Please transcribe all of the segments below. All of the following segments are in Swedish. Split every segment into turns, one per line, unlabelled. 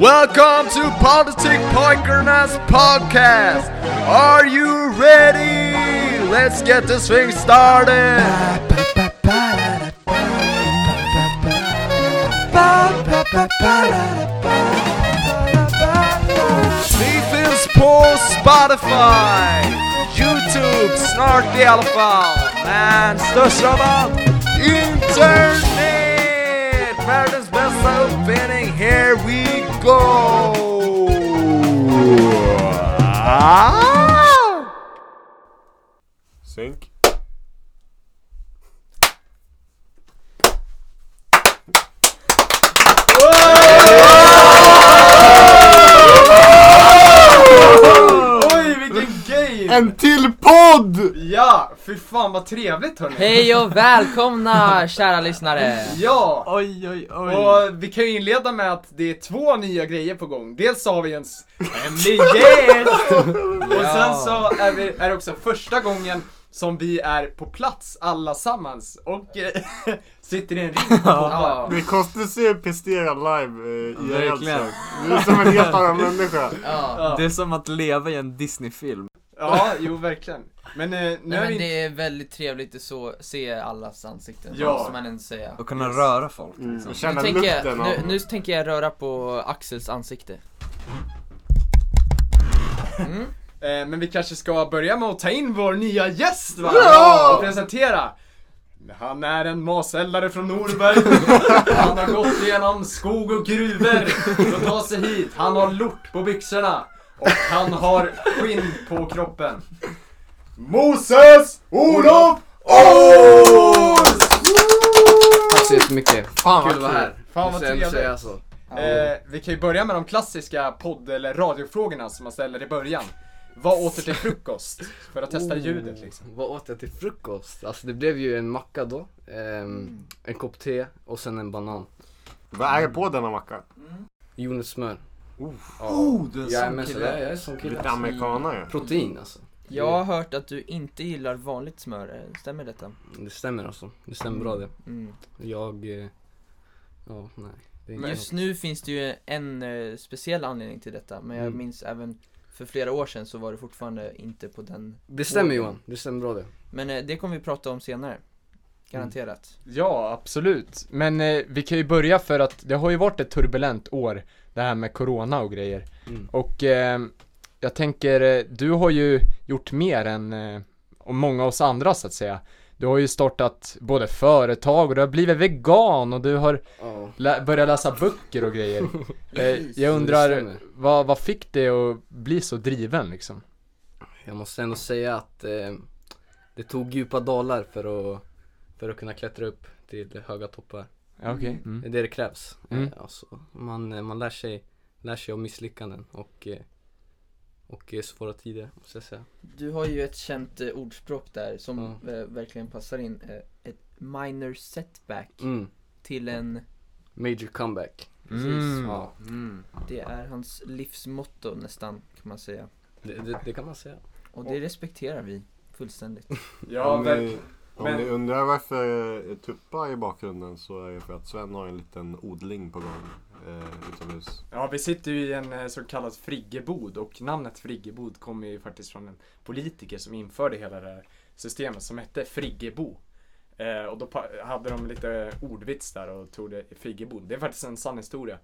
Welcome to Politic Poinkernas podcast. Are you ready? Let's get this thing started. Leafins på Spotify, Youtube, snart i alla fall. Men störst av allt, internet! Världens bästa uppfinning, here we go! Ah!
Synk.
Oj vilken game!
En till podd!
Ja, fy fan vad trevligt hörni!
Hej och välkomna kära lyssnare!
Ja!
Oj, oj, oj.
Och vi kan ju inleda med att det är två nya grejer på gång. Dels så har vi en s- hemlig gäst! Och sen så är, vi, är det också första gången som vi är på plats allasammans och eh, sitter i en ring och poddar.
Det är konstigt att se Pestera live eh, i
Verkligen.
Elsa. Du är som en helt annan människa.
Ja.
Det är som att leva i en Disney-film.
Ja, jo verkligen. Men eh, nu
Nej,
är
men
vi inte...
det är väldigt trevligt att så, se allas ansikten,
Ja.
måste man ändå säga.
Och kunna röra folk.
Mm. Och
Nu
känna
tänker, jag,
lukten av...
nu, nu tänker jag röra på Axels ansikte.
Eh, men vi kanske ska börja med att ta in vår nya gäst va?
Ja!
Och presentera. Han är en maseldare från Norberg. Han har gått igenom skog och gruvor för att ta sig hit. Han har lort på byxorna. Och han har skinn på kroppen.
Moses Olof Ås!
Tack så jättemycket.
Fan
Kul
vad
att vara
kul.
här.
Fan vad
Måste jag alltså- ändå
trevligt.
säga så.
Eh, vi kan ju börja med de klassiska podd eller radiofrågorna som man ställer i början. Vad åt du till frukost? För att testa
Oh.
ljudet liksom.
Oh. Vad åt jag till frukost? Alltså det blev ju en macka då, ehm, en kopp te och sen en banan.
Vad är det på denna macka?
Jordnötssmör.
Oh, du är en
Jag är
sån
med så
kille.
jag är sån kille.
Lite amerikanare.
Protein alltså.
Jag har hört att du inte gillar vanligt smör, eh, stämmer detta?
Det stämmer alltså. Det stämmer bra det.
Mm.
Jag, eh, ja nej. Det är inte
Just nu finns det ju en eh, speciell anledning till detta, men jag
Mm.
minns även för flera år sedan så var du fortfarande inte på den.
jag. Det stämmer Johan, det stämmer bra det.
Men eh, det kommer vi prata om senare. Garanterat.
Ja, absolut. Men eh, vi kan ju börja för att det har ju varit ett turbulent år, det här med corona och grejer.
Mm.
Och eh, jag tänker, eh, du har ju gjort mer än eh, och många av oss andra så att säga. Du har ju startat både företag och du har blivit vegan och du har
Ja.
lä- börjat läsa böcker och grejer. eh, jag
Det
undrar,
stämmer.
vad, vad fick dig att bli så driven liksom?
Jag måste ändå säga att eh, det tog djupa dalar för att, för att kunna klättra upp till höga toppar.
Ja, okej.
Det
Mm.
är det det krävs.
Mm.
Eh, Alltså, man, eh, man lär sig, lär sig av misslyckanden och, eh, och eh, svåra tider, måste jag säga.
Du har ju ett känt eh, ordspråk där som
Ja.
eh, verkligen passar in. Eh, ett minor setback
Mm.
till en...
Major comeback.
Mm.
Ja,
Mm.
Det är hans livsmotto nästan, kan man säga.
det, det, det kan man säga.
Och det respekterar vi fullständigt.
om, ni, om ni undrar varför eh, tuppar i bakgrunden så är det för att Sven har en liten odling på gång eh, utomhus.
Ja, vi sitter ju i en eh, så kallad friggebod och namnet friggebod kommer ju faktiskt från en politiker som införde hela det här systemet som hette friggebo. Eh, och då pa- hade de lite ordvits där och tog det i friggebod. Det är faktiskt en sann historia.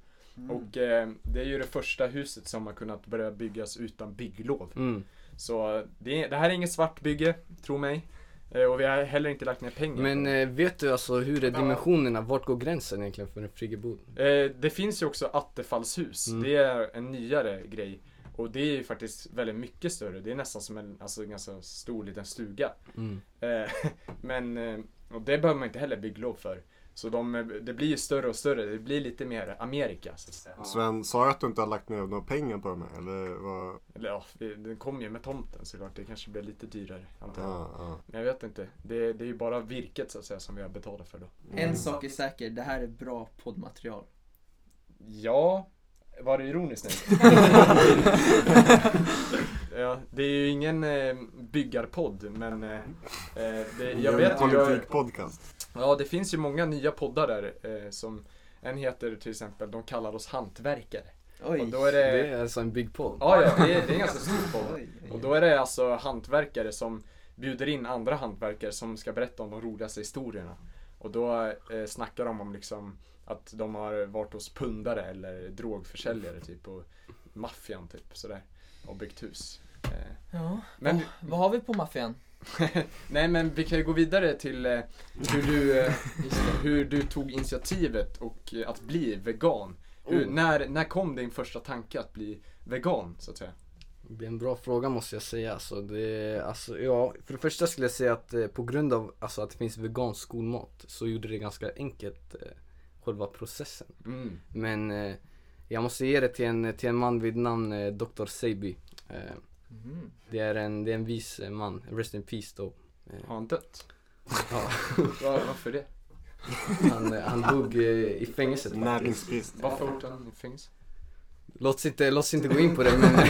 Och eh, det är ju det första huset som har kunnat börja byggas utan bygglov.
Mm.
Så eh, det, det här är inget svart bygge, tro mig. Eh, och vi har heller inte lagt ner pengar.
Men
på det.
eh, vet du alltså hur är dimensionerna? Vart går gränsen egentligen för en friggebod?
Eh, det finns ju också attefallshus.
Mm.
Det är en nyare grej. Och det är ju faktiskt väldigt mycket större. Det är nästan som en alltså, en ganska stor liten stuga.
Mm.
Eh, men eh, och det behöver man inte heller bygglov för. Så de, eh, det blir ju större och större. Det blir lite mer Amerika. Så att säga.
Sven, sa du att du inte har lagt ner några pengar på de här? Eller vad?
Eller ja, det- den kom ju med tomten såklart. Det kanske blir lite dyrare. Antar jag.
Ja, ja.
Men jag vet inte. Det, det är ju bara virket så att säga som vi har betalat för då.
En sak är säker, det här är bra poddmaterial.
Ja, var det ironiskt nu? ja, det är ju ingen eh, byggarpodd, men eh, eh, det, jag vet ju... Jag,
Politikpodcast.
ja, det finns ju många nya poddar där eh, som en heter till exempel De kallar oss hantverkare.
Oj.
Och då är
Det
det,
är alltså en big poll.
ja, ja det, är, det är en ganska stor podd.
Oj, oj,
Och då är det alltså hantverkare som bjuder in andra hantverkare som ska berätta om de roligaste historierna. Och då eh, snackar de om liksom att de har varit hos pundare eller drogförsäljare typ och maffian typ sådär. Och byggt hus. Eh,
Ja.
Men-
Åh, vad har vi på maffian?
Nej men vi kan ju gå vidare till eh, hur, du, eh, hur du tog initiativet och eh, att bli vegan. Hur,
Oh.
när, när kom din första tanke att bli vegan så att säga?
Det blir en bra fråga måste jag säga. Alltså, det, alltså, ja, för det första skulle jag säga att eh, på grund av alltså, att det finns vegansk skolmat så gjorde det ganska enkelt eh, själva processen.
Mm.
Men eh, jag måste ge det till en, till en man vid namn eh, Dr. Seiby. Eh,
Mhm.
det, är en, det är en vis eh, man, rest in peace då.
Har han dött?
Ja,
Var, varför det?
han, eh, han dog eh, i fängelset.
Näringsbrist.
Varför åkte han i fängelse?
Låt oss inte, låt oss inte gå in på det men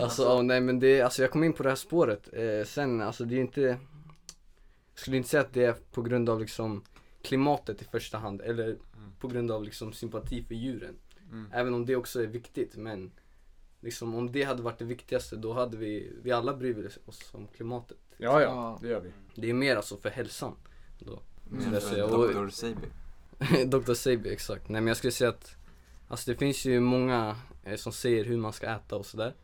Alltså ja, nej men det, alltså jag kom in på det här spåret eh, Sen alltså det är inte Jag skulle inte säga att det är på grund av liksom Klimatet i första hand eller på grund av liksom sympati för djuren
Mm.
Även om det också är viktigt men Liksom om det hade varit det viktigaste då hade vi, vi alla bryr oss om klimatet
Ja, ja,
Ja.
det gör vi.
Det är mer alltså för hälsan
Mm.
Med
Jag säger,
Dr. Seiby.
Dr. Seiby, exakt. Nej men jag skulle säga att Alltså det finns ju många eh, som säger hur man ska äta och sådär.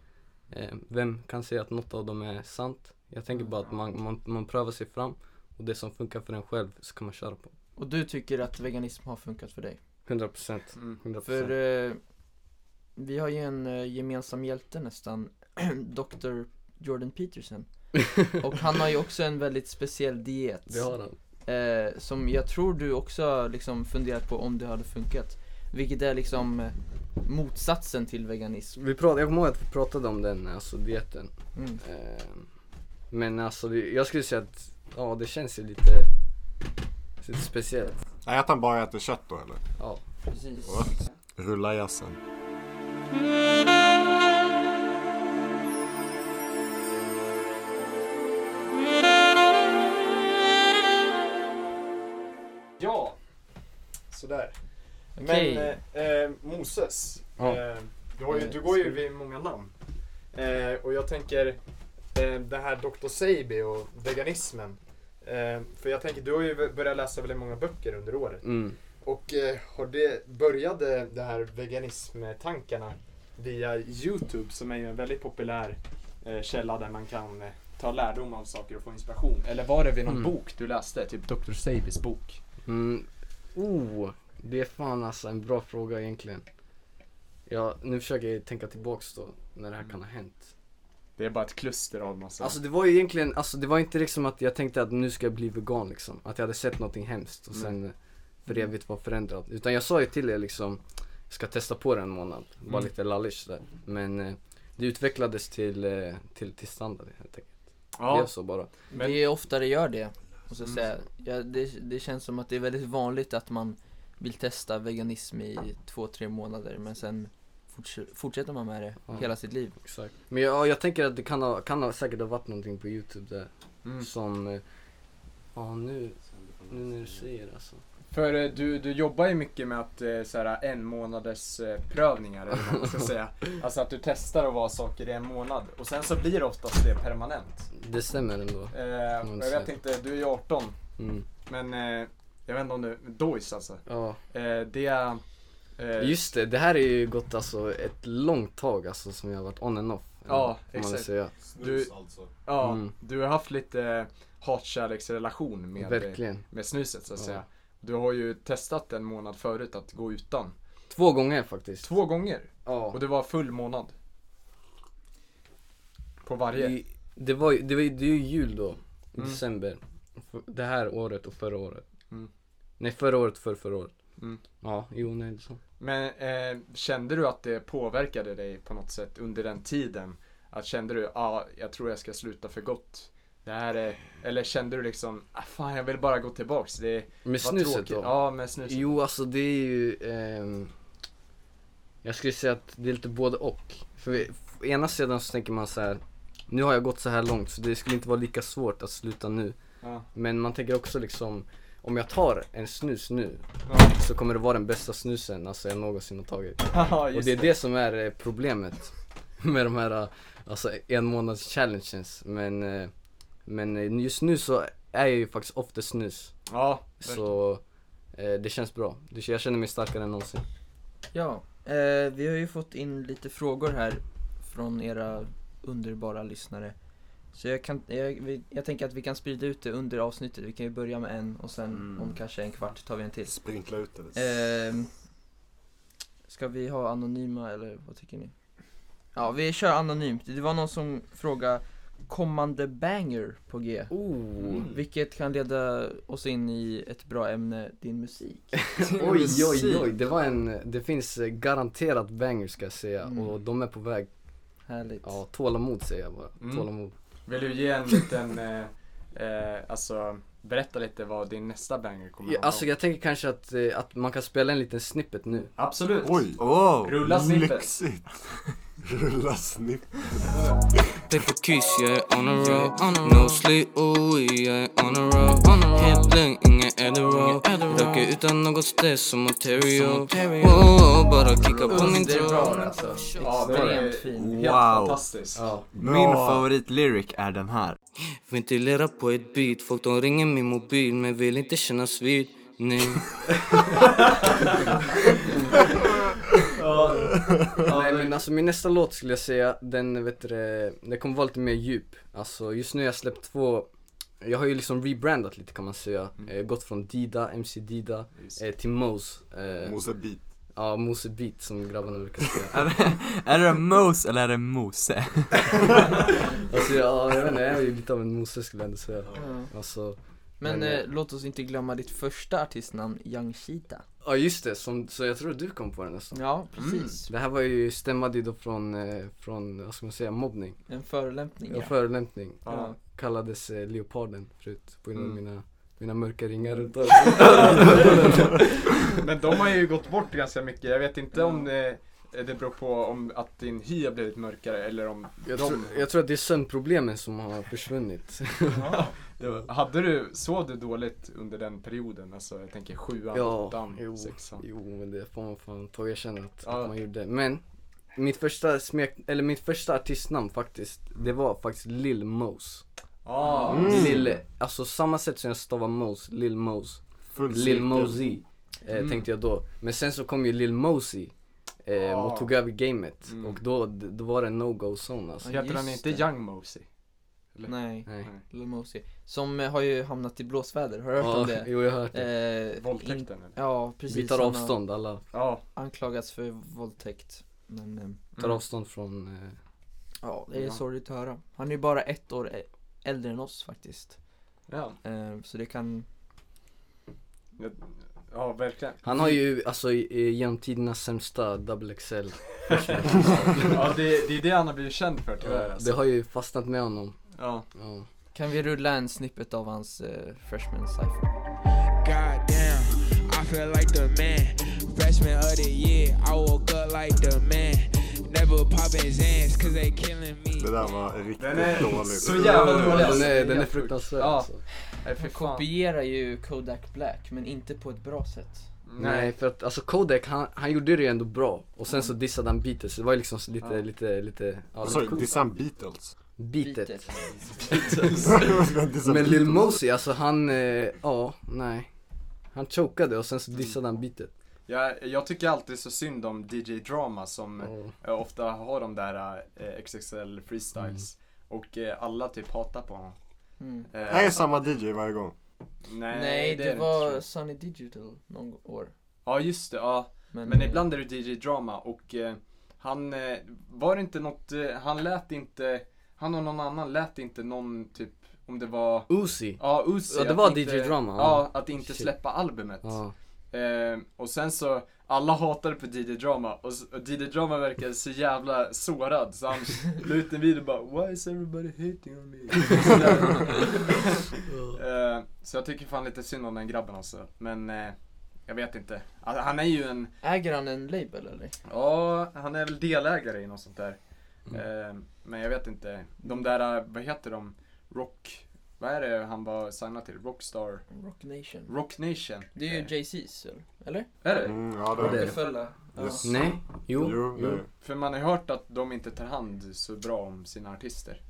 Eh, vem kan säga att något av dem är sant? Jag tänker bara att man, man, man prövar sig fram och det som funkar för en själv så kan man köra på.
Och du tycker att veganism har funkat för dig?
100 procent.
Mm.
100
För
procent.
eh, vi har ju en eh, gemensam hjälte nästan, Dr. Jordan Peterson. Och han har ju också en väldigt speciell diet.
Det har han.
eh, som jag tror du också har liksom funderat på om det hade funkat. Vilket är liksom eh, motsatsen till veganism.
Vi prat, jag kommer ihåg att vi pratade om den, alltså dieten.
Mm.
Eh, men alltså det, jag skulle säga att ja, det känns ju lite, lite speciellt.
Nej, att han bara äter kött då eller?
Ja.
Precis.
Rulla jazzen.
Ja, sådär.
Okej.
Men eh, eh, Moses,
Ja.
eh, du, har ju, du går ju vid många namn. Eh, och jag tänker eh, det här Dr. Seiby och veganismen. Eh, för jag tänker, du har ju börjat läsa väldigt många böcker under året.
Mm.
Och eh, har det, började det här veganismtankarna via Youtube som är ju en väldigt populär eh, källa där man kan eh, ta lärdom av saker och få inspiration. Eller var det vid någon
Mm.
bok du läste? Typ Dr. Seibys bok?
Mm. Oh, det är fan alltså en bra fråga egentligen. Ja, nu försöker jag tänka tillbaks då när det här kan ha hänt.
Det är bara ett kluster av massa...
Alltså det var ju egentligen, alltså det var inte liksom att jag tänkte att nu ska jag bli vegan liksom. Att jag hade sett någonting hemskt och
Mm.
sen eh, för evigt var förändrad. Utan jag sa ju till er liksom, jag ska testa på det en månad. Bara
Mm.
lite lallish där. Men eh, det utvecklades till, eh, till, till standard helt enkelt. Det blev
ja,
så bara.
men-
Det är ofta det gör det. Och så
Mm.
säga, ja, det, det känns som att det är väldigt vanligt att man vill testa veganism i två, tre månader men sen forts- fortsätter man med det
Ja.
hela sitt liv.
Exakt. Men jag, jag tänker att det kan ha, kan ha säkert ha varit någonting på youtube där.
mm.
Som, eh, ja nu, nu när du säger det, alltså.
För eh, du, du jobbar ju mycket med att eh, såhär, en månaders eh, prövningar eller vad man ska säga. Alltså att du testar att vara saker i en månad och sen så blir det oftast det permanent.
Det stämmer ändå.
Eh, och jag vet inte, du är ju 18
Mm.
men eh, jag vet inte om du, Dois alltså.
Ja.
Eh, det är... Eh,
Just det, det här är ju gått alltså ett långt tag alltså som jag har varit on and off.
Ja,
eh, får man väl
exakt.
Säga.
Du-
alltså.
ja,
Mm.
du har haft lite hatkärleksrelation med,
Verkligen.
med snuset så att
Ja.
säga. Du har ju testat en månad förut att gå utan.
Två gånger faktiskt.
Två gånger.
Ja.
Och det var full månad. På varje.
Det, det var ju, det, var, ju- det är ju jul då. i
Mm.
December. F- Det här året och förra året.
Mm.
Nej, förra året, för förra året.
Mm.
Ja, jo, nej, det är så.
Men eh, kände du att det påverkade dig på något sätt under den tiden? Att kände du, ja, ah, jag tror jag ska sluta för gott. Det här är, eller kände du liksom, ah, fan jag vill bara gå tillbaks. Det
Med
var
snuset
tråkigt.
då.
Ja, med snuset.
Jo, alltså det är ju... ehm, jag skulle säga att det är lite både och. För vi, å ena sidan så tänker man så här. Nu har jag gått så här långt så det skulle inte vara lika svårt att sluta nu.
Ja.
Men man tänker också liksom om jag tar en snus nu
Ja.
så kommer det vara den bästa snusen alltså, jag någonsin har tagit.
Ja,
Och
just
det är det som är eh, problemet med de här eh, alltså, en månads challenges. Men, eh, men eh, just nu så är jag ju faktiskt ofta snus.
Ja,
Så eh, det känns bra. Det- Jag känner mig starkare än någonsin.
Ja, eh, vi har ju fått in lite frågor här från era underbara lyssnare. Så jag, kan, jag, vi- jag tänker att vi kan sprida ut det under avsnittet. Vi kan ju börja med en och sen
Mm.
om kanske en kvart tar vi en till.
Sprinkla ut det.
Eh, ska vi ha anonyma eller vad tycker ni? Ja, vi kör anonymt. Det var någon som frågade kommande banger på G.
Oh.
Vilket kan leda oss in i ett bra ämne, din musik.
Oj, oj, oj. Det, var en, det finns eh, garanterat bangers ska jag säga
Mm.
och de är på väg.
Härligt.
Ja, tålamod säger jag bara.
Mm.
Tålamod.
Vill du ge en liten, eh, eh, alltså berätta lite vad din nästa banger kommer
Ja,
handla
alltså
om?
jag tänker kanske att, eh, att man kan spela en liten snippet nu.
Absolut!
Oj! Oh,
Rulla snippet.
Lyxigt! Rulla snippet.
Paper kiss, yeah, on the road. No sleep, oh yeah, on the road. Helt lugn, ingen Adderall. Röker utan något stress som Ontario. Wow, bara kicka på min
Det är bra
tråd.
alltså.
Ja, det var
Extremt
det.
fin.
Helt fantastiskt.
Ja.
Min favoritlyric är den här.
Ventilera på ett beat, folk de ringer min mobil men vill inte kännas vid. Nej.
Nej men alltså min nästa låt skulle jag säga, den vet du, det, den kommer vara lite mer djup. Alltså just nu har jag släppt två, jag har ju liksom rebrandat lite kan man säga. Eh, gått från Dida, MC Dida,
Just.
eh, till Mose. Eh,
Mose beat.
ja, Mose Beat som grabbarna brukar säga.
Är det, är det Mose eller är det Mose?
Alltså ja, jag vet inte, jag är ju lite av en Mose skulle jag ändå säga. Alltså,
Men
Men,
eh,
eh,
låt oss inte glömma ditt första artistnamn, Young Cheetah.
ja just det, som, så jag tror du kom på den nästan.
Ja, precis.
Det här var ju, stämmade ju då från, eh, från, vad ska man säga, mobbning.
Mm. En förolämpning.
Ja.
Ja.
Förolämpning.
Ja.
Kallades eh, leoparden förut på grund av
Mm.
mina, mina mörka ringar runt om.
Men de har ju gått bort ganska mycket. Jag vet inte om det, eh, det beror på om att din hy har blivit mörkare eller om
Jag,
de...
tror, jag tror att det är sömnproblemen som har försvunnit.
Hade du, sov du dåligt under den perioden? Alltså jag tänker sjuan,
Ja, jo.
åttan, sexan.
Jo men det får man fan ta och erkänna att,
Ja.
att man gjorde. Men mitt första smek, eller mitt första artistnamn faktiskt, det var faktiskt Lil Mose.
Ah,
Mm.
Lil, alltså samma sätt som jag stavar Mose, Lil Mose.
Full
Lil
cirkel.
Mosey eh,
Mm.
tänkte jag då. Men sen så kom ju Lil Mosey eh,
Ah.
och tog över gamet
Mm.
och då, då var det no-go zone alltså.
Ja,
Heter han
just
inte
det.
Young Mosey?
Nej,
Nej.
Lil Mosey. Som eh, har ju hamnat i blåsväder, har du hört
Ja,
om det?
Jo jag har hört det.
Eh, in-
Våldtäkten eller?
Ja, precis.
Vi tar
han har
avstånd alla,
Ja.
Anklagats för våldtäkt. Men eh,
tar
Mm.
avstånd från eh,
ja, det är
Ja.
sorgligt att höra. Han är ju bara ett år ä- äldre än oss faktiskt.
Ja.
Eh, så det kan...
ja, verkligen.
Han har ju alltså i- i- genom tiderna sämsta double XL
Ja, det, det är det han har blivit känd för tyvärr
Det
alltså.
har ju fastnat med honom
Ja.
ja.
Kan vi rulla en snippet av hans eh, freshman cypher?
Goddamn, I feel like the man. Freshman of the year, I woke up like the man. Never popping Zans, cause they killing me.
Det där var riktigt
Den är
dåligt.
så jävla dålig
Den
alltså.
är, den är
Helt sjukt.
fruktansvärd
Ja.
alltså.
Nej, för fan.
Kopierar ju Kodak Black, men inte på ett bra sätt.
Nej för att alltså Kodak han, han gjorde det ju ändå bra och sen så dissade han beatet så det var ju liksom så lite,
Ja.
lite, lite, ja,
Vad
lite
sa du?
coolt.
Design Beatles?
beatet
Bitet.
Design
Men
Beatles.
Lil Mosey alltså han, eh, ja, nej Han chokade och sen så dissade han beatet
Jag, jag tycker alltid så synd om DJ Drama som
Ja.
eh, ofta har de där eh, XXL freestyles.
Mm.
Och eh, alla typ hatar på honom.
Mm.
Eh,
Det här är samma DJ varje gång.
nej,
Nej,
är
det,
inte, tror
var
jag.
Sunny Digital någon år.
Ja, just det. Ja. Men ibland är det DJ Drama och eh, han eh, var det inte något, eh, han lät inte, han och någon annan lät inte någon typ, om det var
Uzi
Ja, Uzi,
Ja, det
att
var
inte-
DJ Drama,
Ja,
ja.
att inte
Shit.
släppa albumet.
ja.
Eh, och sen så, alla hatade på DJ Drama och, s- och DJ Drama verkade så jävla sårad så han la ut en video och bara Why is everybody hating on me? eh, så jag tycker fan lite synd om den grabben alltså. Men eh, jag vet inte. Alltså, han är ju en,
Äger han en label eller?
ja han är väl delägare i något sånt där. Eh, men jag vet inte. De där, eh, vad heter de? Rock, Vad är det han var signad till? Rockstar?
Rock Nation.
Rock Nation?
Det är ju Jay-Z's, eller? eller?
Är det?
Mm, ja, det är det.
Rockefeller. Ja.
Yes.
Nej, jo,
Jo, det är
jo.
det.
För man har hört att de inte tar hand så bra om sina artister.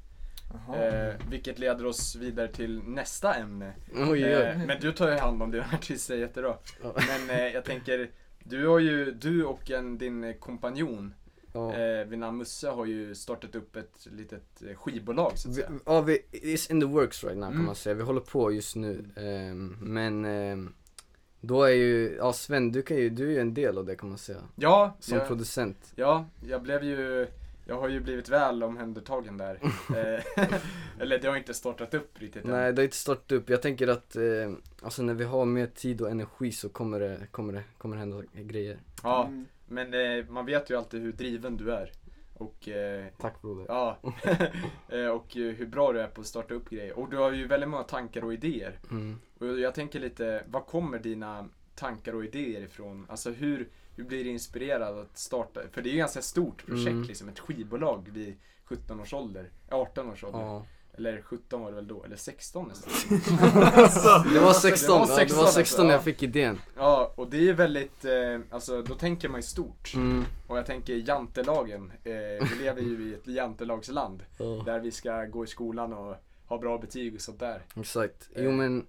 Jaha.
Eh, vilket leder oss vidare till nästa ämne.
Oj, oj, oj.
Eh, men du tar ju hand om dina artister jättebra.
Ja.
Men eh, jag tänker, du har ju, du och en, din eh, kompanjon
Ja.
eh, vid namn Musse har ju startat upp ett litet eh, skivbolag så att
Vi,
säga.
ja, vi, it's in the works right now kan
Mm.
man säga. Vi håller på just nu. ehm, men ehm, då är ju, ja Sven du, kan ju, du är ju en del av det kan man säga.
Ja,
Som
jag,
producent.
ja, jag blev ju, jag har ju blivit väl omhändertagen där. Eh, Eller det har inte startat upp riktigt än.
Nej det har inte startat upp. Jag tänker att eh, alltså när vi har mer tid och energi så kommer det, kommer det, kommer det hända grejer.
Ja,
Mm.
men eh, man vet ju alltid hur driven du är. Och eh,
Tack broder.
Ja, Eh, och eh, hur bra du är på att starta upp grejer. Och du har ju väldigt många tankar och idéer.
Mm.
Och jag tänker lite, vad kommer dina tankar och idéer ifrån? Alltså hur, hur blir du inspirerad att starta? För det är ju ett ganska stort projekt
Mm.
liksom, ett skivbolag vid 17 års ålder, 18 års ålder.
Ja.
Eller 17 var det väl då, eller 16 nästan.
Det var 16,
Det var
ja, det
16,
var 16 när jag
alltså,
fick idén.
Ja, och det är ju väldigt, eh, alltså då tänker man ju stort.
Mm.
Och jag tänker jantelagen, eh, vi lever ju i ett jantelagsland.
Ja.
Där vi ska gå i skolan och ha bra betyg och sånt där.
Exakt,
Eh.
jo men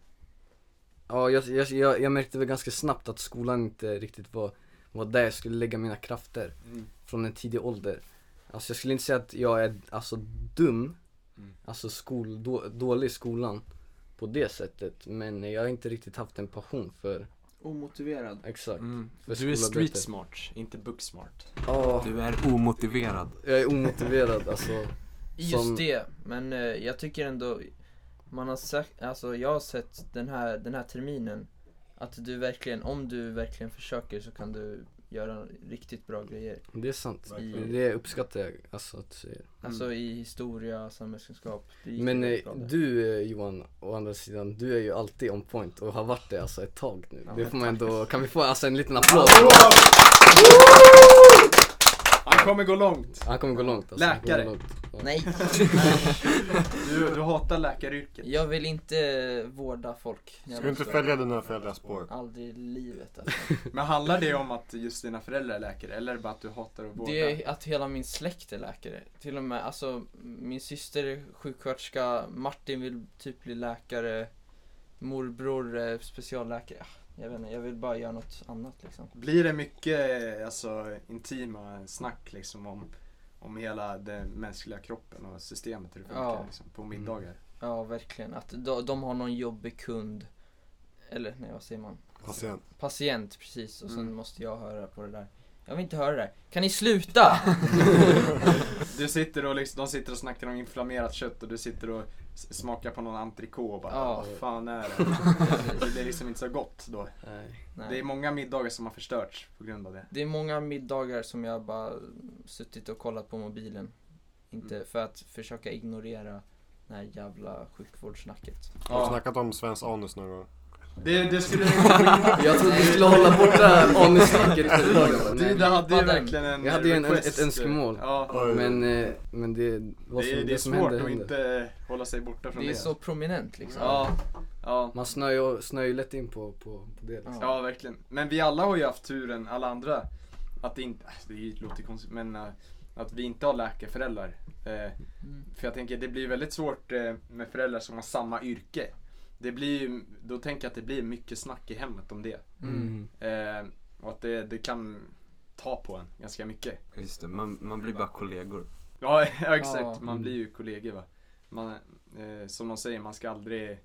Ja jag, jag, jag, jag märkte väl ganska snabbt att skolan inte riktigt var, var där jag skulle lägga mina krafter
Mm.
från en tidig ålder Alltså jag skulle inte säga att jag är alltså dum,
Mm.
alltså skol, då, dålig i skolan på det sättet men jag har inte riktigt haft en passion för,
Omotiverad.
exakt
Mm.
För
Du är
skolarbete.
street smart, inte book smart.
Ja,
Du är omotiverad.
jag är omotiverad alltså
Just
Som-
det, men eh, jag tycker ändå Man har sagt, alltså jag har sett den här, den här terminen Att du verkligen, om du verkligen försöker så kan du göra riktigt bra grejer
Det är sant,
Verkligen.
det uppskattar jag alltså att du säger
Alltså i historia, samhällskunskap det gick
Men
väldigt
eh,
bra där.
du eh, Johan, å andra sidan, du är ju alltid on point och har varit det alltså ett tag nu. det får man ändå, kan vi få alltså en liten applåd?
Han kommer gå långt.
Han kommer gå långt alltså. Han kommer
Läkare.
gå långt. Ja.
Nej,
Du, du hatar läkaryrket.
jag vill inte vårda folk
Ska du inte följa dina föräldrars spår?
Aldrig i livet alltså.
Men handlar det om att just dina föräldrar är läkare eller är det bara att du hatar att vårda?
Det är att hela min släkt är läkare. Till och med, alltså min syster är sjuksköterska, Martin vill typ bli läkare, morbror är specialläkare. Ah, Jag vet inte, jag vill bara göra något annat liksom.
Blir det mycket eh, alltså, intima snack liksom om, om hela den mänskliga kroppen och systemet hur det funkar
Ja.
liksom, på middagar?
Ja, verkligen. Att de, de har någon jobbig kund, eller nej vad säger man?
Patient.
Patient precis och sen
Mm.
måste jag höra på det där. Jag vill inte höra det där. Kan ni sluta?
Du sitter och liksom, de sitter och snackar om inflammerat kött och du sitter och s- smakar på någon entrecote och bara
Ja.
vad fan är det? här?" det är liksom inte så gott då.
Nej.
Nej.
Det är många middagar som har förstörts på grund av det.
Det är många middagar som jag bara suttit och kollat på mobilen. Inte
Mm.
för att försöka ignorera det här jävla sjukvårdssnacket.
Har du snackat om Svens anus någon gång?
Det, det skulle vi inte gå in på.
Jag trodde vi skulle hålla borta anussnacket för dagen.
Du,
Nej,
du
men-
hade ju
Padden.
verkligen en
Jag hade ju en-
request.
ett önskemål.
Ja.
Men, eh, men det, vad
Det,
som,
är-
det,
det är
som
svårt
händer,
att
händer.
inte hålla sig borta från det.
Det är så prominent liksom.
Ja, ja.
Man snör ju, snör ju lätt in på, på, på det liksom.
ja, verkligen. Men vi alla har ju haft turen, alla andra, att det inte, äh, det låter konstigt, men äh, att vi inte har läkarföräldrar. Eh,
Mm.
För jag tänker, det blir väldigt svårt eh, med föräldrar som har samma yrke. Det blir ju, då tänker jag att det blir mycket snack i hemmet om det.
Mm.
Eh, och att det, det kan ta på en ganska mycket.
Just det, man, man blir bara kollegor.
Ja, ja exakt.
Ja.
Man blir ju kollegor va. Man, eh, som de säger, man ska aldrig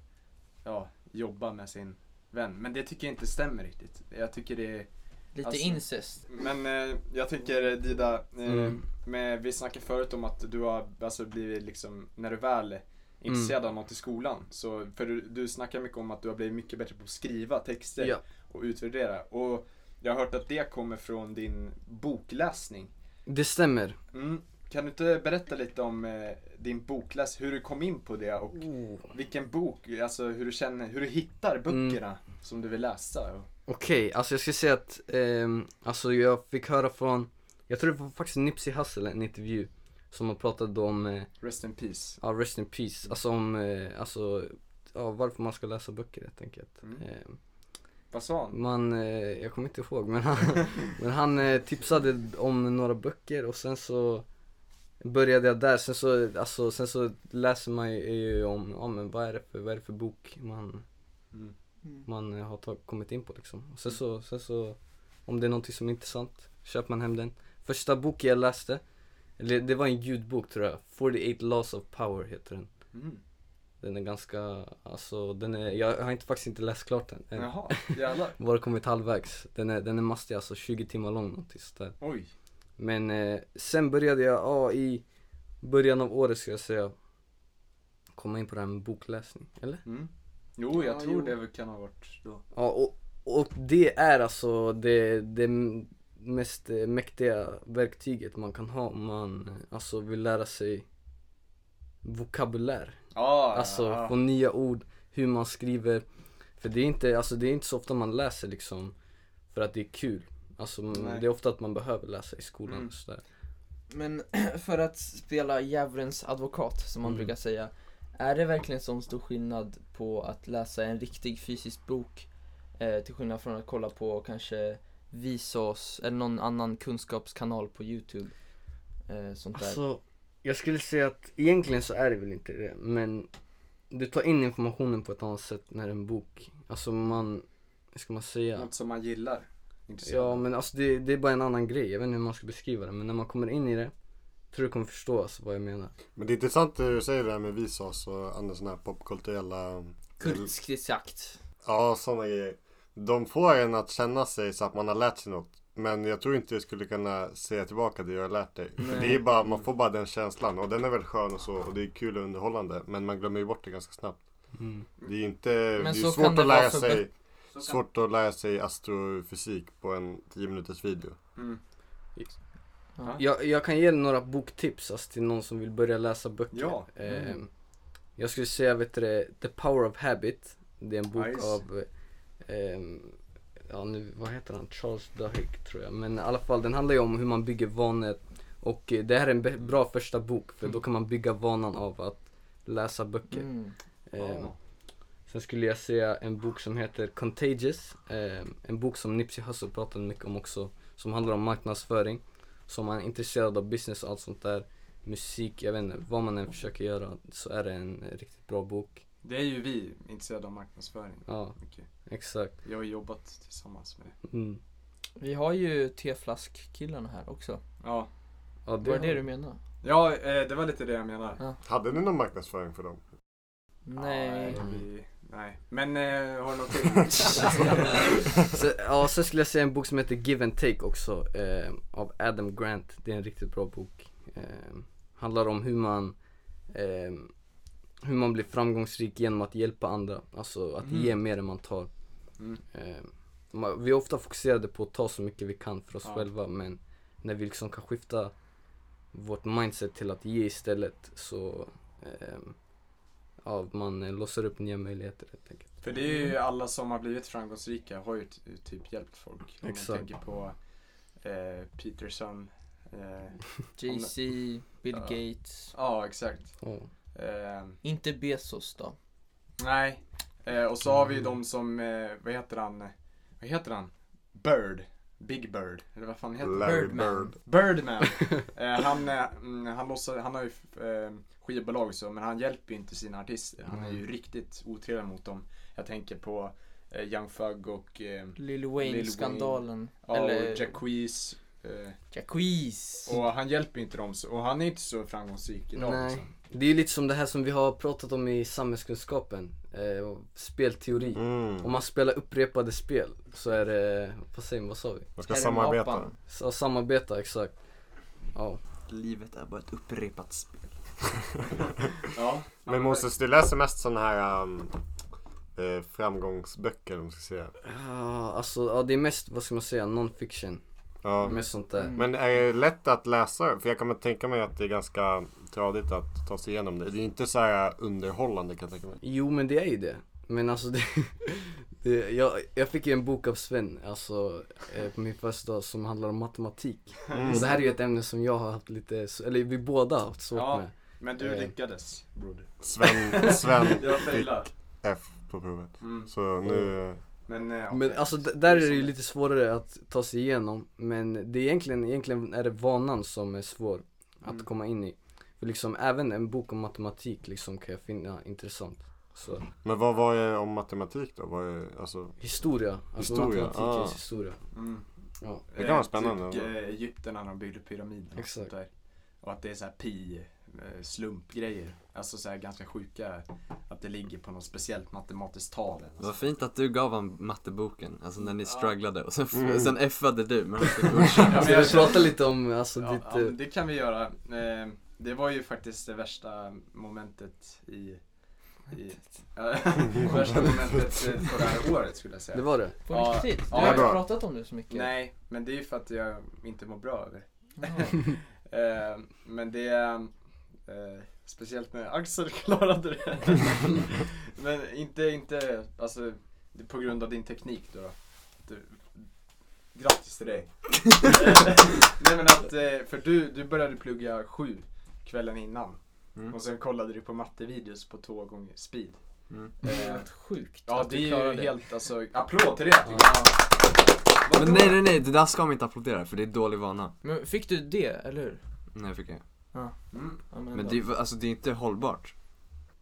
ja, jobba med sin vän. Men det tycker jag inte stämmer riktigt. Jag tycker det är...
Lite
Alltså-
incest.
Men eh, jag tänker eh, Dida, eh,
Mm.
med, vi snackade förut om att du har alltså, blivit liksom, när du väl är intresserad av något i skolan. Så, för du, du snackar mycket om att du har blivit mycket bättre på att skriva texter
Ja.
och utvärdera. Och jag har hört att det kommer från din bokläsning.
Det stämmer.
Mm. Kan du inte berätta lite om eh, din bokläs, hur du kom in på det
Mm.
och vilken bok, alltså hur du känner, hur du hittar böckerna som du vill läsa? Och,
Okej, alltså jag ska säga att, ehm, alltså jag fick höra från, jag tror det var faktiskt Nipsey Hussle, en intervju Som har pratat om, eh,
Rest in peace.
ja rest in peace, alltså om, eh, alltså, ja varför man ska läsa böcker helt enkelt.
Mm.
Eh,
Vad sa han?
Man, eh, jag kommer inte ihåg men han, men han eh, tipsade om några böcker och sen så började jag där, sen så, alltså, sen så läser man ju- ju om, ja men vad är det för, vad är det för bok man,
Mm.
man eh, har tag, kommit in på liksom. Och sen så, sen så, om det är någonting som är intressant, köper man hem den. Första boken jag läste, eller det var en ljudbok tror jag, 48 Laws of Power heter den.
Mm.
Den är ganska, alltså den är, jag har inte, faktiskt inte läst klart den Eh, än.
Jaha, jävlar.
Bara kommit halvvägs. Den är, den är mastig alltså, 20 timmar lång någonting sånt där.
Oj.
Men eh, sen började jag, ja i början av året ska jag säga, komma in på det här med bokläsning, eller?
Mm. Jo, jag
Ja,
tror
jo.
det kan ha varit då.
Ja, och, och det är alltså det, det m- mest eh, mäktiga verktyget man kan ha om man eh, alltså vill lära sig vokabulär.
Ah,
Alltså
ja.
få nya ord, hur man skriver. För det är inte, alltså, det är inte så ofta man läser liksom för att det är kul. Alltså m-
Nej.
det är ofta att man behöver läsa i skolan
Mm.
och sådär.
Men för att spela djävulens advokat som man
Mm.
brukar säga Är det verkligen sån stor skillnad på att läsa en riktig fysisk bok eh, Till skillnad från att kolla på kanske Vsauce eller någon annan kunskapskanal på youtube eh, Sånt där
Alltså, jag skulle säga att egentligen så är det väl inte det, men du tar in informationen på ett annat sätt när en bok, alltså man, hur ska man säga?
Något som man gillar. Intresserad.
Ja men alltså det, det är bara en annan grej, jag vet inte hur man ska beskriva det, men när man kommer in i det, tror jag kommer förstå alltså, vad jag menar.
Men det är intressant det du säger det här med Visas och andra sådana här popkulturella
Kultskridsjakt
Ja, sådana grejer. De får en att känna sig så att man har lärt sig något. Men jag tror inte jag skulle kunna säga tillbaka det jag har lärt dig. För det är bara, man får bara den känslan och den är väl skön och så och det är kul och underhållande. Men man glömmer ju bort det ganska snabbt.
Mm.
Det är ju inte, det är
så
ju
kan
svårt
det
att
vara
lära
för
sig Svårt att lära sig astrofysik på en 10 minuters video.
Jag, jag kan ge några boktips alltså, till någon som vill börja läsa böcker.
Ja. Mm.
Eh, Jag skulle säga, vet du det, The Power of Habit. Det är en bok
Nice.
av, eh, ehm, ja nu, vad heter han, Charles Duhigg tror jag. Men i alla fall, den handlar ju om hur man bygger vanor. Och eh, det här är en be- bra första bok, för då
Mm.
kan man bygga vanan av att läsa böcker.
mm.
Ehm,
Ja.
Sen skulle jag säga en bok som heter Contagious. Eh, en bok som Nipsey Hussle pratade mycket om också. Som handlar om marknadsföring. Som man är intresserad av business och allt sånt där. Musik, jag vet inte. Vad man än försöker göra så är det en riktigt bra bok.
Det är ju vi intresserade av marknadsföring.
Ja,
Okej.
exakt.
Jag har jobbat tillsammans med det.
Mm.
Vi har ju teflaskkillarna här också
Ja,
Ja,
Var det det du menade?
ja eh, det var lite det jag menade.
Hade ni någon marknadsföring för dem?
Nej
Ja, eh, vi, nej. Men eh, har du något till?
Så, ja, sen skulle jag säga en bok som heter Give and Take också. Eh, av Adam Grant. Det är en riktigt bra bok. Eh, handlar om hur man eh, hur man blir framgångsrik genom att hjälpa andra. Alltså att ge mer än man tar.
Mm.
Eh, ma- vi är ofta fokuserade på att ta så mycket vi kan för oss
Ja.
själva men när vi liksom kan skifta vårt mindset till att ge istället så eh, ja, man eh, låser upp nya möjligheter helt enkelt.
För det är ju alla som har blivit framgångsrika har ju ty- typ hjälpt folk. Om man
Exakt.
tänker på eh, Peterson. eh,
JC, Bill
Ja.
Gates
Ja, exakt.
Ja.
Eh,
Inte Bezos då?
nej. Eh, och så har vi ju de som, eh, vad heter han? Vad heter han? Bird. Big Bird. Eller vad fan heter han?
Larry
Birdman.
Bird.
Birdman. eh, han, eh, mm, han, låtsas, han har ju eh, skivbolag och så, men han hjälper ju inte sina artister. Han är ju riktigt otrevlig mot dem. Jag tänker på eh, Young Thug och, eh,
Lil
Wayne.
Wayne-skandalen
ja,
Eller
och Jacquees. Eh,
Jacquees
och han hjälper ju inte dem, så, och han är inte så framgångsrik idag.
Nej.
Liksom.
Det är ju lite som det här som vi har pratat om i samhällskunskapen, eh, och spelteori.
Mm.
Om man spelar upprepade spel så är det, vad säger man, vad sa vi?
Man ska
Här är
samarbeta.
mapan.
Så, samarbeta, exakt. Ja.
Livet är bara ett upprepat spel.
Ja,
Men Moses, du läser mest sådana här um, eh, framgångsböcker om man ska säga.
Ah, alltså, ja, det är mest, vad ska man säga, non-fiction.
Ja. Mm.
Mest sånt där.
Mm.
Men är det lätt att läsa? För jag kan tänka mig att det är ganska tradigt att ta sig igenom det. Det är inte så här underhållande kan jag tänka mig.
Jo, men det är ju det. Men alltså det, Det, jag, jag fick ju en bok av Sven, alltså eh, på min födelsedag som handlar om matematik. Och det här är ju ett ämne som jag har haft lite, s- eller vi båda har haft svårt
Ja.
med.
Men du
Eh.
lyckades broder.
Sven, Sven
Jag
fick
failade.
F på provet.
Mm.
Så nu,
Men, eh, ja,
Men
det-
alltså d- där är det ju
som-
lite svårare att ta sig igenom Men det är egentligen, egentligen är det vanan som är svår att
Mm.
komma in i För liksom även en bok om matematik liksom kan jag finna intressant Så
men vad var det om matematik då? Vad är, alltså,
historia, alltså
Historia,
matematikens
ah.
historia
Mm.
Ja,
Det kan vara
Eh,
spännande,
Typ,
va?
eh, Egypten när de byggde pyramiderna. och sånt
Exakt.
Där. Och att det är så här pi, eh, slumpgrejer. Alltså så här ganska sjuka, att det ligger på något speciellt matematiskt tal.
Det var fint att du gav han matteboken, alltså när ni
Ja.
strugglade och sen, f-
Mm.
sen F-ade du men han fick godkänt.
Ja, men
Ska vi
jag-
prata lite om alltså
Ja,
ditt,
ja, men
eh,
det kan vi göra. Eh, Det var ju faktiskt det värsta momentet i, i ja, värsta momentet eh, på det här året skulle jag säga.
det var det?
På
Ja.
riktigt? Du
Ja,
har inte
bra.
pratat om det så mycket?
Nej, men det är ju för att jag inte mår bra över det.
Ja.
Eh, men det, eh, speciellt när Axel klarade det. men inte, inte, alltså det är på grund av din teknik då. då. Du, grattis till dig. Nej men att, eh, för du, du började plugga sju kvällen innan.
Mm.
Och sen kollade du på mattevideos på två gånger speed.
Mm.
Det är
Eh,
helt sjukt
ja
att
det
du
är
klarade
ju
det.
helt, alltså applåd till det tycker jag. Vadå?
Men nej nej nej, det där ska man inte applådera för det är dålig vana.
Men fick du det, eller hur?
Nej fick jag.
Mm.
Ja, men
Men
ändå.
det, är- alltså, det är inte hållbart.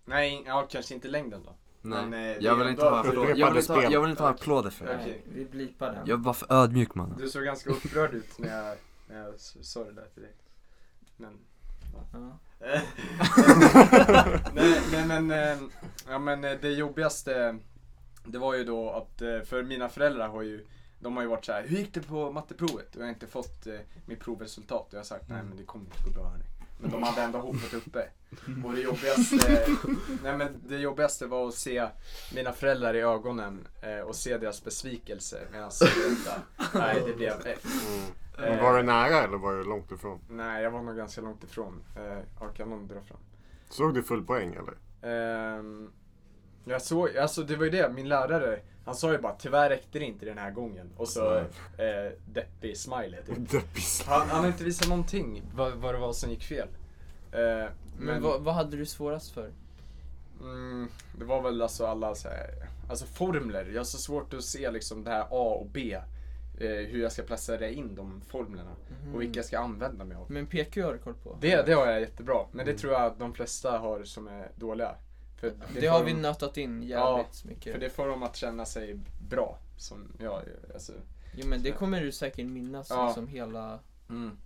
Nej, ja kanske inte i längden då.
Nej.
Men, eh, det
jag
är
vill inte
ändå-
ha applåder. Jag vill inte ha, jag vill inte ha applåder för det.
Okej.
Nej, Vi blipar den.
Jag var för ödmjuk mannen.
Du såg ganska upprörd ut när jag, när jag s- sa det där till dig. Men...
Ja.
Eh, nej, nej men, eh, ja, men eh, det jobbigaste det var ju då att, eh, för mina föräldrar har ju de har ju varit så här, hur gick det på matteprovet? Och jag har inte fått eh, mitt provresultat och jag har sagt, nej men det kommer inte gå bra hörni. Men de hade ändå hoppet uppe. Och det jobbigaste, nej men det jobbigaste var att se mina föräldrar i ögonen eh, och se deras besvikelse medan jag berättade, nej det blev F.
mm.
Eh,
men var det nära eller var det långt ifrån? Nej,
jag var nog ganska långt ifrån. Eh, ja, kan någon dra fram?
Såg du full poäng eller?
Ehm, jag såg, alltså det var ju det, min lärare, han sa ju bara tyvärr räckte det inte den här gången. Och så eh, deppig smiley typ.
Deppis.
han, han har inte visat någonting vad, vad det var som gick fel. Eh, men
Men, vad, vad hade du svårast för?
mm, det var väl alltså alla så här, alltså formler. Jag har så svårt att se liksom det här A och B. Eh, hur jag ska placera in de formlerna. Och vilka jag ska använda mig av.
Men PQ har du koll på?
Det, det har jag jättebra, men
Mm.
det tror jag att de flesta har som är dåliga. För
Det,
får
har
dem-
vi nötat in jävligt mycket.
För det får dem att känna sig bra. Som jag, alltså.
Jo men det kommer du säkert minnas
Ja.
liksom hela,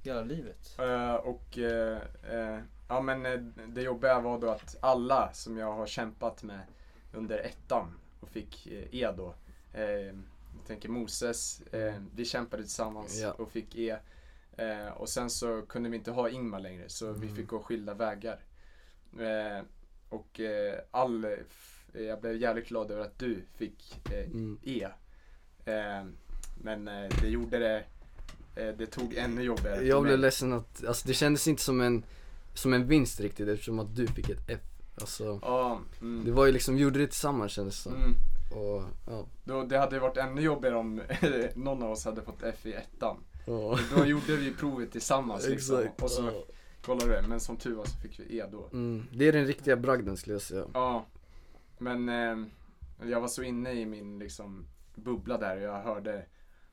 hela livet.
Eh, och, eh, eh, ja men eh, det jobbiga var då att alla som jag har kämpat med under ettan och fick eh, E då. eh, jag tänker Moses, eh, vi kämpade tillsammans
Mm. Ja.
och fick E. Eh, och sen så kunde vi inte ha Ingmar längre så vi
Mm.
fick gå skilda vägar. Eh, och eh, all, f- jag blev jävligt glad över att du fick eh,
Mm.
E. Eh, men eh, det gjorde det, eh, det tog ännu jobbigare för
Jag blev
mig.
ledsen att, alltså det kändes inte som en, som en vinst riktigt eftersom att du fick ett F Alltså,
Ja,
det
mm.
var ju liksom, vi gjorde det tillsammans kändes det som
Mm.
och, ja,
Då, det hade ju varit ännu jobbigare om någon av oss hade fått F i ettan.
och,
Då gjorde vi provet tillsammans liksom.
exakt
Och så
ja.
kollade du, men som tur var så fick vi E då.
mm. Det är den riktiga bragden skulle jag säga
Ja, men eh, jag var så inne i min liksom bubbla där och jag hörde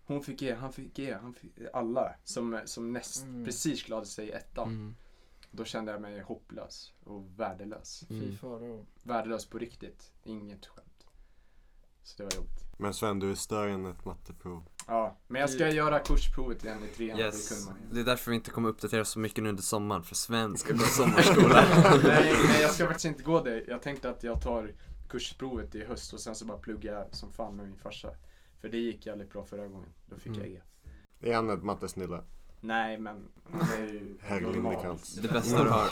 hon fick E, han fick E, han fick alla som, som näst,
Mm.
precis klarade sig i ettan.
Mm.
Då kände jag mig hopplös och värdelös.
Fy
Mm.
farao.
Värdelös på riktigt. Inget skämt. Så det var jobbigt.
Men Sven, du är större än ett matteprov.
Ja, men jag ska
Mm.
göra kursprovet igen i trean. Det
Yes.
kunde man ju.
Det är därför vi inte kommer uppdatera så mycket nu under sommaren för Sven ska gå sommarskola.
nej, nej, jag ska faktiskt inte gå det. Jag tänkte att jag tar kursprovet i höst och sen så bara plugga som fan med min farsa. För det gick jävligt bra förra gången. Då fick
Mm.
jag E.
Är han ett mattesnille?
Nej, men det är ju
Herr
normalt.
Lindekantz.
Det bästa du har.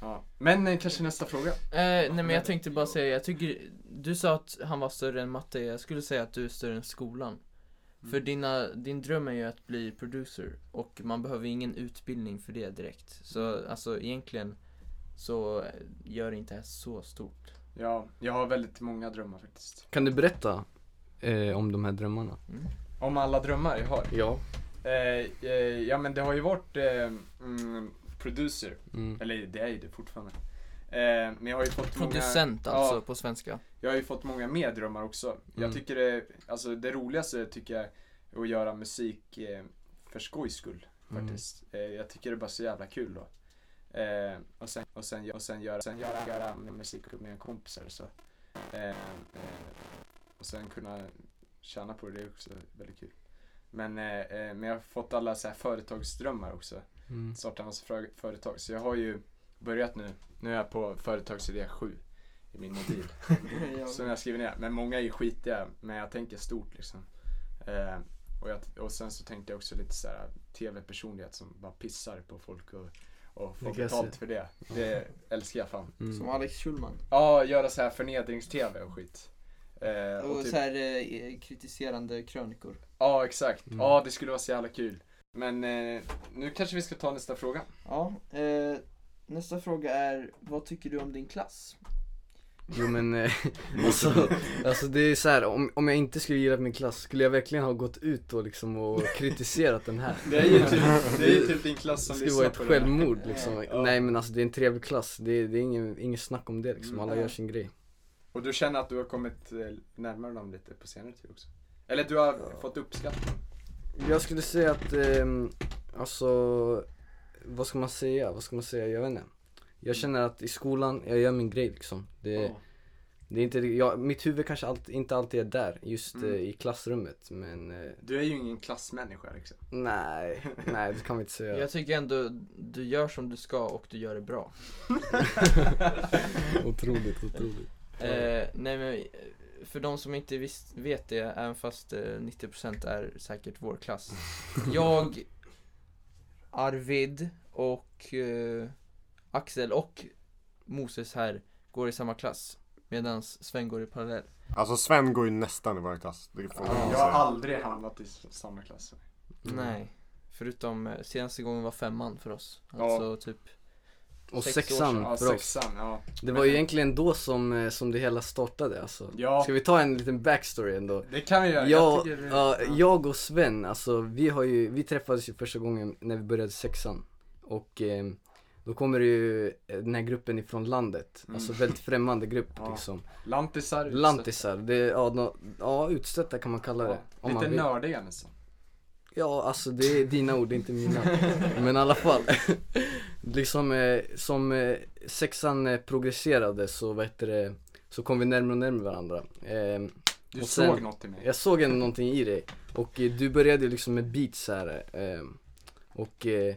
Ja. Men eh, kanske nästa fråga.
Eh, nej men jag tänkte bara säga, jag tycker, du sa att han var större än matte, jag skulle säga att du är större än skolan. För dina, din dröm är ju att bli producer och man behöver ingen utbildning för det direkt. Så alltså egentligen så gör det inte här så stort.
Ja, jag har väldigt många drömmar faktiskt.
Kan du berätta eh, om de här drömmarna.
Mm.
Om alla drömmar jag har.
Ja.
Eh, eh, ja men det har ju varit eh, mm, producer,
Mm.
eller det är ju det fortfarande. Eh, men jag har ju fått
Producent
många,
alltså
Ja,
på svenska.
jag har ju fått många mer drömmar också. Jag
Mm.
tycker det, alltså det roligaste tycker jag är att göra musik eh, för skojs skull faktiskt. Eh, jag tycker det är bara så jävla kul då. Eh, och sen, och sen, och sen göra, sen göra, göra musik med mina kompisar så. Eh, eh, och sen kunna tjäna på det, det är också väldigt kul. Men, eh, eh, men jag har fått alla så här företagsdrömmar också.
Mm.
Starta en massa frö- företag. Så jag har ju börjat nu. Nu är jag på företagsidé 7 i min mobil. Som jag skriver ner. Men många är ju skitiga. Men jag tänker stort liksom. Eh, och, jag, och sen så tänkte jag också lite så här tv-personlighet som bara pissar på folk och, och får
Det kan jag
betalt
se.
för det. Det älskar jag fan.
Mm.
Som Alex Schulman.
Ja, göra så här förnedrings-tv och skit. Eh,
Och
typ-
så här eh, kritiserande krönikor.
Ja, exakt.
Mm.
Ja, det skulle vara så jävla kul. Men eh, nu kanske vi ska ta nästa fråga.
Ja, eh, nästa fråga är, vad tycker du om din klass?
Jo men eh, alltså, alltså det är så här, om, om jag inte skulle gillat min klass, skulle jag verkligen ha gått ut då liksom och kritiserat den här?
Det är ju typ, det är ju typ din klass
Det
som
skulle
lyssnar
vara ett
på det här.
självmord liksom.
Ja.
Nej men alltså det är en trevlig klass, det är, det är ingen, inget snack om det liksom.
Mm.
Alla gör sin grej.
Och du känner att du har kommit eh, närmare dem lite på senare tid också? Eller du har fått uppskattning?
Jag skulle säga att, ehm, alltså, vad ska man säga? Vad ska man säga? Jag vet inte. Jag känner att i skolan, jag gör min grej liksom. Det,
Ja.
det är inte, jag, mitt huvud kanske allt, inte alltid är där, just
Mm.
eh, i klassrummet. Men eh,
Du är ju ingen klassmänniska liksom.
nej, nej det kan vi inte säga.
Jag tycker ändå du gör som du ska och du gör det bra.
Otroligt, otroligt.
Eh, nej men, eh, för de som inte visst, vet det, även fast eh, 90% är säkert vår klass. Jag, Arvid och eh, Axel och Moses här går i samma klass. Medan Sven går i parallell.
Alltså Sven går ju nästan i vår klass. Det får man
Ja.
ju
Jag har
säga.
aldrig hamnat i s- samma klass.
Mm,
Nej. Förutom eh, senaste gången var femman för oss.
Ja.
Alltså typ
Och
Sex år sedan.
sexan
Ja,
för oss.
sexan. Ja.
Det var ju egentligen då som, eh, som det hela startade alltså.
ja,
Ska vi ta en liten backstory ändå?
det kan vi göra.
Jag,
tycker det-
ja, jag och Sven, alltså vi har ju, vi träffades ju första gången när vi började sexan. Och eh, då kommer det ju eh, den här gruppen ifrån landet,
Mm.
alltså väldigt främmande grupp
Ja.
liksom.
Lantisar. utstötta.
Lantisar, det, är- ja, no, ja utstötta kan man kalla det.
Ja.
man
Lite
vill.
nördiga nästan.
Ja, alltså det är dina ord, inte mina. Men i alla fall. liksom eh, som eh, sexan eh, progresserade så vad heter det, så kom vi närmare och närmare varandra. Eh,
Du
Och
såg
sen-
något i mig.
jag såg ändå någonting i dig och eh, du började ju liksom med beats här eh, och eh,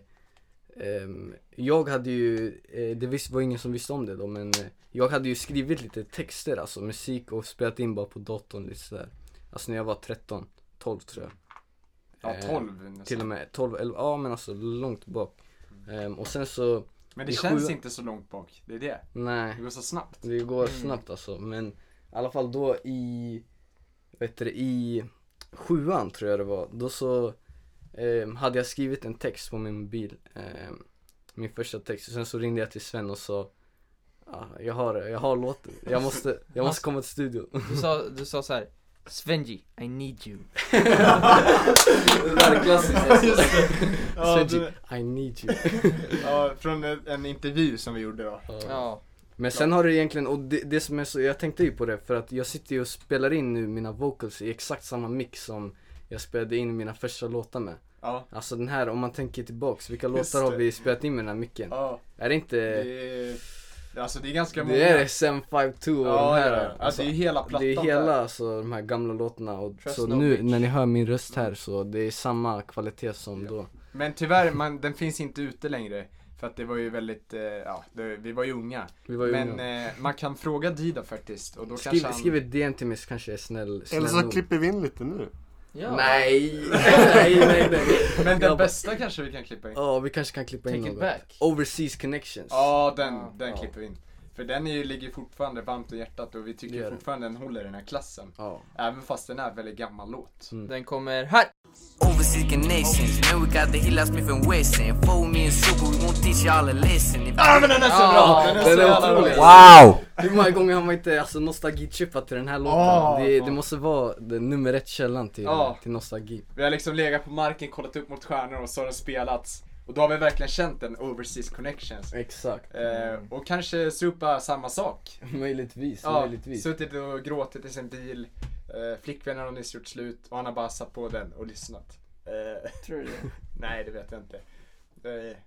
ehm, jag hade ju, eh, det visst, var ingen som visste om det då men eh, jag hade ju skrivit lite texter alltså, musik och spelat in bara på datorn lite sådär. Alltså när jag var 13, 12 tror jag.
Ja,
Eh,
12 nästan.
Till och med 12, 11, ja men alltså långt bak. Ehm, och sen så,
Men det
i
känns
sjuan-
inte så långt bak. Det är det.
nej,
Det går så snabbt.
det går
Mm.
snabbt alltså. Men i alla fall då i, vad heter det, i sjuan tror jag det var. Då så ehm, hade jag skrivit en text på min mobil. ehm, min första text. Och sen så ringde jag till Sven och sa, ah, jag har jag har låten. Jag måste, jag måste komma till studion.
Du sa, du sa så här. Svenji, I need you.
det där är klassiskt alltså.
Ja,
Svenji, I need you.
ja, från en, en intervju som vi gjorde då.
Ja.
Men sen har det egentligen, och det, det som är så, jag tänkte ju på det för att jag sitter ju och spelar in nu mina vocals i exakt samma mix som jag spelade in mina första låtar med.
Ja.
Alltså den här, om man tänker tillbaks, vilka
Just
låtar har
det.
vi spelat in med den här micken?
ja.
Är det inte,
Det
det,
är, alltså det är ganska många.
är SM52 och
Ja,
de
ja,
här.
ja. Alltså, det är ju hela plattan
det är hela
där.
alltså de här gamla låtarna och
Trust
så
no
nu
bitch.
när ni hör min röst här så det är samma kvalitet som
Mm. Ja.
då.
Men tyvärr, man, den finns inte ute längre. För att det var ju väldigt, eh, ja, det, vi var ju unga.
Vi var ju
Men
unga.
eh, man kan fråga Dida faktiskt och då
skriv,
kanske han...
skriv ett DM till mig så kanske jag är snäll, snäll
Eller så
nog.
klipper vi in lite nu.
ja.
Nej, nej, nej, nej.
Men den
Jag bara-
bästa kanske vi kan klippa in.
Ja, vi kanske kan klippa in
Take it
något.
back.
Overseas connections.
Ja, den,
Ja.
den
Ja.
klipper vi in. För den är, ju- ligger fortfarande varmt i hjärtat och vi tycker
Det gör den.
fortfarande den håller i den här klassen.
Ja.
Även fast den är en väldigt gammal låt.
Mm.
Den kommer här!
Overseeking nations. Man, we got the hill out Smith and Wesson. Fold me and super, we gon' teach y'all a lesson. If
Ah men den är så bra! Den är så
den är
jävla
otrolig.
bra!
Wow!
Hur många gånger har man inte alltså, nostalgichippat till den här låten?
Ah,
det,
fan.
det måste vara den nummer ett källan till,
Ja.
till nostalgi.
Vi har liksom legat på marken, kollat upp mot stjärnor och så har den spelats. Och då har vi verkligen känt den, Overseas Connections.
Exakt.
Eh, och kanske supa samma sak.
Möjligtvis,
Ja,
möjligtvis.
suttit och gråtit i sin bil. Eh, flickvännen har nyss gjort slut och han har bara satt på den och lyssnat. Eh,
Tror du det?
nej, det vet jag inte. Eh,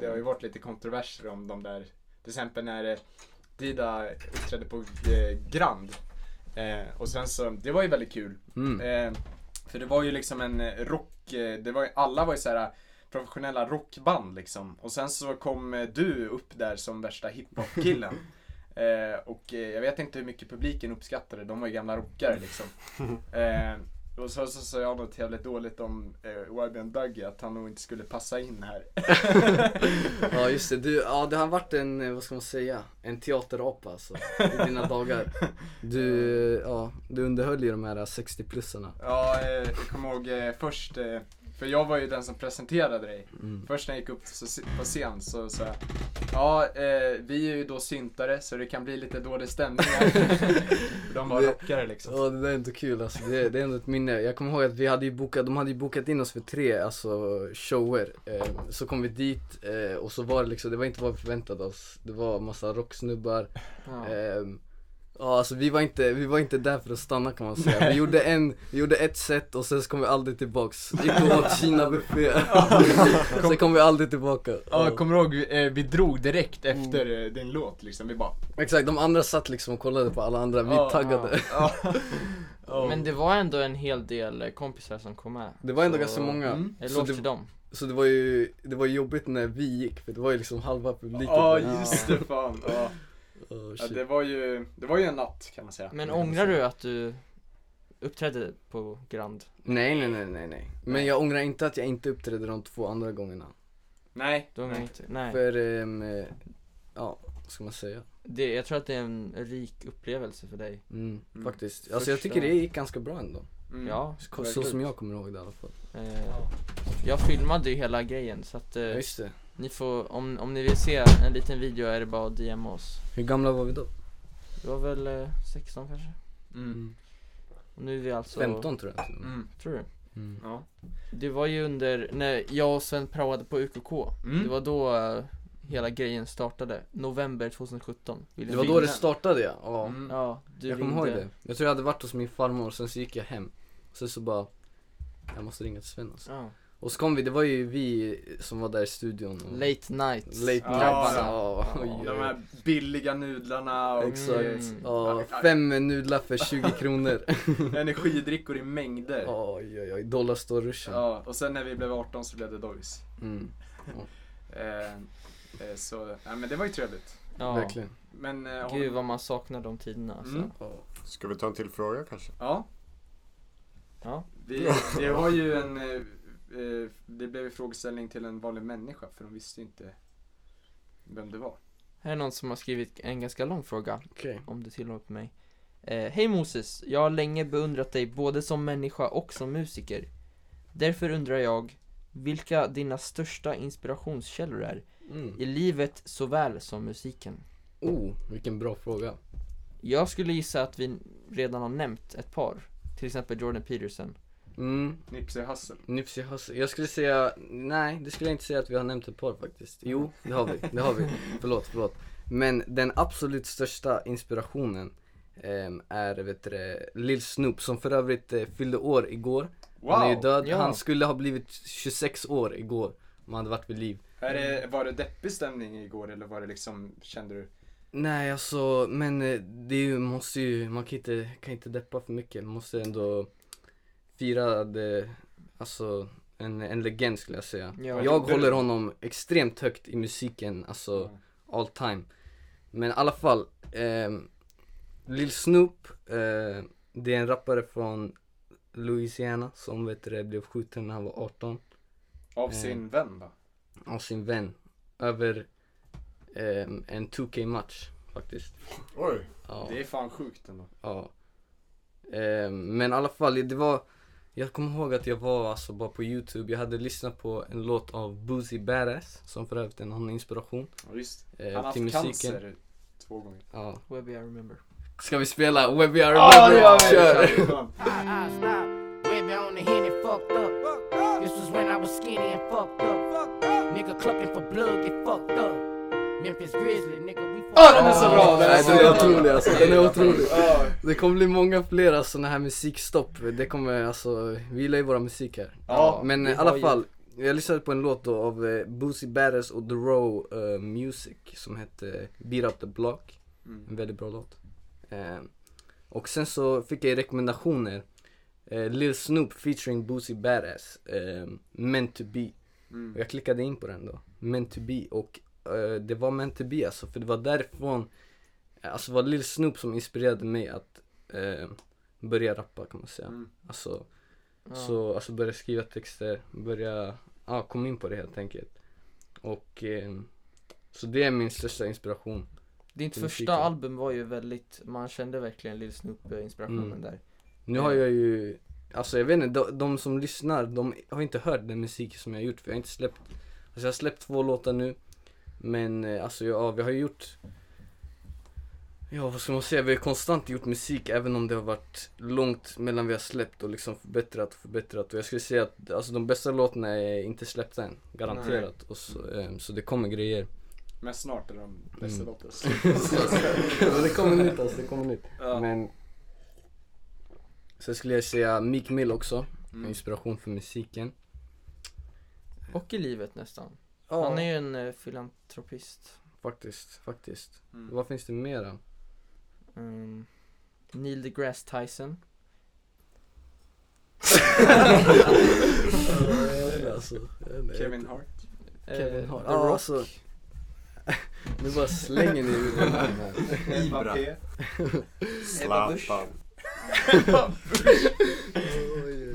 Det har ju varit lite kontroverser om de där. Till exempel när eh, Dida uppträdde på eh, Grand. Eh, och sen så, det var ju väldigt kul.
Mm.
Eh, för det var ju liksom en eh, rock, eh, det var ju, alla var ju så här eh, professionella rockband liksom. Och sen så kom eh, du upp där som värsta hiphop-killen. Eh, och eh, jag vet inte hur mycket publiken uppskattade, de var ju gamla rockare liksom. Eh, och så så sa jag något jävligt dåligt om eh, YBN Dougie, att han nog inte skulle passa in här.
Ja just det, du, ja, det har varit en, eh, vad ska man säga, en teaterapa alltså i dina dagar. Du, eh, ja, du underhöll ju de här 60-plussarna.
Ja, eh, jag kommer ihåg eh, först, eh, för jag var ju den som presenterade dig.
Mm.
Först när jag gick upp så, si- på scen så sa jag, ja eh, vi är ju då syntare så det kan bli lite dålig stämning här." För De var
Det-
rockare liksom.
Ja det där är inte kul alltså, det, det är ändå ett minne. Jag kommer ihåg att vi hade ju bokat, de hade ju bokat in oss för tre alltså, shower. Eh, så kom vi dit eh, och så var det liksom, det var inte vad vi förväntade oss. Det var massa rocksnubbar.
Ja.
Ehm, Ja, alltså vi var, inte, vi var inte där för att stanna kan man säga. Vi gjorde, en, vi gjorde ett set och sen så kom vi aldrig tillbaks. Gick och åt Kina-buffé. sen kom vi aldrig tillbaka.
Ja,
Ja.
jag kommer ihåg, vi- eh, vi drog direkt efter
Mm.
eh, din låt liksom. Vi bara,
Exakt, de andra satt liksom och kollade på alla andra, vi
Ja,
taggade.
ja.
Men det var ändå en hel del eh, kompisar som kom med.
Det var ändå
Så-
ganska många.
Mm.
Så,
Eloge till
det,
dem.
så det var ju det var ju jobbigt när vi gick, för det var ju liksom halva publiken.
Ja,
Ja,
just det fan. Ja. Ja,
shit.
det, var ju, det var ju en natt kan man säga.
Men ångrar du att du uppträdde på Grand?
Nej, nej, nej, nej, nej. Men jag ångrar inte att jag inte uppträdde de två andra gångerna.
Nej.
Då ångrar jag
nej.
inte. Nej.
För, ehm, eh, ja, vad ska man säga?
Det, jag tror att det är en rik upplevelse för dig.
Mm,
Mm.
Faktiskt. Alltså jag
Första-
tycker det gick ganska bra ändå.
Mm.
Ja.
Så, så
Verkligen.
som jag kommer ihåg det i alla fall.
Eh, jag filmade ju hela grejen så att eh,
Ja, just det.
ni får, om, om ni vill se en liten video är det bara att DM oss.
Hur gamla var vi då?
Det var väl eh, 16 kanske?
Mm.
Och nu är vi alltså
15 tror jag.
Mm.
Tror du?
Mm.
Ja.
Det var ju under, när jag och Sven praoade på UKK
Mm.
Det var då eh, hela grejen startade, november 2017 Vill
Det
jag
var då
ringa.
det startade ja. ja.
Mm.
Ja, du
jag kommer
ringde
ihåg det. Jag tror jag hade varit hos min farmor, sen så gick jag hem. Sen så bara, jag måste ringa till Sven alltså.
ja.
Och så kom vi, det var ju vi som var där i studion. Och...
Late night
Mm. Late night.
Ja,
Ja,
ja.
oj, oj.
De här billiga nudlarna och eh,
Exakt.
Mm.
Ja, fem nudlar för 20 kronor.
energidrickor i mängder.
Oj, oj, oj. Dollar står ruschen.
Ja, och sen när vi blev 18 så blev det Dois.
Mm,
Eh, eh, så, nej men det var ju trevligt.
ja.
verkligen.
Men, eh, har-
Gud vad man saknar de tiderna alltså.
Mm.
Ska vi ta en till fråga kanske?
Ja.
Ja.
Vi, vi har ju en, eh, eh, det blev ju frågeställning till en vanlig människa för de visste ju inte vem det var.
Här är någon som har skrivit en ganska lång fråga
Okej.
om du tillåter mig. Eh, Hej Moses, jag har länge beundrat dig både som människa och som musiker. Därför undrar jag vilka dina största inspirationskällor är
Mm.
i livet såväl som musiken.
Oh, vilken bra fråga.
Jag skulle gissa att vi redan har nämnt ett par, till exempel Jordan Peterson.
Mm,
Nipsey Hussle.
Nipsey Hussle. Jag skulle säga, nej det skulle jag inte säga att vi har nämnt ett par faktiskt. Jo, det har vi, det har vi. Förlåt, förlåt. Men den absolut största inspirationen ehm, är vet du, det, Lil Snoop som för övrigt eh, fyllde år igår.
Wow!
Han är ju död,
Ja.
han skulle ha blivit 26 år igår om han hade varit vid liv.
Är det, var det deppig stämning igår eller var det liksom, kände du?
Nej alltså, men eh, det är ju, måste ju, man kan inte, kan inte deppa för mycket. Man måste ändå fira det, alltså en, en legend skulle jag säga.
Ja.
Jag
tyckte du?
håller honom extremt högt i musiken, alltså
Ja.
all time. Men i alla fall, ehm, Lil Snoop, eh, det är en rappare från Louisiana som vet du, det, blev skjuten när han var 18
Av
Eh.
sin vän va?
av sin vän över eh, en 2K-match faktiskt.
Oj.
Ja.
Det är fan sjukt ändå.
Ja. Eh, men i alla fall, det var... Jag kommer ihåg att jag var alltså bara på Youtube. Jag hade lyssnat på en låt av Boozy Badass, som för övrigt är en annan inspiration.
Ja, just.
Eh,
Han har haft
till musiken.
cancer två gånger.
Ja.
Webby I remember.
Ska vi spela Webby I
Ja, det
Remember?
gör vi!
Kör!
Kör, fan.
Ah, ah, stop. Baby on the henny fucked up. This was when I was skinny and fucked up. Nigga clucking for blood get fucked up. Memphis Grizzly, nigga we fucked
Ah,
up.
den är så bra! Den är,
så
den är
bra.
otrolig alltså, den är otrolig. Det kommer bli många fler sådana här musikstopp. Det kommer alltså, vi gillar ju våra musik här.
Ja,
Men
vi
i
har
alla
ju-
fall, jag lyssnade på en låt då av eh, Boosie Badass och The Row eh, Music som hette eh, Beat Up The Block.
Mm.
En väldigt bra låt. Eh, och sen så fick jag rekommendationer. Eh, Lil Snoop featuring Boosie Badass, eh, Meant To Be.
Mm.
Och jag klickade in på den då, Meant To Be. Och eh, det var Meant To Be alltså, för det var därifrån Alltså det var Lil Snoop som inspirerade mig att eh, börja rappa kan man säga.
Mm.
Alltså, så, alltså börja skriva texter, börja, ja kom in på det helt enkelt. Och eh, så det är min största inspiration.
Ditt
till
första
musiken.
album var ju väldigt, man kände verkligen Lil
eh,
Snoop-inspirationen
Mm.
där.
Nu har jag ju, alltså jag vet inte, de, de som lyssnar de har inte hört den musik som jag har gjort för jag har inte släppt, alltså jag har släppt två låtar nu. Men eh, alltså ja, vi har ju gjort Ja vad ska man säga, vi har konstant gjort musik även om det har varit långt mellan vi har släppt och liksom förbättrat och förbättrat och jag skulle säga att alltså, de bästa låtarna är inte släppta än, garanterat. Och så, eh, så det kommer grejer.
Men snart är de bästa
Mm.
låtarna.
Men det kommer nytt alltså, det kommer nytt.
Ja.
Men Sen skulle jag säga Meek Mill också,
Mm.
inspiration för musiken.
Och i livet nästan.
Ja.
Han är ju en eh, filantropist.
Faktiskt, faktiskt.
Mm.
Vad finns det mera?
Ehm,
Mm. Neil deGrasse Tyson.
alltså,
Kevin Hart.
Kevin Hart.
The
Ja,
Rock.
alltså. Nu bara slänger ni ur den här.
Ibra.
Zlatan.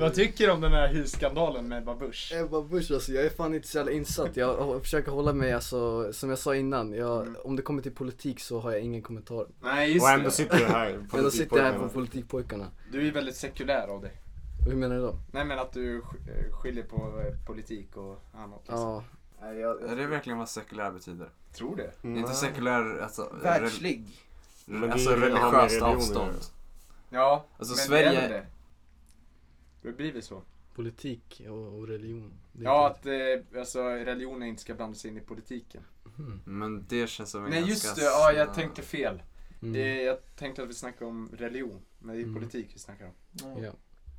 Vad tycker du om den här husskandalen med Ebba Busch?
Ebba Busch alltså, jag är fan inte så jävla insatt. Jag hå- försöker hålla mig alltså, som jag sa innan, jag,
Mm.
om det kommer till politik så har jag ingen kommentar.
Nej
Och ändå sitter du här.
Men då sitter jag här på politikpojkarna.
Du är väldigt sekulär av dig.
Hur menar du då?
Nej men att du sk- eh, skiljer på eh, politik och annat liksom.
Ja,
Nej, jag,
Är det verkligen vad sekulär betyder?
tror det.
Det är Inte sekulär, alltså, rel-
Världslig.
re- alltså
Men det har med
religiöst
religion att
avstånd.
göra.
Ja,
Alltså,
men
Sverige-
det är väl det. Det blir väl så.
politik och, och religion. Det är
Ja,
inte-
att eh, alltså, religionen inte ska blandas in i politiken.
Mhm.
Men det känns som en
Nej
ganska
just det, ja
snäll-
jag tänkte fel.
Mm.
Eh, Jag tänkte att vi snackade om religion, men det är
Mm.
politik vi snackar om.
Ja.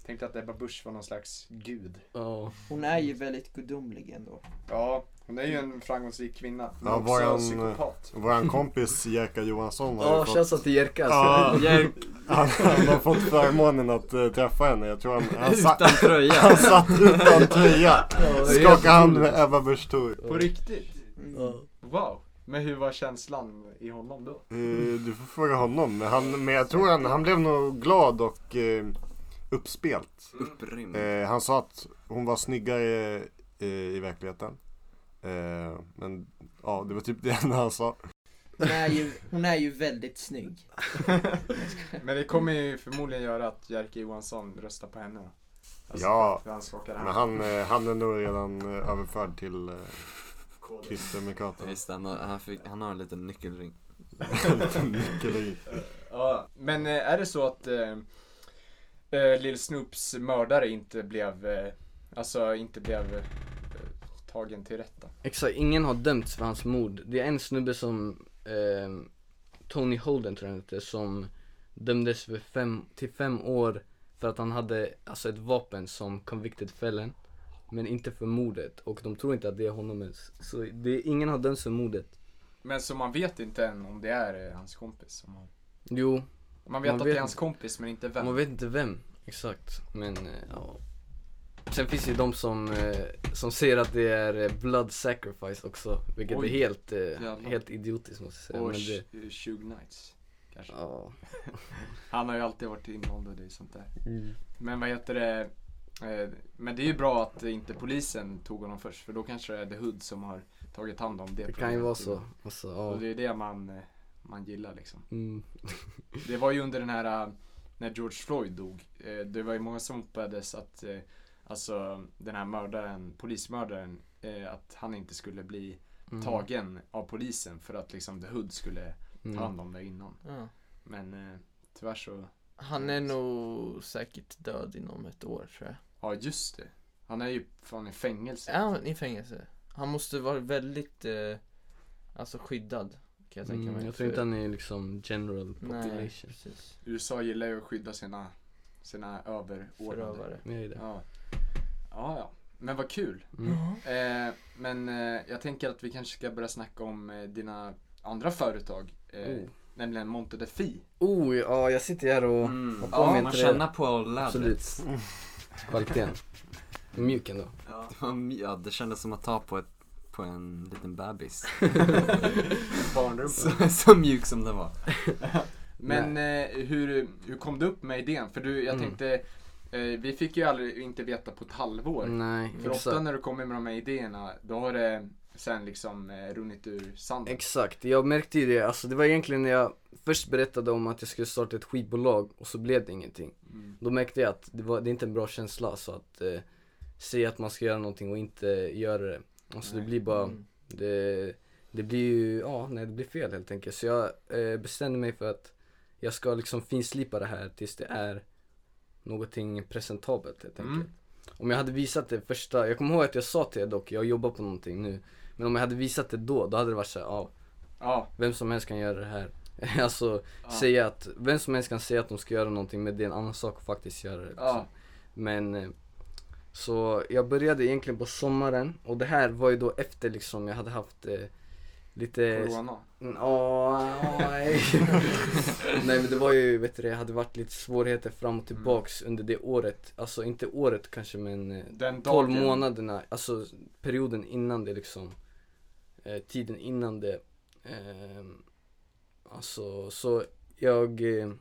Tänkte att Ebba Busch var någon slags gud.
Ja.
Hon är ju väldigt gudomlig ändå.
Ja, hon är ju en framgångsrik kvinna. Men
Ja,
också
var han,
psykopat.
Våran kompis Jerka Johansson har ju
Ja,
fått-
känns att det alltså. jerkas.
Ja, han, han har fått förmånen att eh, träffa henne. Jag tror han, han, satt,
Utan tröja.
han
Alltså,
satt utan tröja. Skakade hand med Ebba Busch Thor.
På riktigt?
Ja.
Wow. Men hur var känslan i honom då?
Eh, Du får fråga honom. Men, han, men jag tror han, han blev nog glad och eh, uppspelt.
Upprymd.
Mm.
Eh, han sa att hon var snyggare eh, i verkligheten. Eh, men ja, det var typ det enda han sa.
Hon är ju, hon är ju väldigt snygg.
Men det kommer ju förmodligen göra att Jerker Johansson röstar på henne.
Alltså.
Ja,
För han skakar
Men
hand.
han, eh, han är nog redan eh, överförd till eh, Kristdemokraterna.
Just det, han, har- han, fick, han har en liten nyckelring.
Nyckelring.
Ja. Men eh, är det så att eh, eh, Lill Snoops mördare inte blev, eh, alltså inte blev eh, tagen till rätta?
Exakt, ingen har dömts för hans mord. Det är en snubbe som ehm, Tony Holden tror jag han hette, som dömdes för fem, till fem år för att han hade alltså ett vapen som convicted fällen men inte för mordet och de tror inte att det är honom ens. Så det är, ingen har dömts för mordet.
Men så man vet inte än om det är eh, hans kompis. som har-
Jo,
Man vet
Man
att
vet
det är hans
inte.
kompis men inte vem.
Man vet inte vem exakt, men eh, ja. Sen finns det ju de som, eh, som säger att det är eh, blood sacrifice också, vilket
Oj.
är helt, eh,
Jävlar.
helt idiotiskt måste jag säga.
Och
men det,
Sh- Shug Knights. Kanske.
ja. Mm.
Han har ju alltid varit inblandad i sånt där. Men vad heter det?
Eh, Men det är ju bra att eh, inte polisen tog honom först för då kanske det är The Hood som har tagit hand om det.
Det kan ju vara så. Alltså,
Och
ja.
det är det man, eh, man gillar liksom.
Mm.
Det var ju under den här, eh, när George Floyd dog. eh, Det var ju många som hoppades att, eh, alltså den här mördaren, polismördaren, eh, att han inte skulle bli
Mm.
tagen av polisen för att liksom The Hood skulle
Mm.
ta hand om det innan.
Ja.
Men eh, tyvärr så,
Han är nog säkert död inom ett år tror jag.
ja just det. Han är ju fan i fängelse.
Är han i fängelse? Han måste vara väldigt eh, alltså skyddad kan jag tänka mig.
Mm, jag tror inte han är liksom general
Nej,
population.
precis.
USA gillar ju att skydda sina, sina överordnade.
Förövare.
Nej. det är det.
Ja. ja, ja. Men vad kul.
Mm.
Eh, men eh, jag tänker att vi kanske ska börja snacka om eh, dina andra företag. Eh,
Oh.
Nämligen Monte de Fi.
Oh, ja jag sitter här och
Mm.
har på
Ja,
mig
man
inte det.
känner på labbet.
Absolut. Kvaliteten. Mjuk ändå.
Det, var, my- ja, det kändes som att ta på, ett, på en liten bebis.
Barnrumpa.
så, så mjuk som den var.
Men eh, hur, hur kom du upp med idén? För du, jag
Mm.
tänkte, eh, vi fick ju aldrig inte veta på ett halvår.
Nej,
För ofta
Mm. exakt.
när du kommer med de här idéerna, då har det sen liksom eh, runnit ur sanden.
Exakt, jag märkte ju det. Alltså det var egentligen när jag först berättade om att jag skulle starta ett skivbolag och så blev det ingenting.
Mm.
Då märkte jag att det, var, det är inte en bra känsla så att eh, säga att man ska göra någonting och inte göra det. Alltså det blir bara,
Mm.
det, det blir ju, ja nej det blir fel helt enkelt. Så jag eh, bestämde mig för att jag ska liksom finslipa det här tills det är någonting presentabelt helt enkelt.
Mm.
Om jag hade visat det första, jag kommer ihåg att jag sa till er dock, jag jobbar på någonting nu. Men om jag hade visat det då, då hade det varit såhär, ja
Ja,
vem som helst kan göra det här. alltså
Ja.
säga att, vem som helst kan säga att de ska göra någonting men det är en annan sak att faktiskt göra det. liksom.
ja.
Men eh, så jag började egentligen på sommaren och det här var ju då efter liksom jag hade haft eh, lite
Corona.
Mm, åh, nej. nej men det var ju, vet du det, hade varit lite svårigheter fram och tillbaks
Mm.
under det året. Alltså inte året kanske men eh,
Den
12
dagen.
månaderna, alltså perioden innan det liksom. Eh, tiden innan det. ehm, alltså så jag eh,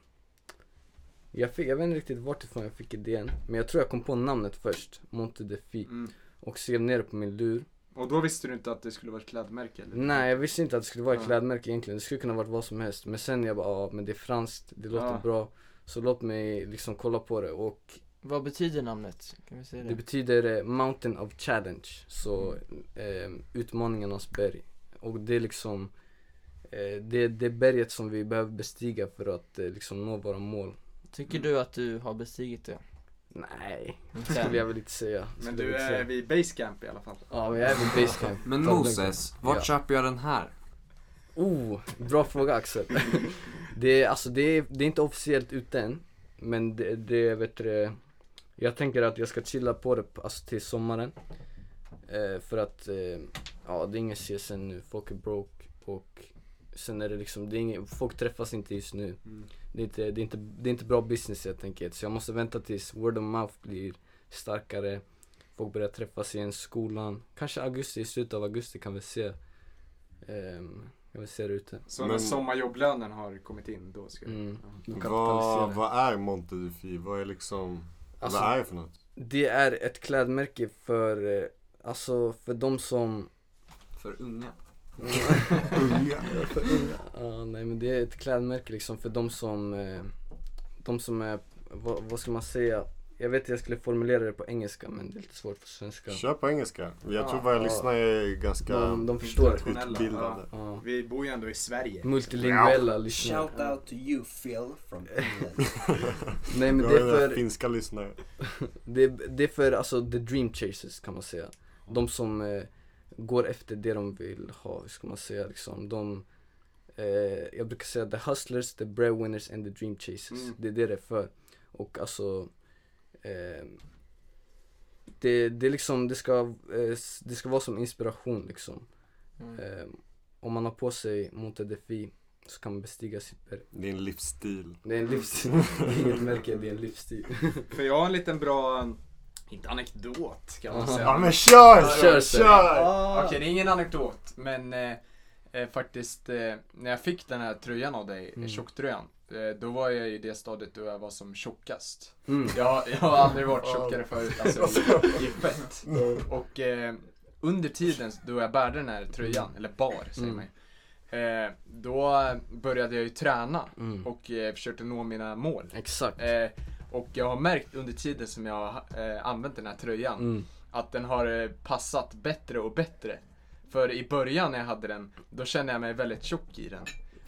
jag, fick, jag vet inte riktigt vart ifrån jag fick idén. Men jag tror jag kom på namnet först, Monte Defi.
Mm.
Och skrev ner det på min lur.
Och då visste du inte att det skulle vara ett klädmärke? Eller?
Nej jag visste inte att det skulle vara ett
Ja.
klädmärke egentligen, det skulle kunna varit vad som helst Men sen jag bara, ja men det är franskt, det låter
Ja.
bra Så låt mig liksom kolla på det och
Vad betyder namnet? Kan vi säga det?
det betyder eh, Mountain of Challenge Så eh, utmaningarnas berg Och det är liksom eh, det, är det berget som vi behöver bestiga för att eh, liksom nå våra mål
Tycker du att du har bestigit det?
Nej,
Inte än.
skulle jag väl inte säga
Men
Skulle
du
jag inte
är
säga.
vid Basecamp i alla fall.
Ja men jag är vid basecamp
Men
Ta det
Moses,
lugnt.
vart
Ja.
köper jag den här?
Oh, bra fråga Axel. Det är, alltså, det är, det är inte officiellt ute än. Men det, det vet du, jag tänker att jag ska chilla på det alltså, till sommaren. Eh, för att, eh, ja det är ingen CSN nu, folk är broke och sen är det liksom, det är ingen, folk träffas inte just nu.
Mm.
Det är, inte, det, är inte, det är inte bra business helt enkelt. Så jag måste vänta tills word of mouth blir starkare. Folk börjar träffas igen, skolan. Kanske augusti, i slutet av augusti kan vi se. Um, kan vi se det ute.
Så när
Men-
sommarjobblönen har kommit in, då ska du...
Mm.
Ja.
Då kapitaliserar
Vad,
vi.
vad är Monte Dufi? Vad är liksom,
Alltså-
vad är det för något?
Det är ett klädmärke för, eh, alltså för de som
För unga.
Unga?
Ja, nej men det är ett klädmärke liksom för de som, eh, de som är, vad, vad ska man säga? Jag vet att jag skulle formulera det på engelska men det är lite svårt på svenska.
Kör på engelska. Jag tror
Ja,
vad jag
ja.
lyssnar är ganska
De, de förstår.
Internationella,
utbildade.
Ja.
Vi bor ju ändå i Sverige.
Multilinguella lyssnare.
Shout out to you Phil from England.
Nej men
Jag
det är
har några
för,
finska lyssnare.
det, är- det är för alltså the dream chasers kan man säga. De som eh, går efter det de vill ha, hur ska man säga liksom. De, eh, jag brukar säga the hustlers, the breadwinners and the dream chasers.
Mm.
Det är det det är för. Och alltså eh, det, det är liksom, det ska, eh, s- det ska vara som inspiration liksom.
Mm.
Eh, om man har på sig Monte Defi så kan man bestiga sitt berg.
Det är en livsstil.
Det är en livsstil, det är inget märke, det är en livsstil.
För jag har en liten bra, inte anekdot kan man
Aha.
säga. Ah.
Ja men kör!
Kör,
Kör!
så.
kör.
Okej, det är ingen anekdot, men eh, eh, faktiskt eh, när jag fick den här tröjan av dig, mm. tjocktröjan,
eh, då var jag i det stadiet då jag var som tjockast.
Mm.
Jag, jag har aldrig varit tjockare
Ja.
förut, alltså i, i fett.
Mm.
Och eh, under tiden då jag bärde den här tröjan, eller bar säger
Mm.
man ju,
Mm.
eh, då började jag ju träna
Mm.
och eh, försökte nå mina mål.
Exakt.
Eh, och jag har märkt under tiden som jag har eh, använt den här tröjan
Mm.
att den har eh, passat bättre och bättre. För i början när jag hade den, då kände jag mig väldigt tjock i den.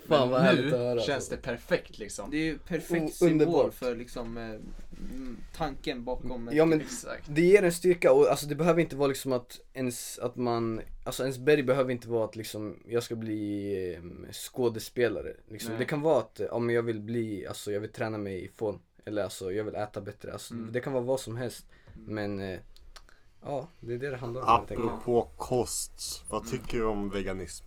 Fan, vad
Men
härligt
nu
att höra, alltså.
känns det perfekt liksom.
Det är ju
O-
perfekt symbol
underbart.
för liksom eh, mm, tanken bakom.
Ja men
Exakt.
det ger en styrka och alltså det behöver inte vara liksom att ens, att man, alltså ens berg behöver inte vara att liksom jag ska bli eh, skådespelare. Liksom.
Nej.
Det kan vara att, eh, ja men jag vill bli, alltså jag vill träna mig i form. Eller alltså jag vill äta bättre. Alltså,
Mm.
Det kan vara vad som helst. Men eh, ja, det är det det handlar om helt enkelt.
Apropå kost, vad tycker du om veganism?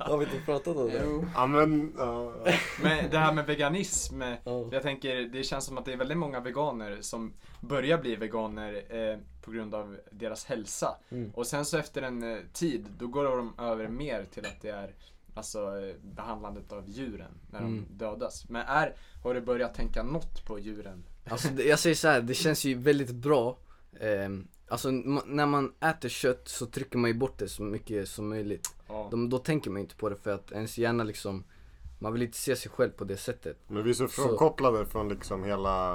Har vi inte pratat om det?
Jo.
Ja men, ja, ja.
Men det här med veganism, eh,
Ja.
jag tänker det känns som att det är väldigt många veganer som börjar bli veganer eh, på grund av deras hälsa.
Mm.
Och sen så efter en eh, tid, då går de över mer till att det är alltså eh, behandlandet av djuren när
Mm.
de dödas. Men är, har du börjat tänka något på djuren?
Alltså det- jag säger så här, det känns ju väldigt bra. Ehm, alltså ma- när man äter kött så trycker man ju bort det så mycket som möjligt.
Ja.
De, då tänker man ju inte på det för att ens hjärna liksom, man vill inte se sig själv på det sättet.
men vi är så frånkopplade från liksom hela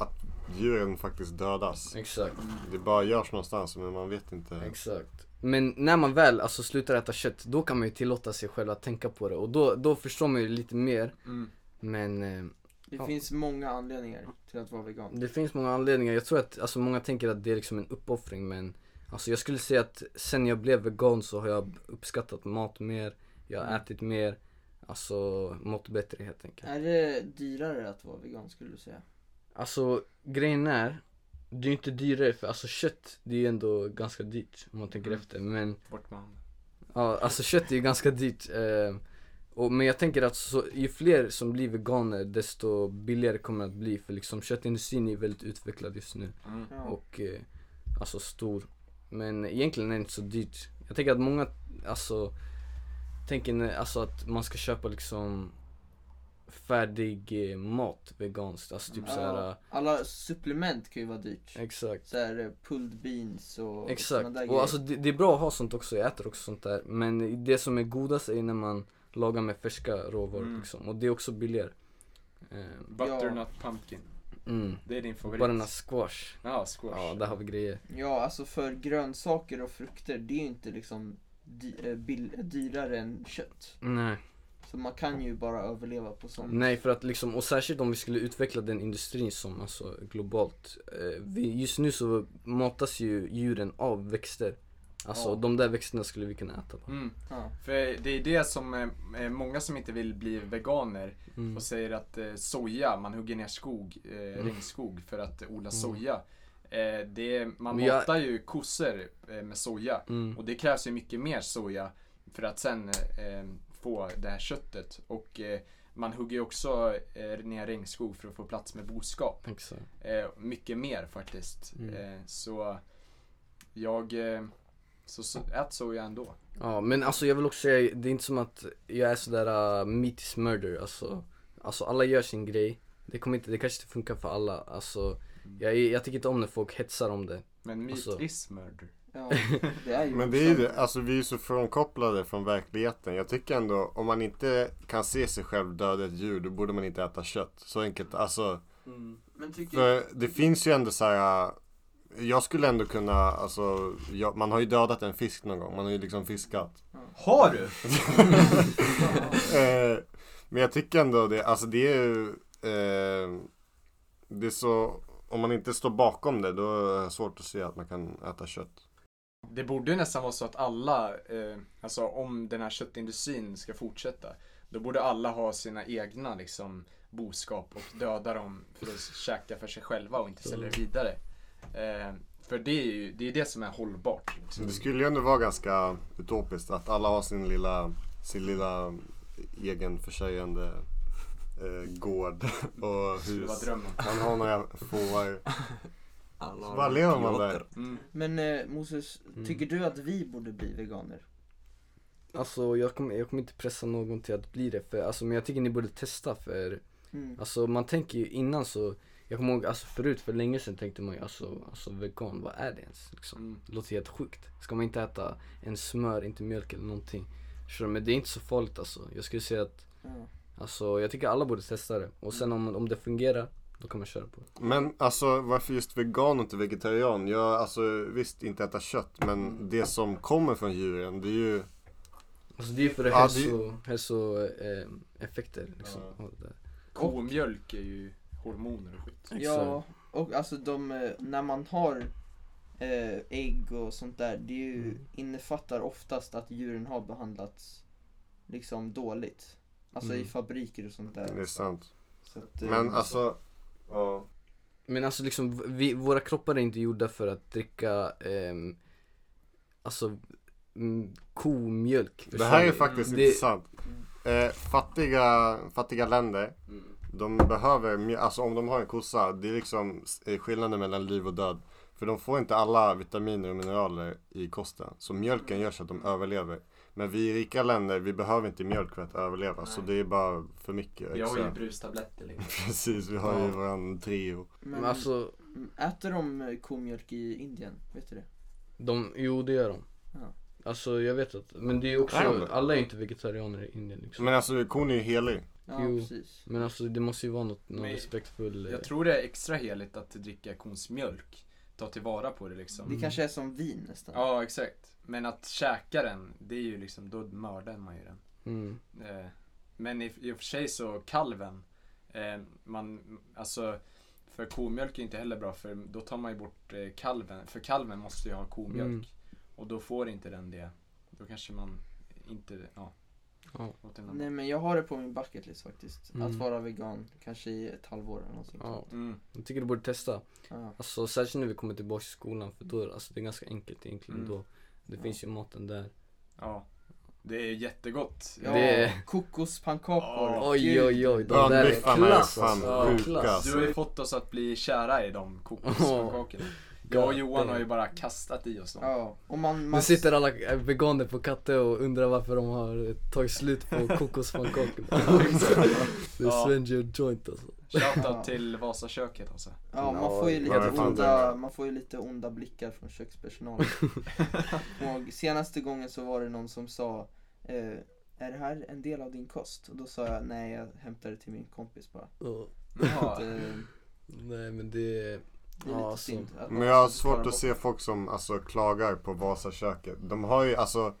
att djuren faktiskt dödas.
Exakt.
Det bara görs någonstans men man vet inte.
Exakt. Men när man väl alltså, slutar äta kött, då kan man ju tillåta sig själv att tänka på det och då, då förstår man ju lite mer.
Mm.
Men eh,
Det
Ja.
finns många anledningar till att vara vegan.
det finns många anledningar. Jag tror att alltså, många tänker att det är liksom en uppoffring men alltså, jag skulle säga att sen jag blev vegan så har jag uppskattat mat mer, jag har ätit mer, alltså mått bättre helt enkelt.
Är det dyrare att vara vegan skulle du säga?
Alltså grejen är, det är ju inte dyrare för alltså kött det är ju ändå ganska dyrt om man tänker
Mm.
efter men
Bort med handen.
ja, alltså kött är ju ganska dyrt. Eh, och, men jag tänker att så, ju fler som blir veganer desto billigare kommer det att bli för liksom köttindustrin är väldigt utvecklad just nu
Mm.
Ja.
och eh, alltså stor. Men egentligen är det inte så dyrt. Jag tänker att många alltså tänker när- alltså att man ska köpa liksom färdig eh, mat veganskt, alltså typ
Ja.
såhär eh,
Alla supplement kan ju vara dyrt.
Exakt.
Så här eh, pulled beans och
Exakt.
såna liksom, där
Och
grejer.
alltså det, det är bra att ha sånt också, jag äter också sånt där. Men det som är godast är när man lagar med färska råvaror
Mm.
liksom. Och det är också billigare. Ehm,
Butternut pumpkin.
Mm.
Det är din favorit.
Bara den här squash.
Ja, squash.
Ja, där har vi grejer.
Ja, alltså för grönsaker och frukter, det är ju inte liksom dy- eh, bill- dyrare än kött.
Nej.
Så man kan ju bara överleva på sånt.
Nej för att liksom, och särskilt om vi skulle utveckla den industrin som alltså globalt. Eh, vi, just nu så matas ju djuren av växter. Alltså
Ja.
de där växterna skulle vi kunna äta.
Mm.
Ja.
För det är det som eh, eh, många som inte vill bli veganer
Mm.
och säger att eh, soja, man hugger ner skog, eh, regnskog för att odla soja. Eh, det, är- man
Mm. Men jag-
matar ju kossor eh, med soja
Mm.
och det krävs ju mycket mer soja för att sen eh, få det här köttet. Och eh, man hugger ju också eh, ner regnskog för att få plats med boskap.
Exakt.
Eh, mycket mer faktiskt.
Mm.
Eh, så jag eh, så, så, ät soja ändå.
Ja men alltså jag vill också säga, det är inte som att jag är sådär uh, meat is murder alltså. Alltså alla gör sin grej. Det kommer inte, det kanske inte funkar för alla. Alltså jag, är- jag tycker inte om när folk hetsar om det.
Men meat
Alltså-
is murder.
Ja, det är ju
Men det är ju
sant.
det, alltså vi är ju så frånkopplade från verkligheten. Jag tycker ändå, om man inte kan se sig själv döda ett djur, då borde man inte äta kött. Så enkelt, alltså.
Mm. Men tycker
För det finns ju ändå så här. äh, Jag skulle ändå kunna, alltså, jag, man har ju dödat en fisk någon gång. Man har ju liksom fiskat.
Har du?
Eh, men jag tycker ändå det, alltså det är ju, eh, det är så, om man inte står bakom det, då är det svårt att se att man kan äta kött.
Det borde ju nästan vara så att alla, eh, alltså om den här köttindustrin ska fortsätta, då borde alla ha sina egna liksom boskap och döda dem för att käka för sig själva och inte sälja det vidare. Eh, för det är ju det, är det som är hållbart.
Så det skulle ju ändå vara ganska utopiskt att alla har sin lilla, sin lilla egen försäljande eh, gård och
Det skulle vara
hus.
drömmen.
Man har några får.
Alla
Så
har
bara lever man
piloter.
där.
äh,
Mm.
Men eh, Moses, tycker du att vi borde bli veganer?
Alltså jag kommer, jag kommer inte pressa någon till att bli det, för, alltså, men jag tycker ni borde testa för
Mm.
Alltså man tänker ju innan så, jag kommer ihåg alltså, förut för länge sedan tänkte man ju alltså, alltså vegan, vad är det ens? Liksom. Det låter helt sjukt. Ska man inte äta en smör, inte mjölk eller någonting? Förstår du? Men det är inte så farligt alltså. Jag skulle säga att,
Ja.
alltså jag tycker alla borde testa det. Och sen om, om det fungerar, då kan man köra på det.
Men alltså varför just vegan och inte vegetarian? Jag alltså visst inte äta kött
Mm.
men det som kommer från djuren det är ju
Alltså det är ju för
Ja,
hälso, hälsoeffekter liksom. Och det där.
Komjölk är ju hormoner och skit.
Ja, och alltså de, eh, när man har eh, ägg och sånt där, det är ju,
Mm.
innefattar oftast att djuren har behandlats liksom dåligt. Alltså i
Mm.
fabriker och sånt där.
Det är sant.
Så att, eh,
Men alltså ja.
Men alltså liksom, vi, våra kroppar är inte gjorda för att dricka ehm, Alltså mm, komjölk
Det här är
Förstår du?
faktiskt
Det-
intressant. Eh, fattiga, fattiga länder, de behöver, mjö- alltså om de har en kossa, det är liksom eh, skillnaden mellan liv och död. För de får inte alla vitaminer och mineraler i kosten. Så mjölken gör så att de överlever. Men vi i rika länder, vi behöver inte mjölk för att överleva. Så det är bara för mycket.
Vi har ju
extra.
brustabletter liksom.
Precis, vi har ju
Ja.
våran trio.
men,
alltså-
m- Äter de eh, komjölk i Indien? Vet du det?
de, Jo det gör de
Ja.
Alltså jag vet att, men det är ju
Är
också,
de det?
alla är ju inte vegetarianer i Indien liksom
Men alltså kon är ju helig.
Ja, precis.
Men alltså det måste ju vara något, någon
Men-
respektfull eh,
Jag tror det är extra heligt att dricka kons mjölk. Ta tillvara på det liksom.
Det kanske är som vin nästan.
Ja, exakt. Men att käka den, det är ju liksom, då mördar man ju den.
mm.
Eh, Men i, i och för sig så kalven, eh, man, alltså för komjölk är inte heller bra för då tar man ju bort eh, kalven, för kalven måste ju ha komjölk.
Mm.
Och då får inte den det. Då kanske man inte, ja.
Ja.
åt en annan.
Nej men jag har det på min bucket list faktiskt. Att
Mm.
vara vegan, kanske i ett halvår eller någonting
Ja,
sånt.
Mm.
jag tycker du borde testa
Ja.
Alltså särskilt när vi kommer tillbaka till skolan för då, alltså det är ganska enkelt egentligen
Mm.
då Det finns ju maten där
Ja. Det är jätteggott.
Ja,
Det-
kokospannkakor.
Ja.
Oj oj oj, de där är
Bönbiffarna är
klass
fan
alltså.
sjuka,
klass.
Du har ju fått oss att bli kära i de kokospannkakorna. Jag och Johan har ju bara kastat i oss dem.
Ja, och man,
Nu
man
sitter alla eh, veganer på katte och undrar varför de har eh, tagit slut på kokospannkakor. det
Ja.
är Svenji och joint alltså.
Shoutout till Vasaköket alltså.
Ja, man får, ju
Ja, det
lite
är fan
onda, man får ju lite onda blickar från kökspersonalen. och senaste gången så var det någon som sa eh, Är det här en del av din kost? Och då sa jag nej, jag hämtar det till min kompis bara.
Ja.
Ja.
Att, eh,
Nej men det... alltså.
Det är lite synd att
Men jag har svårt att se folk som alltså, klagar på Vasaköket. De har ju alltså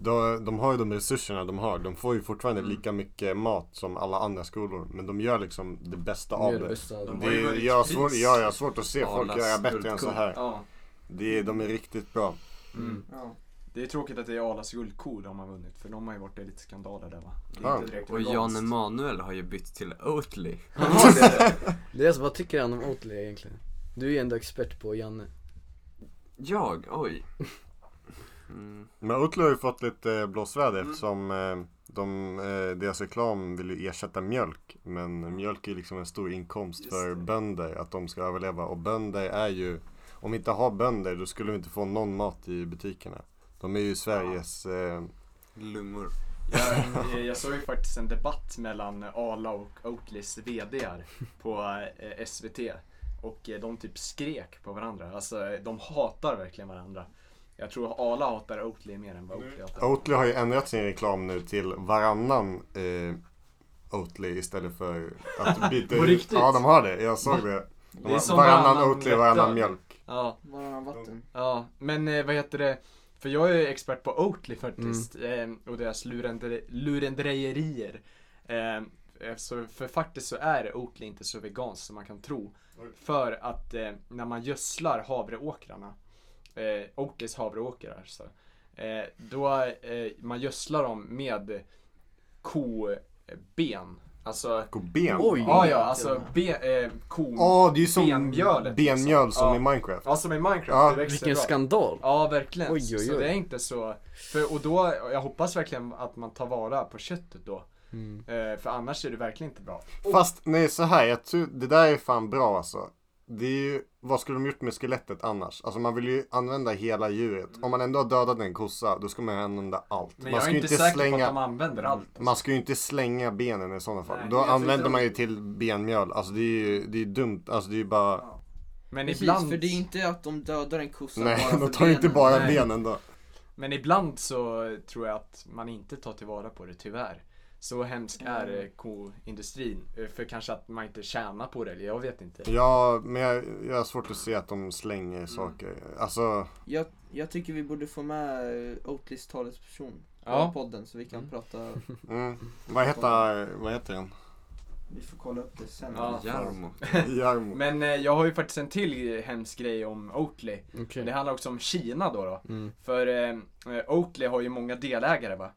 de, de har ju de resurserna de har. De får ju fortfarande
Mm.
lika mycket mat som alla andra skolor. Men de gör liksom det bästa
De
av
gör det
det.
bästa av det.
det.
De har ju
är-
vunnit
jag, har
pris.
svårt, jag, jag har svårt att se folk
Arlas
alltså,
göra bättre än så
guldkorn.
här.
Ja.
Det är, de är riktigt bra.
Mm.
Ja.
Det är tråkigt att det är Arlas guldko de har vunnit för de har ju varit i lite skandaler där va? Det är
Ja.
inte direkt
Och
veganskt.
Jan Emanuel har ju bytt till Oatly.
Han har det. det är alltså, vad tycker han om Oatly egentligen? Du är ju ändå expert på Janne.
Jag? Oj.
Men Oatly har ju fått lite eh,
Mm.
blåsväder eftersom eh, de, eh, deras reklam vill ju ersätta mjölk. Men mjölk är ju liksom en stor inkomst för bönder, att de ska överleva. Och bönder är ju, om vi inte har bönder då skulle vi inte få någon mat i butikerna. De är ju Sveriges... Eh,
Lungor.
Jag, jag såg ju faktiskt en debatt mellan Arla och Oatlys VDar på eh, SVT och eh, de typ skrek på varandra. Alltså eh, de hatar verkligen varandra. Jag tror Arla hatar Oatly mer än vad Oatly hatar.
Oatly har ju ändrat sin reklam nu till varannan eh, Oatly istället för att byta
På riktigt?
Ja, de har det. Jag såg det. De
Det är
har,
som
varannan,
varannan
Oatly, varannan
lättöl.
mjölk.
Ja.
Varannan vatten.
Ja, men eh, vad heter det? För jag är ju expert på Oatly faktiskt
Mm.
eh, och deras lurendre, lurendrejerier. Eh, eh, så för faktiskt så är Oatly inte så veganskt som man kan tro. För att eh, när man gödslar havreåkrarna, eh, Oatlys havreåkrar alltså, eh, då eh, man gödslar dem med koben. Alltså,
Koben?
Oj! Ja, ja, alltså be, eh, ko,
Mm. Ja, det är ju som
benmjölet. liksom.
benmjöl som
Ja.
i Minecraft.
Ja, som i Minecraft.
Ja.
det växer
Vilken
bra.
skandal.
Ja, verkligen.
Oj, oj,
Så
oj.
det är inte så. För, och då, jag hoppas verkligen att man tar vara på köttet då.
Mm.
Eh, för annars är det verkligen inte bra.
Fast nej så här, jag tror, det där är fan bra alltså. det är ju, vad skulle de gjort med skelettet annars? Alltså man vill ju använda hela djuret. Om man ändå har dödat en kossa, då ska man använda allt.
Men
man
jag är
ska ju
inte säker på att de använder allt.
Man ska ju inte slänga benen i sådana fall.
Nej,
då
jag tror inte
använder
de-
man ju till benmjöl. Alltså det är ju det är dumt. Alltså det är ju bara...
Men
Precis,
ibland-
för det är inte att de dödar en kossa
Nej,
bara för
de tar ju inte
benen.
bara
Nej.
benen då.
Men ibland så tror jag att man inte tar tillvara på det tyvärr. Så hemsk
Mm.
är eh, koindustrin. Eh, För kanske att man inte tjänar på det, eller jag vet inte.
Mm.
Ja, men jag, jag har svårt att se att de
Mm.
slänger saker. Alltså...
Jag, jag tycker vi borde få med eh, Oatlys talesperson på
Ja.
podden så vi kan prata
Mm. Vad heter, vad heter den?
Vi får kolla upp det sen
Ja.
Jarmo.
Men eh, jag har ju faktiskt en till hemsk grej om Oatly.
Okej.
Det handlar också om Kina då. då.
Mm.
För eh, eh, Oatly har ju många delägare va.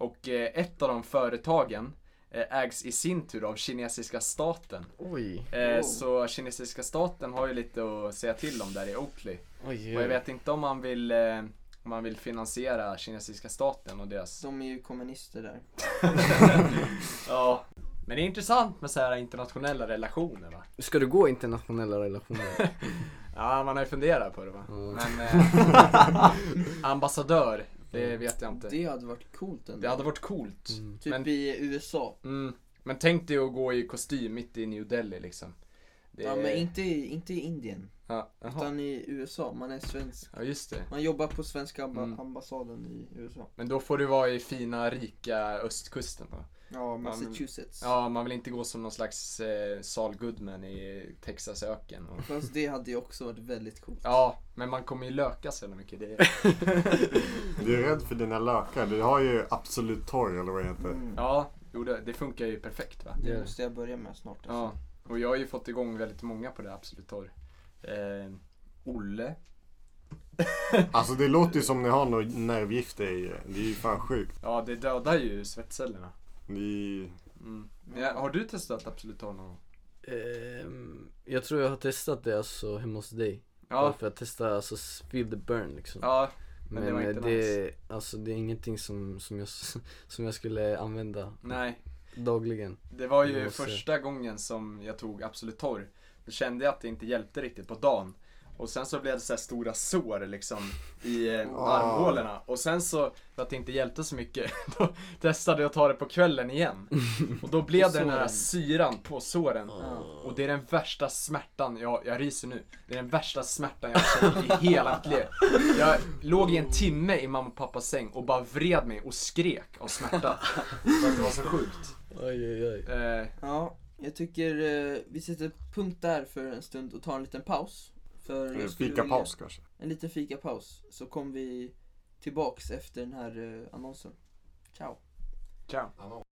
Och eh, ett av de företagen eh, ägs i sin tur av kinesiska staten.
Oj.
Eh,
Wow.
Så kinesiska staten har ju lite att säga till om där i Oakley.
Oj,
Och
oj.
jag vet inte om man vill, eh, om man vill finansiera kinesiska staten och deras...
De är ju kommunister där.
ja. Men det är intressant med så här internationella relationer va?
Ska du gå internationella relationer?
Ja, man har ju funderat på det va? Men eh, ambassadör, det vet jag inte.
Det hade varit coolt ändå.
Det hade varit coolt.
Mm.
Typ i USA.
Mm. Men tänk dig att gå i kostym mitt i New Delhi liksom. Det-
Ja men inte i, inte i Indien.
Ja, jaha.
utan i USA. Man är svensk.
Ja, just det.
Man jobbar på svenska amba-
Mm.
ambassaden i USA.
Men då får du vara i fina, rika östkusten då.
Ja,
men-
Massachusetts.
Ja, man vill inte gå som någon slags eh, Saul Goodman i Texasöken. Och...
Fast det hade ju också varit väldigt coolt.
Ja, men man kommer ju löka så jävla mycket. Det är...
Du är rädd för dina lökar. Du har ju Absolut Torr eller vad det heter.
Ja, jo, det, det funkar ju perfekt va?
Mm. Det måste jag börja med snart. Alltså.
Ja, och jag har ju fått igång väldigt många på det Absolut Torr. Eh, Olle.
Alltså det låter ju som ni har något nervgift i er. Det är ju fan sjukt.
Ja, det dödar ju svettcellerna.
Ni...
Mm. Men jag- har du testat Absolut Torr någon gång?
Ehm, jag tror jag har testat det alltså hemma hos dig.
Ja.
Bara För att testa alltså s- feel the burn liksom.
Ja, men
Men,
det var
eh,
inte
det,
nice.
alltså, det är ingenting som, som, jag, s- som jag skulle använda
Nej.
dagligen.
Det var ju
Jag måste-
första gången som jag tog Absolut Torr. Då kände jag att det inte hjälpte riktigt på dagen. Och sen så blev det så här stora sår liksom i eh,
Ah.
armhålorna. Och sen så, för att det inte hjälpte så mycket, då testade jag att ta det på kvällen igen. Och då blev
På
det den här
såren.
syran på såren. Och det är den värsta smärtan, jag, jag ryser nu. Det är den värsta smärtan jag har känt i hela mitt liv. Jag låg i en timme i mamma och pappas säng och bara vred mig och skrek av smärta. För att det var så sjukt.
Oj, oj,
oj. Eh,
Ja, jag tycker eh, vi sätter punkt där för en stund och tar en liten paus. För
En
jag skulle
fikapaus kanske.
En liten fikapaus. Så kommer vi tillbaks efter den här eh, annonsen. Ciao.
Ciao.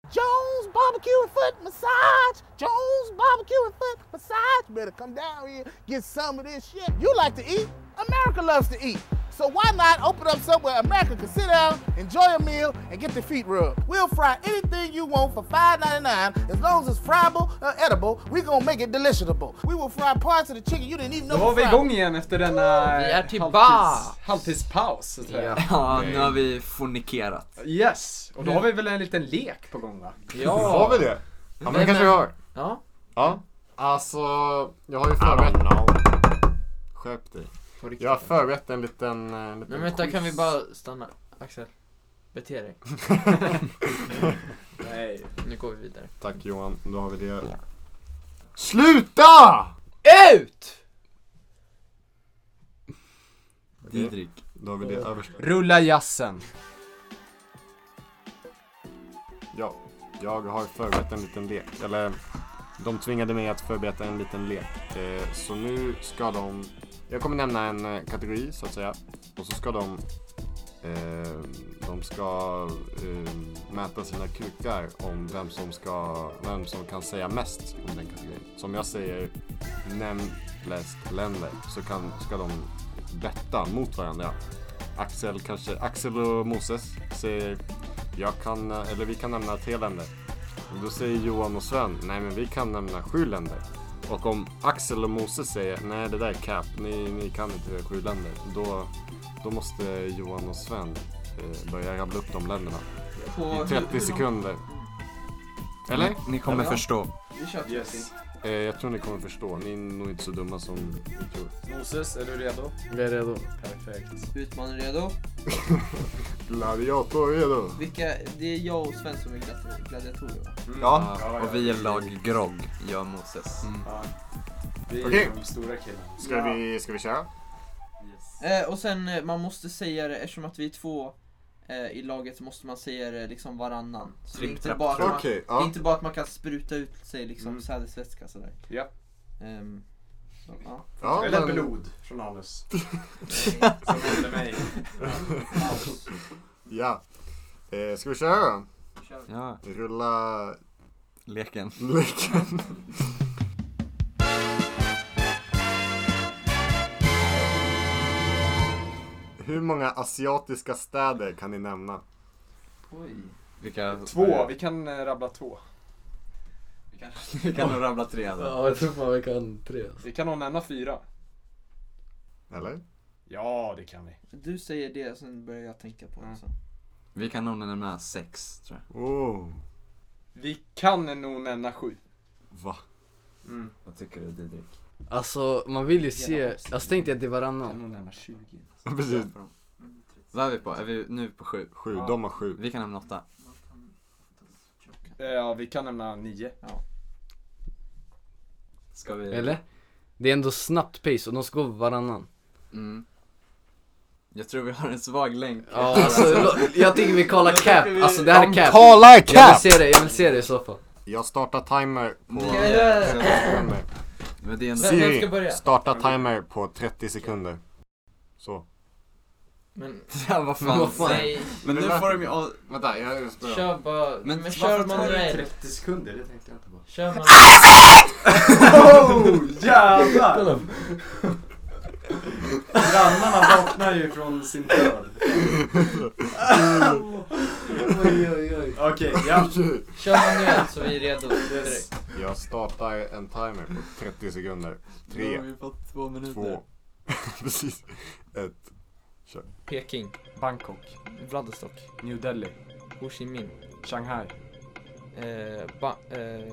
Jones Barbecue and Foot Massage. Jones Barbecue and Foot Massage. Better come down here, get some of this shit. You like to eat? America loves to eat. So why not open up somewhere America can sit down, enjoy a meal, and get their feet rubbed? We'll fry anything you want for $5.99. As long as it's friable or edible, we're gonna make it delicious-able. We will fry parts of the chicken you didn't even know
Då var
were
vi
fried.
igång igen efter denna eh,
Vi är tillbaka.
halvtids- halvtidspaus. så att säga.
Ja, nu har vi fornikerat.
Yes, och då har vi väl en liten lek på gång va?
Har vi det? Ja men det kanske vi har.
Ja.
Ja. Alltså, jag har ju förberett... Skärp dig. Jag har förberett en liten... eh, liten
Men vänta,
quiz.
kan vi bara stanna? Axel, bete dig.
Nej.
Nu går vi vidare.
Tack Johan, då har vi det. Sluta!
Ut!
Didrik. Då har vi det överst.
Rulla jassen.
Ja, jag har förberett en liten lek. Eller, de tvingade mig att förbereda en liten lek. Eh, så nu ska de... Jag kommer nämna en eh, kategori, så att säga. Och så ska de... Eh, de ska eh, mäta sina kukar om vem som, ska, vem som kan säga mest om den kategorin. Som jag säger, nämn flest länder. Så kan, ska de betta mot varandra. Axel kanske, Axel och Moses säger jag kan, eh, eller vi kan nämna tre länder. Och då säger Johan och Sven, nej men vi kan nämna sju länder. Och om Axel och Moses säger, nej det där är cap, ni, ni kan inte sju länder. Då, då måste Johan och Sven eh, börja rabbla upp de länderna.
På hur-
I
hur
30
lång-
sekunder. Eller?
Ni- ni kommer Ja. förstå.
Vi kör 30.
Eh, jag tror ni kommer förstå. Ni är nog inte så dumma som ni tror.
Moses, är du redo?
Jag är redo.
Perfekt.
Utmanar redo?
Gladiator är då.
Vilka, det är jag och Sven som är gladi- gladiatorer va?
Mm.
Ja, och vi är lag Grogg, jag och Moses.
Vi är
Okej.
de stora killarna.
Ska, vi, ska vi köra?
Eh, och sen, eh, man måste säga det, eftersom att vi är två eh, i laget så måste man säga det liksom varannan. Så det är,
Tripp,
inte
trapp,
bara att
trapp.
man,
Okej,
det
ja.
är inte bara att man kan spruta ut sig liksom
Mm.
sädesvätska sådär.
Ja.
Ehm, så, ja.
Ja,
Eller
men-
blod från anus. Som hände mig.
Ja. Eh, ska vi köra då?
Kör.
Ja,
Rulla
leken.
leken. Hur många asiatiska städer kan ni nämna?
Oj.
Vilka?
Två, vi kan eh, rabbla två.
Vi kan nog rabbla tre alltså.
Ja, jag tror fan vi kan tre. alltså.
Vi kan nog nämna fyra.
Eller?
Ja, det kan vi.
Du säger det, sen börjar jag tänka på det.
Mm.
Så.
Vi kan nog nämna sex, tror jag.
Oh,
Vi kan nog nämna sju.
va?
Mm.
Vad tycker du Didrik?
Alltså man vill ju se, alltså tänk dig att det
Kan
är varannan.
nog nämna tjugo.
Precis.
Vad är vi på? Är vi nu på sju?
Sju, de har sju.
Vi kan nämna åtta.
Eh, Ja, vi kan nämna nio.
Ska vi?
Eller? Det är ändå snabbt pace och de ska gå varannan.
Mm. Jag tror vi har en svag länk.
Ja, alltså, lo- jag tycker vi kallar cap, alltså det här är cap.
Kolla
Jag vill se det, jag vill se det i så fall.
Jag startar timer på...
Ska vi göra-
30 sekunder.
Men det är ändå...
Vem- vem ska
Siri,
börja?
starta timer på 30 sekunder. Så.
Men,
Ja, vad
Men
fan.
vad fan?
säg. Men nu får de ju... av-
Vänta, jag
kör bara, men,
varför
kör
tar det
manuellt.
30 sekunder, det tänkte jag inte på.
Kör manuellt.
Oh, jävlar! Grannarna vaknar ju från sin död.
Oj, oj, oj.
Okej, ja.
Kör manuellt så vi är redo direkt.
Jag startar en timer på 30 sekunder.
Nu har
Tre,
vi fått två minuter.
två, precis. Ett.
Peking,
Bangkok,
Vladivostok,
New Delhi,
Ho Chi Minh,
Shanghai,
eh, ba, eh,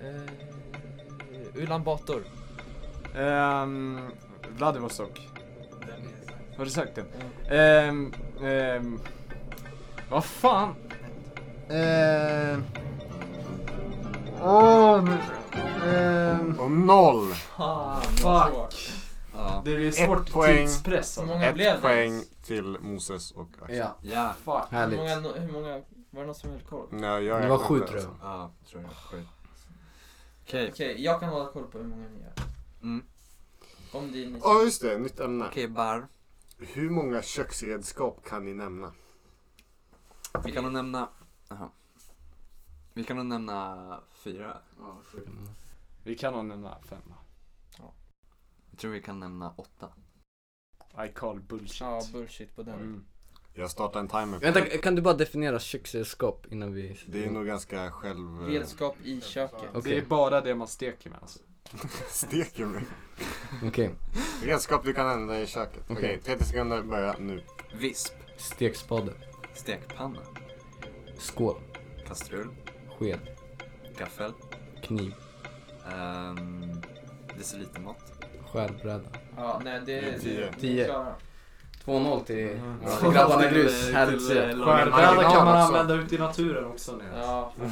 eh, Ulan Bator,
um, Vladivostok. Har du sagt den? Ehm, ehm, vad fan? Ehm... Åh, nu... Ehm...
Och noll!
Ah,
Fuck.
Ja.
Det är
svårt
svårt
poäng.
tidspress. alltså.
Hur många blev
Ett
det?
poäng till Moses och Axel.
Ja,
Ja.
Fuck.
Hur
härligt.
många, hur många, var det någon som höll koll?
Nej, jag
Det var
räknar
sju,
inte,
tror jag.
alltså.
Ja, tror jag. Sju. Okej.
Okej, jag kan hålla koll på hur många ni är.
Mm.
Om det är ni.
Ja, just det. Nytt ämne.
Okej, Bar.
Hur många köksredskap kan ni nämna?
Vi kan nog nämna... Jaha. Vi kan nog nämna fyra.
Vi kan nog nämna femma.
Jag tror vi kan nämna åtta.
I call bullshit.
Ja, Ah, bullshit på den.
Mm.
Jag startar en timer. på-
Vänta, kan du bara definiera köksredskap innan vi...
Det är nog ganska själv... eh,
Redskap i köket.
Okej.
Det är bara det man steker med alltså.
Steker mig.
Okej,
Redskap du kan använda i köket. Okej,
Okej.
30 sekunder. Börja nu.
Visp.
stekspade,
Stekpanna.
skål,
Kastrull.
sked,
Gaffel.
kniv,
Um, decilitermått.
skärbräda.
Ja, nej det är...
Tio.
ni är
Tio.
klara.
2-0 till
Ja.
till grabbarna grus,
Till,
härligt
eh,
sett.
lag-
Skärbräda
marginal
kan man
också.
använda ute i naturen också nu.
Ja, fan.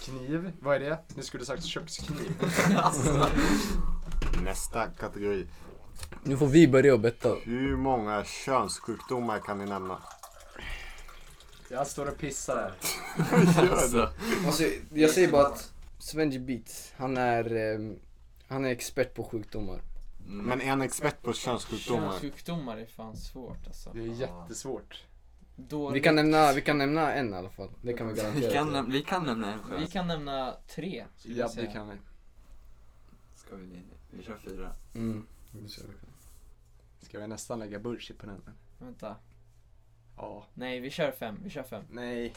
Kniv, vad är det? Ni skulle sagt kökskniv.
Nästa kategori.
Nu får vi börja och betta.
Hur många könssjukdomar kan ni nämna?
Jag står och pissar här.
Alltså,
Alltså, jag säger bara att Svenji Beats, han är, ehm, han är expert på sjukdomar.
mm,
Men är en expert på könssjukdomar?
Könssjukdomar är fan svårt alltså.
Det är jättesvårt.
Dåligt.
Vi kan nämna, vi kan nämna en i alla fall, det kan vi
vi, kan,
garantera.
näm- vi kan nämna en
Vi
själv.
kan nämna tre, skulle jag säga.
kan vi.
Ska vi, vi kör fyra.
Mm.
Ska vi nästan lägga bullshit på den?
Vänta.
Ja.
Nej, vi kör fem. Vi kör fem.
Nej.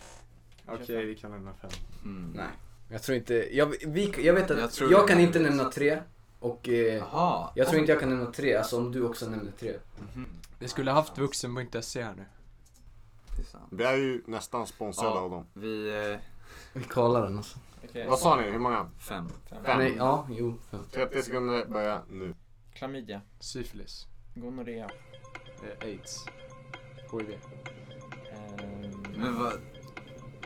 Okej,
Kör
vi kan nämna fem.
Mm.
Nej. Jag tror inte, jag, vi, jag vet att
Jag
jag,
tror-
kan inte nämna tre och eh,
Jaha.
jag tror inte jag kan Alltså, nämna tre, alltså om du också nämner tre.
Mhm.
Vi skulle haft vuxen.se här nu.
Vi är ju nästan sponsrade
Ja,
av dem.
Vi... Eh...
Vi kollar den alltså.
Vad sa ni? Hur många?
Fem.
Fem.
Nej, ja, jo, fem.
30 sekunder, börja nu.
Klamydia.
Syfilis.
Gonorrea.
Aids. HIV.
Ehm.
Men vad...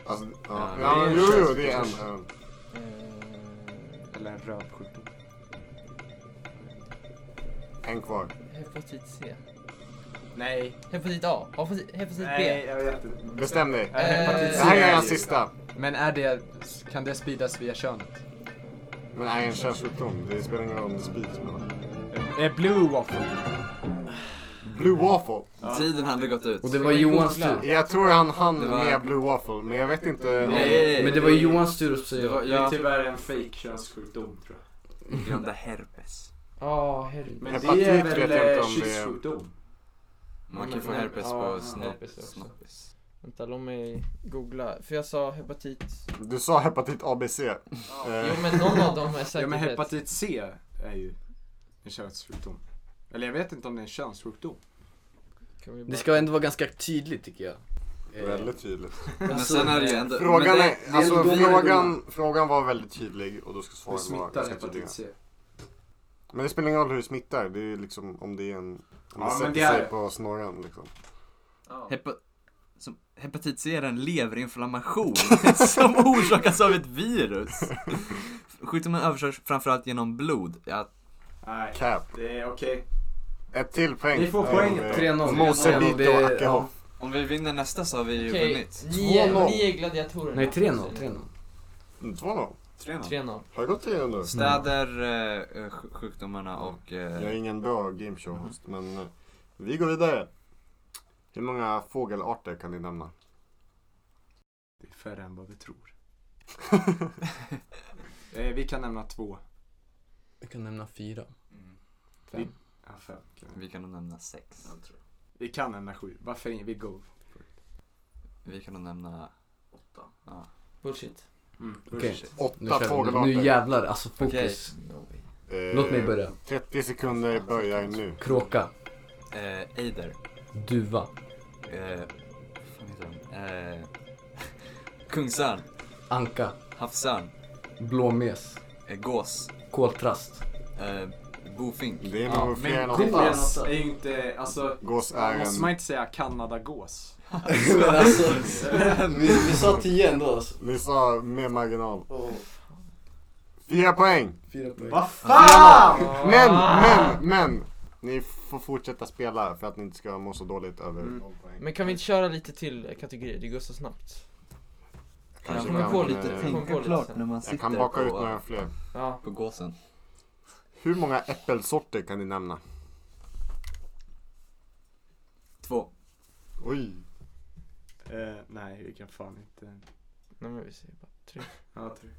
Alltså, ja.
Ja,
ja,
det är
jo, jo,
känns-
det är
känns-
en. en.
Eh,
Eller en rövsjukdom.
eh, En kvar.
Hepatit C.
Nej.
Hepatit A. Hepatit, hepatit
Nej,
B.
jag vet inte.
Bestäm dig.
Är hepatit C
Det här är den
det?
sista.
Men är det, kan det spridas via könet?
Men det är en könssjukdom. Det spelar ingen roll om det sprids mellan.
Är blue waffle?
Blue Waffle.
Tiden hade gått ut.
Och det var Johans tur.
Jag tror han hann
Det var-
med Blue Waffle, men jag vet inte. om-
Nej.
Men det var ju Johans tur att säga.
Det var-
Det är
jag
tyvärr en fake könssjukdom tror jag.
glömde herpes.
Ah,
Ja, herregud.
Men
Hepatit
det är
vet
väl
jag inte
eh,
om det är-
kyssjukdom?
Man
Men-
kan få herpes
ja,
på
ja, herpes
snopp.
också.
snoppis.
Vänta, låt mig googla. För jag sa hepatit...
Du sa hepatit ABC. Eh,
Jo men någon av dem är säkert
Ja men
rätt.
hepatit C är ju en könssjukdom. Eller jag vet inte om det är en könssjukdom.
Kan vi bara-
Det ska ändå vara ganska tydligt tycker jag. Eh,
Väldigt tydligt.
Men
Alltså,
sen är det ju ändå... men
Frågan,
det-
är,
det
alltså,
ändå domare,
frågan, frågan var väldigt tydlig och då ska
Hur
svaren vara
smittar
ganska tydliga.
hepatit C?
Men det spelar ingen roll hur det smittar. Det är ju liksom om det är en... Om
Ja,
det
men
sätter
det är-
sig på snorren liksom.
Hepa... Som hepatit C är en leverinflammation som orsakas av ett virus. Sjukdomen överförs framförallt genom blod. Ja,
Nej,
Cap.
det är okej.
Ett till poäng. Eh,
Ni får poäng.
3-0.
Mosebit
Det-
och Ackehoff.
om vi vinner nästa så har vi ju
Okej,
vunnit.
nio,
2-0.
nio gladiatorer.
Nej, 3-0. 3-0.
2-0.
3-0.
3-0.
Har det gått 3-0 nu?
Städer eh, eh, sj- sjukdomarna och...
Jag är
Eh,
ingen bra gameshow-host, men eh, vi går vidare. Hur många fågelarter kan ni nämna?
Det är färre än vad vi tror. Eh, Vi kan nämna två.
Jag kan nämna fyra.
Vi, ja, fem. kan vi.
mm, vi kan nog nämna sex.
vi kan nämna sju. Varför inte? Vi go.
Vi kan nog nämna... Åtta. Ja.
Bullshit.
Mm.
Okej. Nu
Åtta
kör vi. Nu
fågelarter.
jävlar, alltså fokus.
Eh,
Låt mig börja.
30 sekunder börjar nu.
Kråka,
Eh, Eider.
duva,
Eh, vad fan heter de? Eh, Kungsörn.
anka,
Havsörn.
blåmes,
Eh, gås.
koltrast.
Eh, bofink.
Det är
Ja,
nog fler än
Men
åtta.
gås är ju inte, alltså,
Gås är
måste man
en...
inte säga Kanadagås?
Men alltså, vi, vi sa tio ändå alltså.
Ni sa med marginal. Fyra poäng.
Fyra poäng.
Vad fan!
Men,
Ah.
men, men! Ni får fortsätta spela för att ni inte ska må så dåligt över
Mm.
noll poäng.
Men kan vi inte köra lite till kategorier? Det går så snabbt.
Kanske
kommer
kan,
på
eh,
lite till. Tänka klart när
man
Jag kan baka ut några fler.
Ja.
på gåsen.
Hur många äppelsorter kan ni nämna?
Två.
Oj!
Eh, nej, vi kan fan inte.
Nej men vi säger bara tre.
Ja, tre.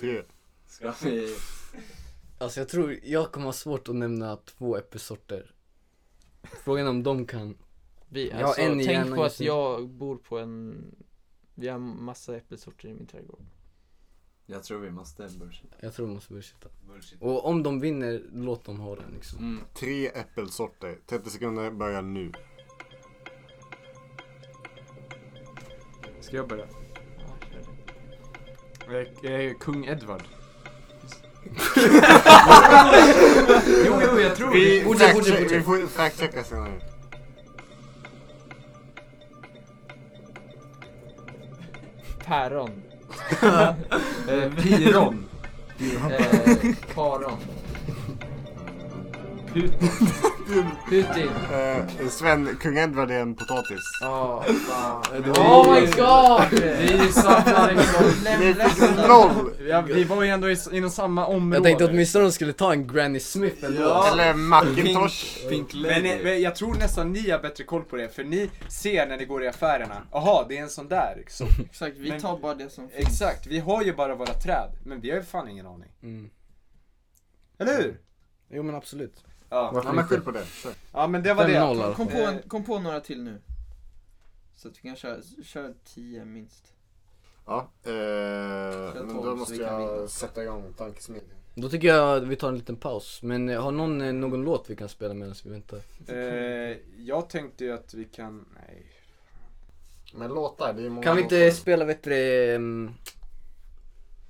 Tre.
Ska vi...
Alltså jag tror jag kommer ha svårt att nämna två äppelsorter. Frågan är om de kan.
Vi,
Jag har
alltså,
en i
tänk
hjärnan
på
just
att
nu.
jag bor på en... Vi har massa äppelsorter i min trädgård.
Jag tror vi måste bullshit.
Jag tror de måste bullshitta. Och om de vinner, låt dem ha den liksom.
Mm.
Tre äppelsorter. 30 sekunder börjar nu.
Ska jag börja?
Ja, kör det.
Eh, eh, Kung Edward. jo, jo, jag tror
Vi
det.
fact- vi får fact-checka senare.
Päron.
Eh, Piron.
Eh, Karon.
Putin.
Putin.
Eh, Sven, kung Edward är en potatis.
Ja.
Oh
my god!
Vi är ju samma liksom.
Ni fick noll!
Ja, vi var ju ändå i, inom samma område.
Jag tänkte åtminstone de skulle ta en Granny Smith ändå.
Ja.
Eller Macintosh.
Pink
Men,
Lady.
eh, men jag tror nästan ni har bättre koll på det, för ni ser när ni går i affärerna, jaha det är en sån där. Så,
Exakt, vi
Men-
tar bara det som finns.
exakt, vi har ju bara våra träd, men vi har ju fan ingen aning.
Mm.
Eller hur?
Jo men absolut.
Ja,
Ja men skyll på det. Kör.
ja men det var det.
5-0
Kom
alltså.
på,
Eh.
en, kom på några till nu. Så att vi kan köra, köra tio minst.
Ja, eh,
Jag
men
tar
då
så
måste
vi kan vinna.
jag sätta igång tankesmedjan.
Då tycker jag vi tar en liten paus. Men eh, har någon eh, någon låt vi kan spela medan vi väntar?
Eh, jag tänkte ju att vi kan, nej.
Men låtar, det är många
Kan vi
låtar.
inte spela bättre um,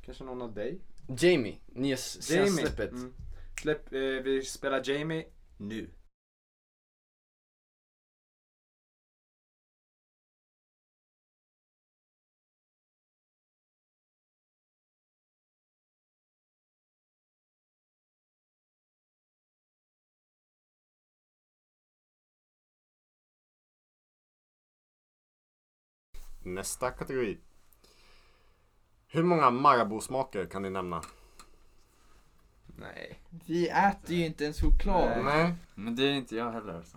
Kanske någon av dig?
Jamie? Nya s- senaste släppet.
Mm. Släpp, eh, vi spelar Jamie nu.
Nästa kategori. Hur många Marabou-smaker kan ni nämna?
Nej.
Vi äter ju inte ens choklad.
Nej.
Men det är inte jag heller. Alltså.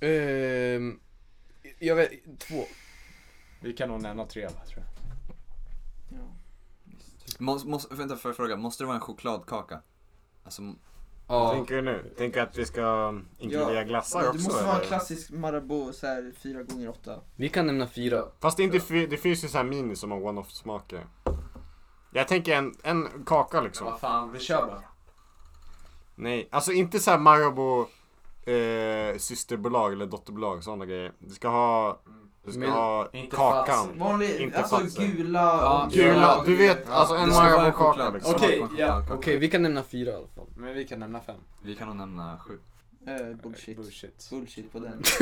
Ehm, jag vet, två.
Vi kan nog nämna tre va, tror jag.
Måste, måste, vänta, får jag fråga? Måste det vara en chokladkaka? Alltså, m-
Vad tänker du nu? Tänker att vi ska inkludera glassar
det
också?
måste vara en
eller?
klassisk Marabou, så här 4 gånger 8
Vi kan nämna fyra.
Fast det, är inte, fi- det finns ju så här mini som har one-off smaker. Jag tänker en, en kaka liksom.
Vad fan, vi kör bara.
Nej, alltså inte så här Marabou eh, systerbolag eller dotterbolag sådana grejer. Du ska ha, du ska
Men-
ha
Inte
kakan.
Fats.
Vanlig,
inte
alltså
Fatser.
gula
Ja,
och
Gula, du vet, alltså en
Det ska vara en
Marabou-kaka
choklad.
liksom.
Okej, ja.
Okej, vi kan nämna fyra i alla fall.
Men vi kan nämna fem.
Vi kan nog nämna sju.
Eh, bullshit.
Bullshit.
Bullshit på den.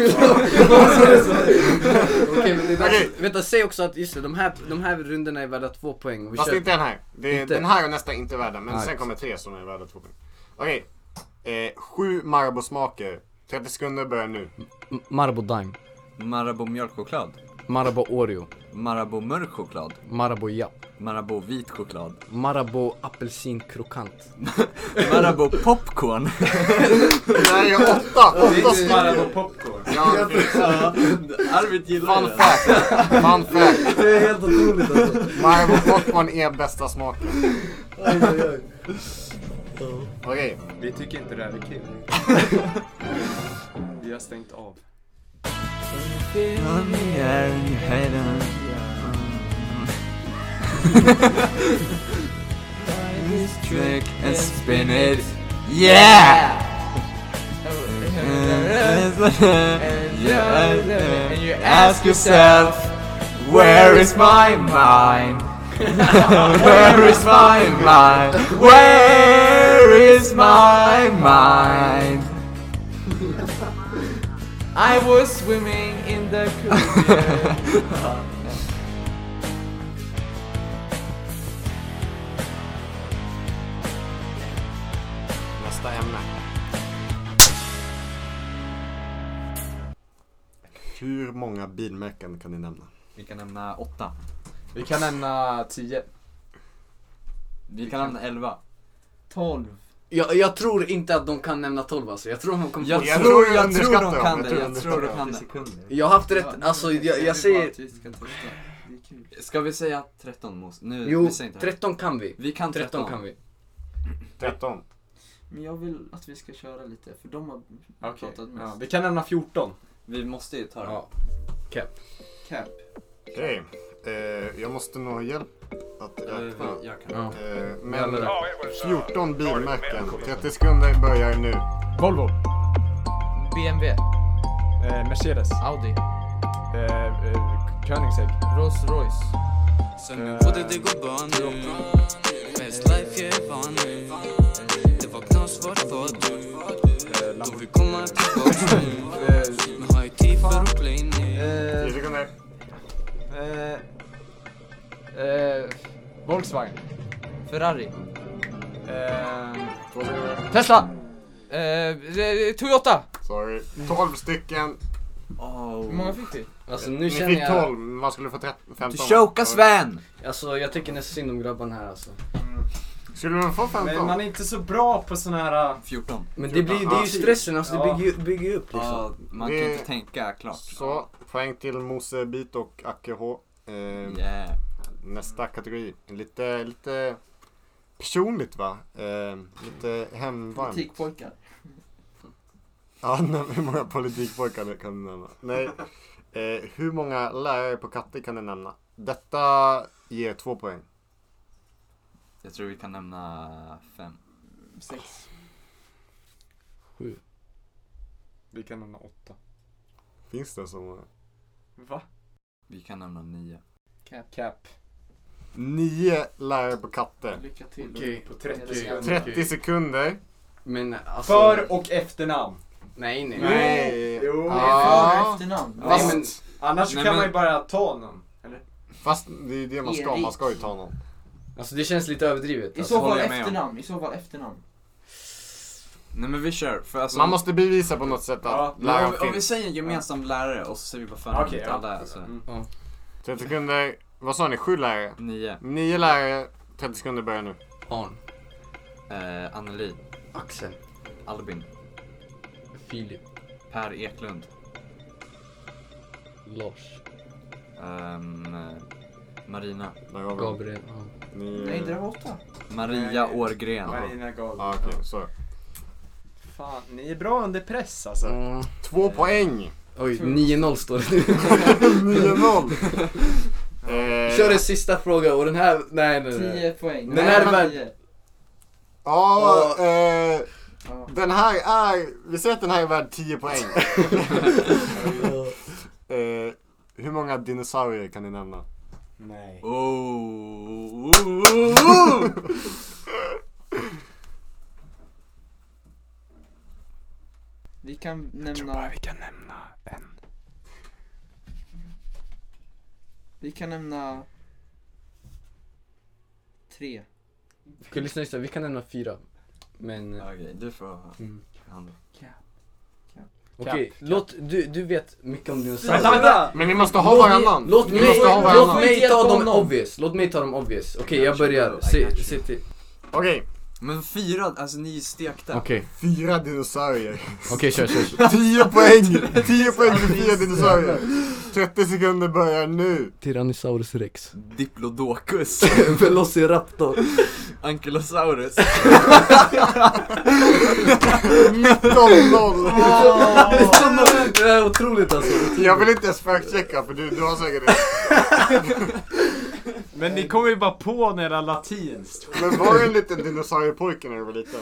Okej, men det är dags.
Okej.
Vänta, säg också att just det, de här, de här rundorna är värda två poäng. och Vi
Fast
kör-
inte den här. Det är,
Inte?
Den här och nästa är inte värda, men
Nej.
sen kommer tre som är värda två poäng. Okej, eh, sju Marabou-smaker. 30 sekunder börjar nu.
M- Marabou Dime,
Marabou mjölkchoklad.
Marabou Oreo,
Marabou mörk choklad.
Marabou Japp,
Marabou vit choklad.
Marabou Apelsinkrokant.
Marabou popcorn.
Nej, jag har åtta! Åtta stycken!
Marabou popcorn.
Ja,
Arvid gillar
Fun
det.
fact! Fun fact!
Det är helt otroligt alltså.
Marabou popcorn är bästa smaken. Okej,
Vi tycker inte det här är kul. vi har stängt av.
Trick and spin it. Yeah! And you ask yourself, where is my mind? Where is my mind? Where is my mind?
I was swimming in the Caribbean.
nästa ämne. Hur många bilmärken kan ni nämna?
Vi kan nämna åtta.
Vi kan nämna tio.
Vi kan nämna elva.
12.
Jag, jag tror inte att de kan nämna 12 alltså. Jag tror de kommer
Jag,
få...
Jag
tror,
tror
jag tror
underskattar
de
dem,
kan
jag
det,
tror
jag tror de kan det.
Jag har haft rätt, alltså jag, jag säger...
Vi ska testa. Det är kul.
Ska vi säga 13 Mos? Nu,
Jo,
vi säger inte det.
13 kan vi.
Vi kan 13.
13 kan vi.
13.
Men jag vill att vi ska köra lite, för de har
Okej.
pratat
Ja,
mest.
vi kan nämna 14.
Vi måste ju ta det.
Ja.
Cap.
Okej, eh, jag måste nog ha hjälp att
Eh,
räkna.
vi- jag kan.
Ja.
Eh,
Jävlar,
Men
det.
14 bilmärken. 30 sekunder börjar nu.
Volvo.
BMW,
Eh, Mercedes.
Audi,
Eh, eh, Koenigsegg.
Rolls Royce,
Säg mig både det går bra nu Best life jag är van nu Det var knas vart var du
Eh,
Då
Lamborghini.
vi kommer tillbaks nu Men har ju tid för att play nu
10 sekunder.
Eh, eh, Volkswagen.
Ferrari,
Eh,
Två sekunder.
Tesla, eh, eh, Toyota.
Sorry. 12 stycken.
Hur många fick vi?
Alltså
Ni
nu känner
fick
jag...
12, man skulle få 13, 15.
Du chokar Sven!
Alltså jag tycker nästan synd om grabbarna här alltså.
Skulle man få
men
15?
man är inte så bra på såna här... eh,
14.
Men det, blir, det är ju stressen, alltså det bygger, ju- bygger ju upp liksom.
Ja, man
Det-
kan inte tänka klart.
Så, poäng till Mosebit och Acke H. Eh,
Yeah.
Nästa kategori. Lite, lite personligt va? Eh, lite hemvarmt.
Politikpojkar.
Ja, nej, hur många politikpojkar det kan du nämna? Nej. Eh, hur många lärare på Katte kan du nämna? Detta ger två poäng.
Jag tror vi kan nämna fem.
Sex.
Vi kan nämna åtta.
Finns det så många?
Va?
Vi kan nämna nio.
Cap.
Cap.
Nio lärare på katter.
Lycka till.
Okej,
på 30
Okej.
sekunder.
30 sekunder.
Men alltså...
För och efternamn.
Nej, nej.
Nej.
Jo.
Det är för och
efternamn.
Fast,
Nej, men-
annars
Nej,
kan
men-
man ju bara ta någon. Eller?
Fast det är ju det man ska, man ska ju ta någon.
Alltså det känns lite överdrivet.
I
alltså.
så fall
jag med om.
efternamn, i så fall efternamn.
Nej men vi kör. För alltså,
Man måste bevisa på något sätt
Ja,
att
men
läraren
om, vi- om vi
finns.
säger gemensam lärare och så säger vi vad fan
Okej,
okay,
ja.
alla alltså. är. Så.
30 sekunder. Vad sa ni? Sju lärare?
Nio.
Nio lärare. 30 sekunder börjar nu.
Arn.
Eh, Anneli,
Axel.
Albin,
Filip.
Per Eklund,
Lars.
ehm, eh, Marina,
Där har vi dem.
Gabriel. Ja.
Ni-
Nej, det där var åtta.
Maria Årgren.
Marina Gahl.
Ja, ah, okej, så.
Fan, ni är bra under press alltså.
Mm.
Två poäng.
Oj, 9-0 står det nu.
9-0. Eh,
Kör en sista fråga och den här, nej nej nej.
10 poäng.
Den här är värd-
tio.
Ja, eh,
Ja.
den här är... Vi säger att den här är värd 10 poäng. eh, hur många dinosaurier kan ni nämna?
Nej.
Oh, oh,
Vi kan
tror bara
nämna,
vi kan nämna en.
vi kan nämna tre.
Okej lyssna, lyssna, vi kan nämna fyra. Men eh,
Okej, du får ha
Mm.
hand.
okej, låt, du, du vet mycket om dinosaurier.
Vänta, vänta!
Men ni måste ha
Låt-
varannan.
Låt
ni
mig,
måste ha
låt
varannan.
mig ta
Hjälp
dem
honom.
obvious, låt mig ta dem obvious. Okej jag börjar,
I got
se,
you.
se till.
Okej,
Men fyra, alltså ni är stekta.
Okej,
fyra dinosaurier.
okej kör kör.
10 poäng! 10 poäng för fyra dinosaurier. 30 sekunder börjar nu.
Tyrannosaurus rex.
Diplodocus,
Velociraptor.
Ankylosaurus.
0-0.
Det är otroligt alltså.
Jag vill inte ens fact-checka för du, du har säkert det.
Men ni kommer ju bara på några latinskt.
Men var du en liten dinosauriepojke när du var liten?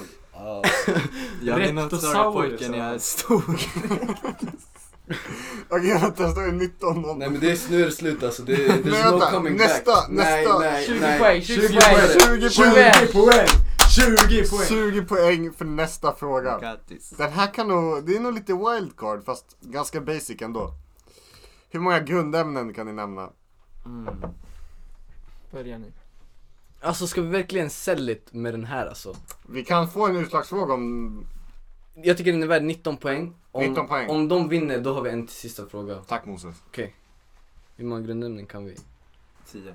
Jag är dinosauriepojken,
Reptosaurus,
jag är
alltså.
stor.
Okej vänta, står det 19 0
Nej men det är, nu är det slut alltså. Det, there's no
vänta,
coming
nästa,
back.
nästa.
Nej, nej,
20
nej.
poäng, 20
20
poäng.
poäng.
20 poäng!
20
poäng! 20 poäng!
20 poäng för nästa fråga.
Grattis.
Den här kan nog, det är nog lite wildcard fast ganska basic ändå. Hur många grundämnen kan ni nämna?
Mm.
Börja nu.
Alltså ska vi verkligen sell it med den här alltså?
Vi kan få en utslagsfråga om...
Jag tycker den är värd 19 poäng. Om,
19 poäng.
Om de vinner då har vi en till sista fråga.
Tack Moses.
Hur många grundämnen kan vi?
Tio.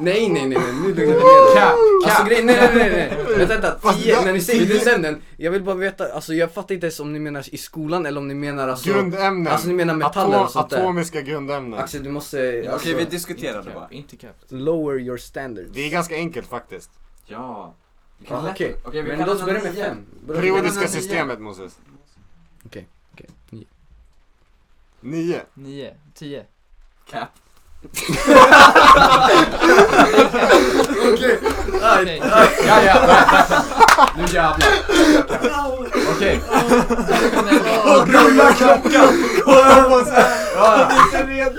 Nej nej nej, nej. nu lugnar vi ner oss.
Cap,
Alltså grejen, nej nej nej, nej. Vänta vänta,
Fast
10,
jag-
när ni säger
tio-
grundämnen. Jag vill bara veta, alltså jag fattar inte ens om ni menar i skolan eller om ni menar alltså
grundämnen!
Alltså ni menar metaller och sånt där.
Atomiska grundämnen.
Axel du måste,
Okej,
alltså,
vi diskuterade bara.
Cap, inte cap.
lower your standards.
Det är ganska enkelt faktiskt.
Ja. Vi kan
Ja,
lätt-
Okej,
okej, vi
men
kan
låt oss
lämna
börja med
nio.
fem. Börja med-
Periodiska
nio.
systemet Moses.
Okej, nio.
9.
9, 10.
Cap.
Okej.
Ja, ja. Nu jävlar. Okej. Rulla klockan! Ja,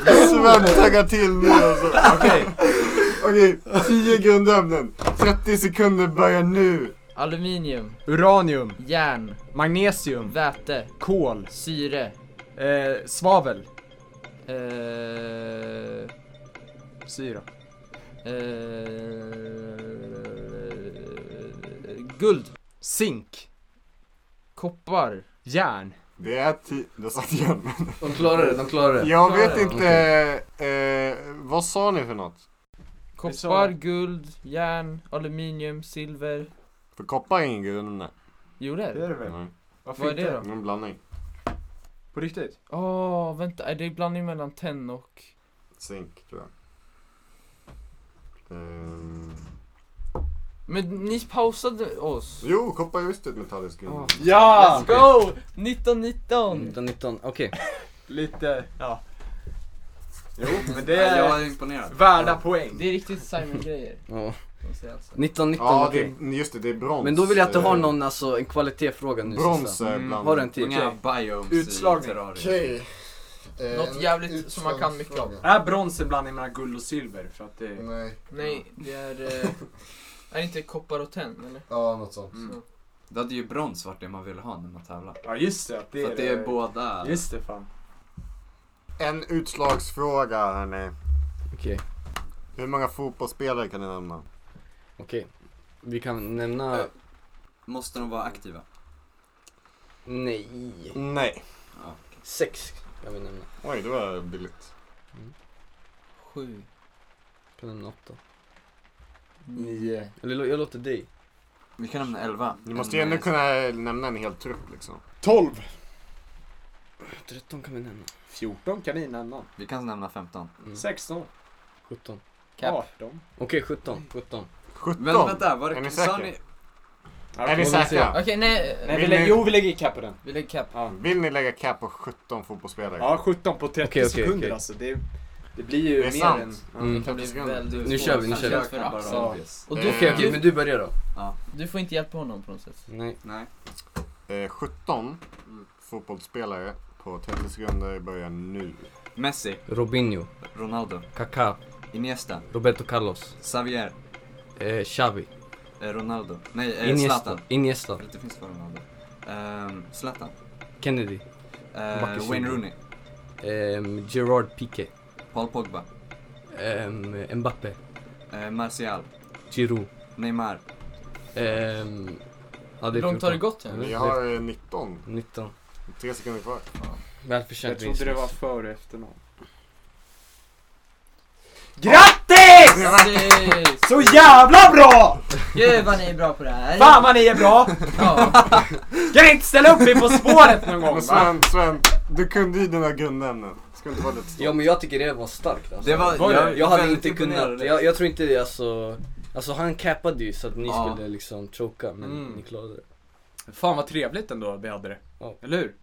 Sven taggar till nu alltså.
Okej.
Okej, 10 grundämnen. 30 sekunder börjar nu.
Aluminium,
Uranium,
järn,
magnesium,
väte,
kol,
syre,
eh, svavel,
eh,
syra.
eh, guld,
Zink,
koppar,
järn.
Det är 10. Du satt igen.
De klarar det, de klarar det.
Jag vet inte. Eh, vad sa ni för något?
koppar, guld, järn, aluminium, silver.
För koppar är ingen grundämne.
Jo det är det.
det
Nej,
Varför
Vad är det
det är en blandning.
På riktigt?
Åh, vänta, är det är blandning mellan tenn och...
Zink tror jag. Ehm,
Men ni pausade oss.
jo, koppar är visst ett metalliskt grundämne.
Ja!
Let's go!
Mm.
1919!
1919, okej.
Lite, ja. Jo, men det
Det är... Jag
är
är imponerad.
värda poäng.
Det är riktigt Simon-grejer.
Ja.
kan jag säga alltså.
1919,
Ja,
okej.
det, just det, det är brons.
Men då vill jag att du har
Eh,
någon, alltså en kvalitetsfråga nu
Brons
sista.
är
Mm,
bland...
Har du en till?
Många biomes i
Utslagning.
terrarier.
Okej. Eh,
Något
en
jävligt som man kan mycket
utslagsfråga.
Är brons en blandning mellan guld och silver? För att det...
Mm.
Nej.
Nej, det är... Eh, är det inte koppar och tenn eller?
Ja, något sånt.
Så.
Då hade ju brons varit det man ville ha när man tävlar.
Ja just det, att det
För
är
att det är båda.
Just det fan.
En utslagsfråga hörni.
Okej.
Hur många fotbollsspelare kan ni nämna?
Okej. Vi kan nämna...
Måste de vara aktiva?
Nej.
Nej.
Ja.
Sex kan vi nämna.
Oj, det var billigt.
Sju.
Kan nämna åtta. Nio. Eller lå- jag låter dig.
Vi kan nämna elva. Eh,
Du måste
Mm,
ju ändå kunna nämna en hel trupp liksom.
12! 13 kan vi nämna.
14 kan ni nämna.
Vi kan nämna 15.
16.
17.
18.
Okej, 17. 17.
17?
Men vänta, var det...
Är ni
sa
säkra? Är ni säkra?
Okej, nej. eh,
Nej, vi
Vill
lägger,
ni-
jo vi lägger i på den.
Vi lägger cap.
Ja.
Vill ni lägga cap på 17 fotbollsspelare?
ja 17 på 30
Okej, okej,
sekunder
okej.
alltså. Det, det blir ju
Det är
mer
sant.
än... Ja.
Mm.
Det kan bli väldigt
Nu
svårt.
kör vi, nu
Han
kör vi.
för app, så-
Ja.
Och
Eh,
du,
Okej, okej, men du börjar då.
Ja.
du får inte hjälpa honom på något sätt.
Nej.
Nej.
Eh, 17 fotbollsspelare på 30 sekunder börjar nu.
Messi,
Robinho.
Ronaldo,
Kaká.
Iniesta,
Roberto Carlos.
Xavier,
Eh, Xavi.
eh, Ronaldo. Nej, eh,
Iniesta.
Zlatan.
Iniesta.
Det finns bara Ronaldo. Ehm, Zlatan.
Kennedy.
Eh,
Marcus
Wayne
Jr.
Rooney.
Ehm, Gerard Piqué.
Paul Pogba.
Ehm, Mbappé.
Eh, Martial.
Giroud.
Neymar.
Ehm, ja,
Hur långt har det gått? Ja?
Mm.
Vi har eh, 19.
19.
3 sekunder kvar.
Jag
Välförtjänt
trodde
vinst.
det var före och efter någon. GRATTIS!
Grattis!
Så jävla bra!
Gud vad ni är bra på det här.
Fan vad ni är bra!
Ja.
Ska ni inte ställa upp er På spåret någon
Men
gång va?
Sven, Sven, du kunde ju dina grundämnen. Ska inte vara lite stolt?
Ja men jag tycker det var starkt alltså.
Det var- Var det?
jag, jag hade
Väldigt
inte
imponerande.
kunnat, jag, jag tror inte det alltså. Alltså han cappade ju så att ni
Ja.
skulle liksom choka men
Mm.
ni klarade det.
Fan vad trevligt ändå vi hade det.
Ja.
Eller hur?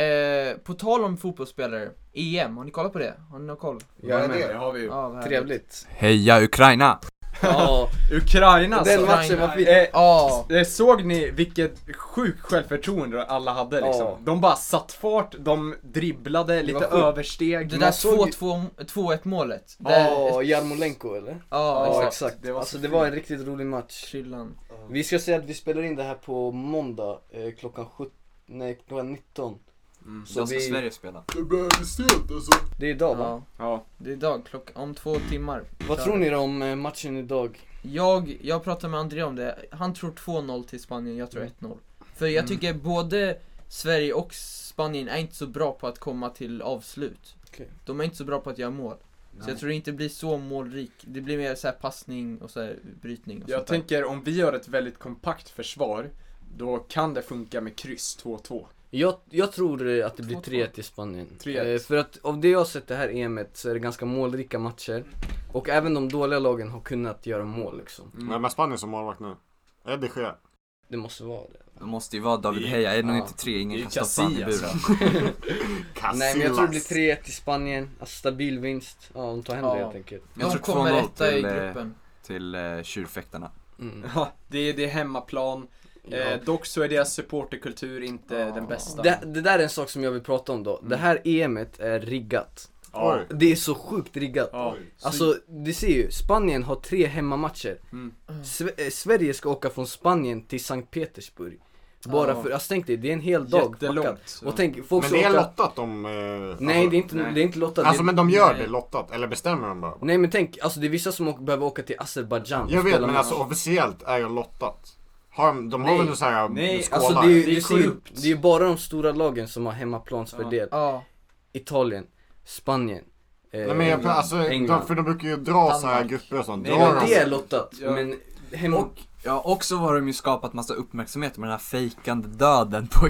Eh, på tal om fotbollsspelare, EM, har ni kollat på det? Har ni någon koll?
Jag är
Det
med.
har vi ju.
Ja, vad härligt.
Trevligt.
Heja Ukraina!
Ja,
Ukraina alltså.
den matchen var fin.
Eh,
Ja,
eh, såg ni vilket sjukt självförtroende alla hade liksom?
Ja.
De bara satt fart, de dribblade, lite
var sjukt.
översteg.
det
Man
där
såg-
2-2 2-1 målet. Där,
Ja, Ah, Jarmolenko eller?
ja,
Ja
exakt.
exakt.
Det var
alltså
så
det var en riktigt rolig match.
Chillan.
Vi ska säga att vi spelar in det här på måndag eh, klockan 17, nej klockan 19.
Mm.
Så
Då ska
vi,
Sverige spela.
Det börjar bli sent alltså.
det är idag va?
Ja,
Ja.
det är idag, klock, om två timmar.
Vad tror ni då om eh, matchen idag?
Jag, jag pratade med André om det, han tror 2-0 till Spanien, jag tror
Mm.
1-0. För jag tycker både Sverige och Spanien är inte så bra på att komma till avslut.
Okej.
De är inte så bra på att göra mål. Så jag tror det inte blir så målrik, det blir mer så här passning och så här brytning och
Jag
sånt där.
tänker om vi har ett väldigt kompakt försvar, då kan det funka med kryss 2-2.
Jag, jag tror eh, att det blir
2-2.
3 till Spanien.
3-1.
Eh, För att av det jag har sett det här EMet så är det ganska målrika matcher. Och även de dåliga lagen har kunnat göra mål liksom.
Vem är Spanien som målvakt nu? Är det Gea?
Det måste vara det.
Det måste ju vara David Heja, 1,93,
Det är
ingen
ju
kan stoppa han i
Casillas.
buren.
Casillas.
Nej men jag tror det blir 3-1 till Spanien. Alltså stabil vinst. Ja, de tar hem det
Ja.
helt enkelt.
Jag
De
tror
kommer
2-0
etta i
till, eh,
gruppen.
Till eh, tjurfäktarna.
Mm.
Ja, det är, det är hemmaplan.
Ja.
Eh, dock så är deras supporterkultur inte den bästa.
Det, det där är en sak som jag vill prata om då. Det här EMet är riggat.
Ja.
Det är så sjukt riggat.
Ja.
Alltså, du ser ju, Spanien har tre hemmamatcher.
Mm.
Sve- eh, Sverige ska åka från Spanien till Sankt Petersburg. Bara
Ja.
för, alltså tänk dig, det är en hel dag
Jättelångt,
packat.
så.
Och tänk, folk
Men
ska
det är
åka...
lottat om... Eh, alltså,
Nej, det är inte,
Nej.
det är inte lottat.
Alltså
det...
men de gör
Nej.
det lottat, eller bestämmer de bara?
Nej men tänk, alltså det är vissa som åker, behöver åka till Azerbajdzjan
Jag
och
vet
spela
men
match.
alltså officiellt är det lottat. Har de, de
Nej.
har väl så här eh,
Nej,
skålar?
Alltså det är, ju-
Det är
du ser ju,
sjukt.
det är ju bara de stora lagen som har hemmaplansfördel.
Ja,
Italien, Spanien, eh,
Nej men jag,
England,
alltså, de,
England.
för de brukar ju dra så här
Danmark.
grupper och sånt.
Nej,
Drar
men
Ja,
de-
det är lottat,
Ja.
men hem...
Och ja, också har de ju skapat massa uppmärksamhet med den här fejkande döden på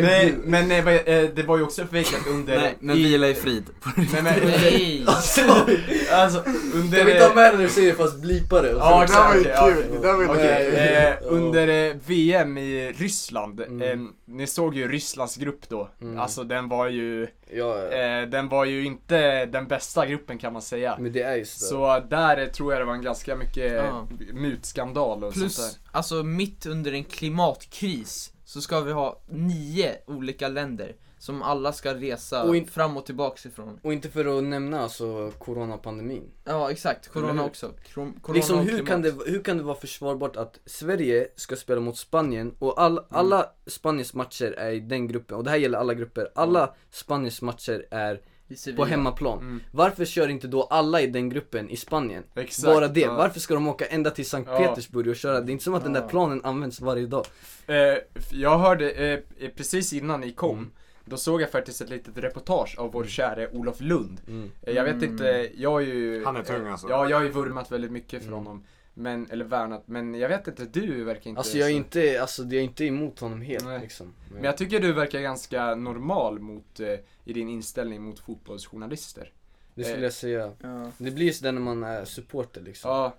Nej, men nej, vad- eh, det var ju också fejkat under...
Nej, men
i-
vila i frid.
Nej, men under...
nej!
Alltså,
Jag
under...
vill inte ha med det när du säger det fast blipa det och så-
Ja,
Det där var ju
exakt, ja,
kul, det där var ju
Okej,
kul.
eh,
Ja.
under eh, VM i Ryssland,
Mm.
eh, ni såg ju Rysslands grupp då.
Mm.
Alltså den var ju,
Ja, ja.
eh, den var ju inte den bästa gruppen kan man säga.
men det är just det.
Så där eh, tror jag det var en ganska mycket
Ja.
eh, mutskandal och sånt
Plus, alltså mitt under en klimatkris så ska vi ha nio olika länder som alla ska resa
Och in-
fram och tillbaks ifrån.
Och inte för att nämna alltså coronapandemin.
Ja exakt,
Eller
corona
hur?
också. Krom- corona
Liksom
och
hur
klimat.
kan, det, hur kan det vara försvarbart att Sverige ska spela mot Spanien och
Mm.
all, alla Spaniens matcher är i den gruppen, och det här gäller alla grupper,
Mm.
alla Spaniens matcher är
I Sevilla.
på hemmaplan.
Mm.
Varför kör inte då alla i den gruppen i Spanien?
Exakt,
Bara det,
ja.
varför ska de åka ända till Sankt
Ja.
Petersburg och köra? Det är inte som att den där
Ja.
planen används varje dag.
Eh, f- jag hörde eh, eh, precis innan ni kom, då såg jag faktiskt ett litet reportage av vår käre Olof Lund. Eh, jag vet
Mm.
inte, jag är ju...
Han är tung,
eh,
alltså.
Ja, jag har ju vurmat väldigt mycket för honom. Men, eller värnat, men jag vet inte, du verkar inte...
Alltså jag är
så-
inte, alltså jag är inte emot honom helt liksom.
Men jag tycker du verkar ganska normal mot, eh, i din inställning mot fotbollsjournalister.
Det
Eh,
skulle jag säga.
Ja.
Det blir så där när man är supporter liksom.
Ja,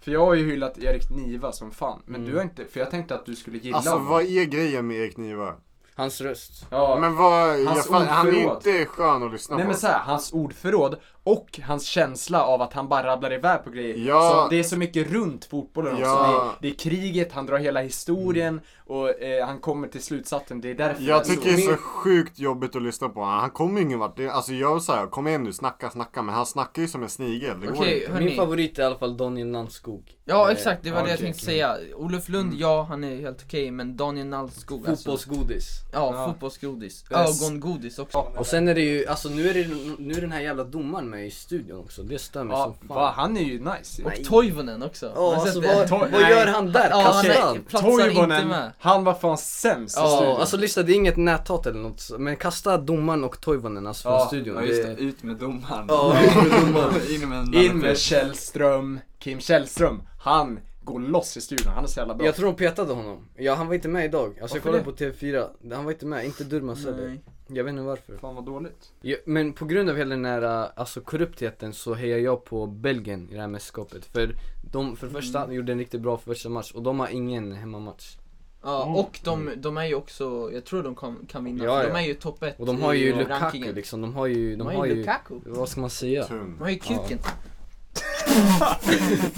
för jag har ju hyllat Erik Niva som fan, men
Mm.
du har inte, för jag tänkte att du skulle gilla
Alltså
honom.
vad är grejen med Erik Niva?
Hans röst.
Ja.
Men vad, jag
Hans
fan, han är
ordförråd.
inte skön att lyssna
Nej
på.
men såhär, hans ordförråd och hans känsla av att han bara rabblar iväg på grejer.
Ja.
Så det är så mycket runt fotbollen
Ja. Mm.
också. Det är, det är kriget, han drar hela historien och eh, han kommer till slutsatsen. Det är därför
Jag
det är
tycker det är så sjukt jobbigt att lyssna på honom. Han kommer ju ingen vart. Det- Alltså jag säger, kom igen nu, snacka, snacka. Men han snackar ju som en snigel. Det går inte.
Min favorit är i alla fall Daniel Nannskog.
Ja
Eh,
exakt, det var det jag
okej.
tänkte säga. Olof Lund,
Mm.
ja han är helt okej, men Daniel Nallskog
Alltså.
Fotbollsgodis.
Ja,
Ja.
fotbollsgodis.
Yes.
Ögongodis också.
Och sen är det ju, alltså nu är det, nu är den här jävla domaren med i studion också. Det stör mig
Ja,
som fan.
va,
han är ju nice.
Och Toivonen också.
Ja,
Har du
alltså,
sett det?
vad- vad Nej. gör han där?
Ja, han
Kastar
är,
han?
platsar inte
Toivonen.
med.
Han var fan sämst
i
Ja,
studion.
alltså lyssna det är inget näthat eller något, så- men kasta domaren och Toivonen alltså
Ja,
från studion.
ja, just det.
Ut med domaren.
Ja, ut med domaren.
In med en
In
annan.
med Källström, Kim Källström. Han går loss i studion, han är så jävla bra.
Jag tror de petade honom. Ja, han var inte med idag. Alltså jag
Varför
kollade på TV4, han var inte med, inte Durmaz heller.
Nej.
Jag vet inte varför.
Fan vad dåligt.
Ja, men på grund av hela den här äh, alltså, korruptheten så hejar jag på Belgien i det här mästerskapet. För de för det första
Mm.
gjorde en riktigt bra första match och de har ingen hemmamatch.
Ja, och de, de är ju också, jag tror de kan, kan vinna,
Mm. Ja,
för
ja.
de är ju topp 1
Och de har ju
i
Lukaku
rankingen.
liksom, de har ju, de
De har
har
ju
ju,
Lukaku.
vad ska man säga?
De har ju kuken.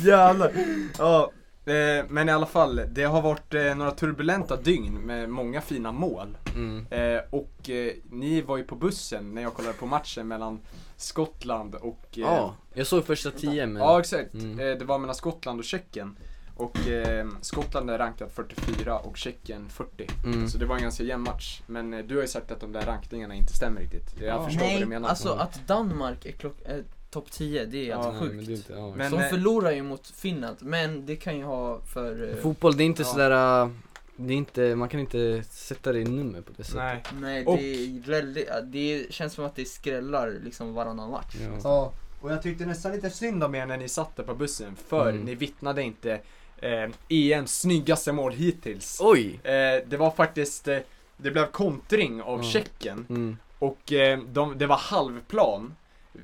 Jävlar. Ja, eh, men i alla fall, det har varit eh, några turbulenta dygn med många fina mål.
Mm.
Eh, och eh, ni var ju på bussen när jag kollade på matchen mellan Skottland och... eh,
Ja, jag såg första tio men...
Ja, exakt.
Mm.
Eh, det var mellan Skottland och Tjeckien. Och eh, Skottland är rankat 44 och Tjeckien 40.
Mm.
Så det var en ganska jämn match. Men eh, du har ju sagt att de där rankningarna inte stämmer riktigt. Jag förstår
Nej,
vad du menar.
alltså att Danmark är klock, eh, topp 10, det är
Ja,
alltså
nej,
sjukt.
men det är inte- ja.
men,
Men,
de
eh,
förlorar ju mot Finland, men det kan ju ha för... eh,
Fotboll det är inte sådär, äh, det är inte, man kan inte sätta det i nummer på det sättet.
Nej,
Och-
det, är väldigt, det känns som att det skrällar liksom varannan match.
Ja.
Ja, och jag tyckte nästan lite synd om er när ni satt där på bussen för
Mm.
ni vittnade inte eh, EMs snyggaste mål hittills.
Oj!
Eh, det var faktiskt, eh, det blev kontring av
Ja.
Tjeckien
Mm.
och eh, de, det var halvplan.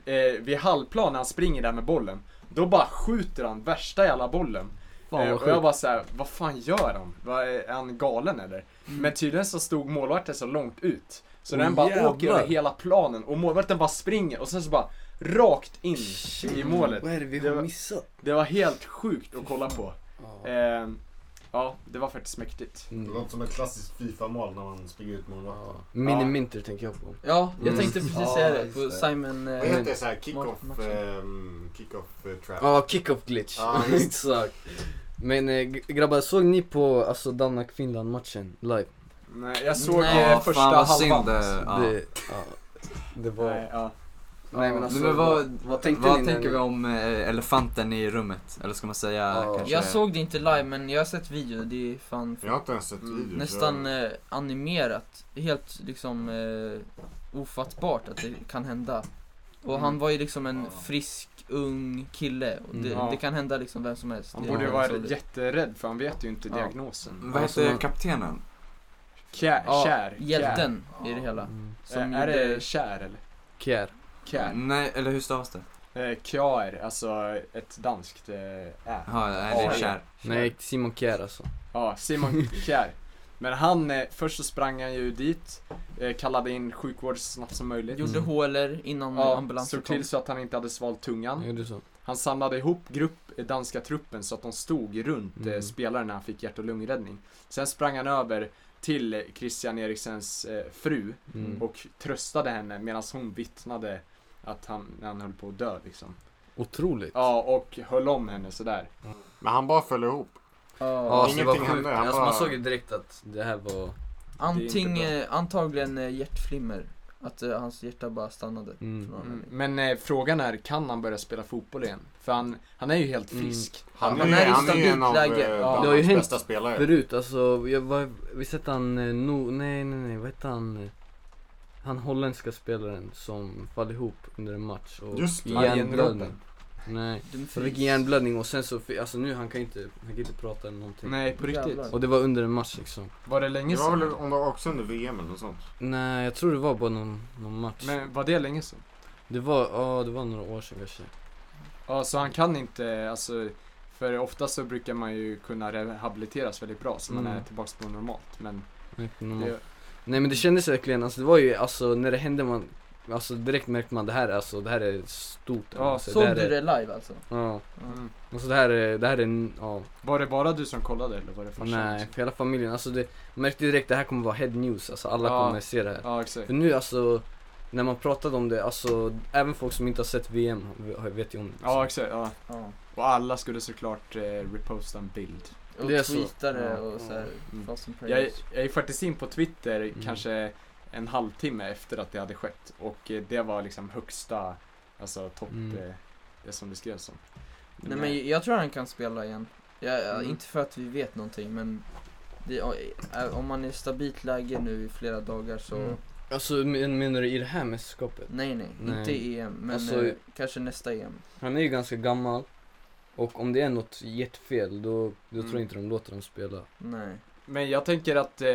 Eh, vid halvplan när han springer där med bollen, då bara skjuter han värsta jävla bollen.
Fan, vad
eh, och
sjukt.
jag bara såhär, vad fan gör han? Va, är han galen eller? Men tydligen så stod målvakten så långt ut. Så
Mm. Åh,
den bara
jävlar.
åker över hela planen och målvakten bara springer och sen så bara rakt in i målet.
Vad är det vi
Det
har
var-
missat?
Det var helt sjukt att kolla på. Eh, ja, det var faktiskt mäktigt.
Det
Mm.
låter som ett klassiskt FIFA-mål när man springer ut målvakten.
Miniminter tänker jag på.
Ja, jag
Mm.
tänkte precis
Ja,
säga det,
just
på Simon...
Vad
eh,
heter det såhär? Kick-off...
matchen.
ehm, kick-off eh, trap.
Ja, kick-off glitch.
Ja, just.
Exakt. Men eh, g- grabbar, såg ni på alltså, Danmark-Finland matchen live?
Nej, jag såg
Nej,
eh,
fan,
första
vad
halvan.
synd det- ja.
Det, ja, det var...
Nej, ja.
Nej, men alltså,
Nej, men
vad-
vad,
vad tänkte ni när
tänker
ni-
vi om eh, elefanten i rummet? Eller ska man säga kanske...
Jag såg det inte live men jag har sett video, det är fan
Jag har inte ens sett
Mm,
video, så
Nästan eh, animerat, helt liksom eh, ofattbart att det kan hända Och
Mm.
han var ju liksom en frisk, ung kille och det,
Mm. Ja.
det kan hända liksom vem som helst
Han
Det-
borde ju
så
vara
det-
jätterädd för han vet ju inte
Ja.
diagnosen.
Vad hette kaptenen?
Kär,
Ja,
kär,
hjälten i det hela
Mm.
Kär.
Som
Eh, är
gjorde-
det kär eller?
Kjär.
Kär.
Nej, eller hur stavas det?
Eh, Kjær, alltså ett danskt eh, ä.
Ja, nej, det är
A,
kär.
Nej, Simon Kjär alltså.
Ja, Simon Kjær. Men han, eh, först så sprang han ju dit, eh, kallade in sjukvård så snabbt som möjligt.
Gjorde HLR innan
Ja,
ambulansen
såg
kom
till så att han inte hade svalt tungan.
Gjorde så.
Han samlade ihop grupp,
eh,
Mm.
danska truppen så att de stod runt eh, spelaren när han fick hjärt och lungräddning. Sen sprang han över
till Christian Eriksens eh, fru
Mm.
och tröstade henne medan hon vittnade att han, han höll på att dö liksom.
Otroligt.
Ja, och höll om henne sådär.
Men han bara föll ihop.
Ja,
Ingenting hände. Han
Alltså,
bara...
direkt att det här var...
Anting, eh, antagligen eh, hjärtflimmer. Att eh, hans hjärta bara stannade. för någon
Mm.
anledning.
Men eh, frågan är, kan han börja spela fotboll igen? För han, han är ju helt
Mm.
frisk.
Han är ju- han är ju en av, eh,
Ja.
Det har ju hänt bästa spelare.
Förut alltså, jag var, visst hette han, eh, no, nej nej nej, vad hette han? eh, Han holländska spelaren som föll ihop under en match och
Just det.
fick
Arjen
hjärnblödning.
Robben.
Nej,
Den
han fick
finns.
hjärnblödning och sen så, fi- alltså nu han kan inte, han kan inte prata eller någonting.
Nej, på riktigt. Jävlar.
Och det var under en match liksom.
Var det länge
Det var
sedan?
väl om det var också under VM eller något sånt.
Nej, jag tror det var bara någon, någon match.
Men var det länge sedan?
Det var, ja det var några år sedan kanske.
Ja, så han kan inte, alltså, för ofta så brukar man ju kunna rehabiliteras väldigt bra så man
Mm.
är tillbaks på normalt. Men
Nej, på normal.
Det-
Nej men det kändes verkligen, alltså det var ju, alltså när det hände man, alltså direkt märkte man det här, alltså det här är stort.
Ja,
alltså,
Såg
här
du
är-
det live alltså?
Ja.
Mm.
Alltså det här är, det här är, en- ja.
var det bara du som kollade eller var det farsan?
Nej, för hela familjen. Alltså det, man märkte direkt det här kommer vara head news, alltså alla
Ja.
kommer se det här.
Ja, exakt.
För nu alltså, när man pratade om det, alltså även folk som inte har sett VM har- vet ju om det.
Ja, exakt. Ja.
Ja.
Och alla skulle såklart eh, reposta en bild.
Och
Det är så.
tweetade
Ja.
och såhär,
Mm.
thoughts and
Jag,
prayers.
jag är faktiskt in på Twitter
Mm.
kanske en halvtimme efter att det hade skett och eh, det var liksom högsta, alltså topp,
Mm.
eh, det som det skrevs om.
Nej men jag tror han kan spela igen. Jag, jag-
Mm.
Inte för att vi vet någonting men det, eh, om man är i stabilt läge nu i flera dagar så
Mm. Alltså men- menar du i det här mästerskapet?
Nej, nej, inte i EM, men
Alltså,
eh, kanske nästa EM.
Han är ju ganska gammal. Och om det är något jättefel då, då
Mm.
tror jag inte de låter dem spela.
Nej.
Men jag tänker att eh,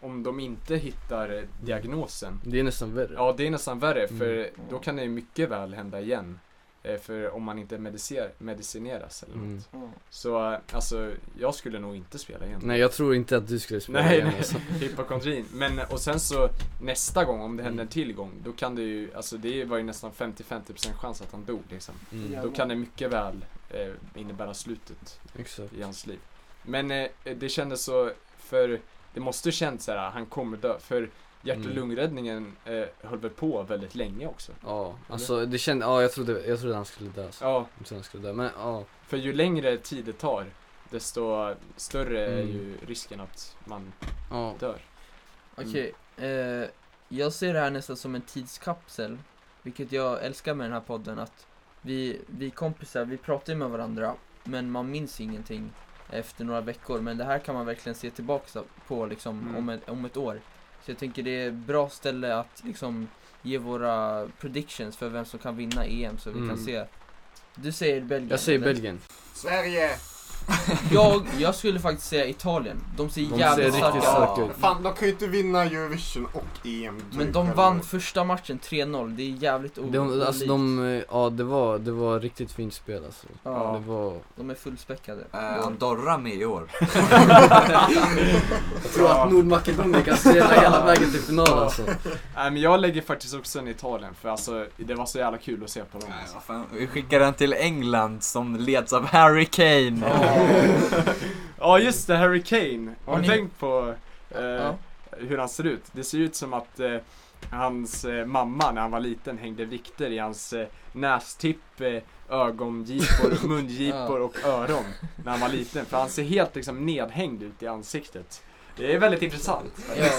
om de inte hittar eh, diagnosen.
Det är nästan värre.
Ja, det är nästan värre för
Mm.
då kan det ju mycket väl hända igen. Eh, för om man inte medicer- medicineras eller
Mm.
något. Så eh, alltså, jag skulle nog inte spela igen.
Nej jag tror inte att du skulle spela
Nej,
igen
nej.
alltså.
hypokondrin. Men eh, och sen så nästa gång, om det händer
Mm.
en till gång, då kan det ju, alltså det var ju nästan 50-50% chans att han dog liksom.
Mm.
Då kan det mycket väl eh, innebära slutet
Exakt.
i hans liv. Men eh, det kändes så, för det måste känts så här, han kommer dö. För hjärt och
Mm.
lungräddningen eh, höll väl på väldigt länge också.
Ja, alltså det kände, ja jag trodde, jag trodde han skulle dö alltså.
Ja.
Jag trodde han skulle dö, men ja.
För ju längre tid det tar, desto större är
Mm.
ju risken att man
Ja.
dör.
Okej, eh, jag ser det här nästan som en tidskapsel. Vilket jag älskar med den här podden, att vi, vi kompisar, vi pratar ju med varandra, men man minns ingenting efter några veckor. Men det här kan man verkligen se tillbaka på liksom
Mm.
om, ett, om ett år. Så jag tänker det är ett bra ställe att liksom ge våra predictions för vem som kan vinna EM så vi
Mm.
kan se. Du säger Belgien.
Jag säger
eller?
Belgien.
Sverige!
Jag, jag skulle faktiskt säga Italien. De ser jävligt starka ut.
Fan, de kan ju inte vinna Eurovision och EM.
Men de vann första matchen 3-0, det är jävligt o-
De, alltså de, eh, ja det var, det var riktigt fint spel alltså.
Ja.
Det var...
De är fullspäckade.
Äh,
Är han Dorra med i år?
Jag tror att Nordmakedonien kan spela hela vägen till final
Ja.
alltså.
Nej men jag lägger faktiskt också en Italien för alltså det var så jävla kul att se på dem. Alltså.
Vi skickar den till England som leds av Harry Kane.
Ja just det, Harry Kane. Har
Har
ni
ni-
tänkt på eh, hur han ser ut? Det ser ut som att eh, hans eh, mamma när han var liten hängde vikter i hans eh, nästipp, eh, ögongipor, mungipor
Ja.
och öron när han var liten. För han ser helt liksom nedhängd ut i ansiktet. Det är väldigt intressant.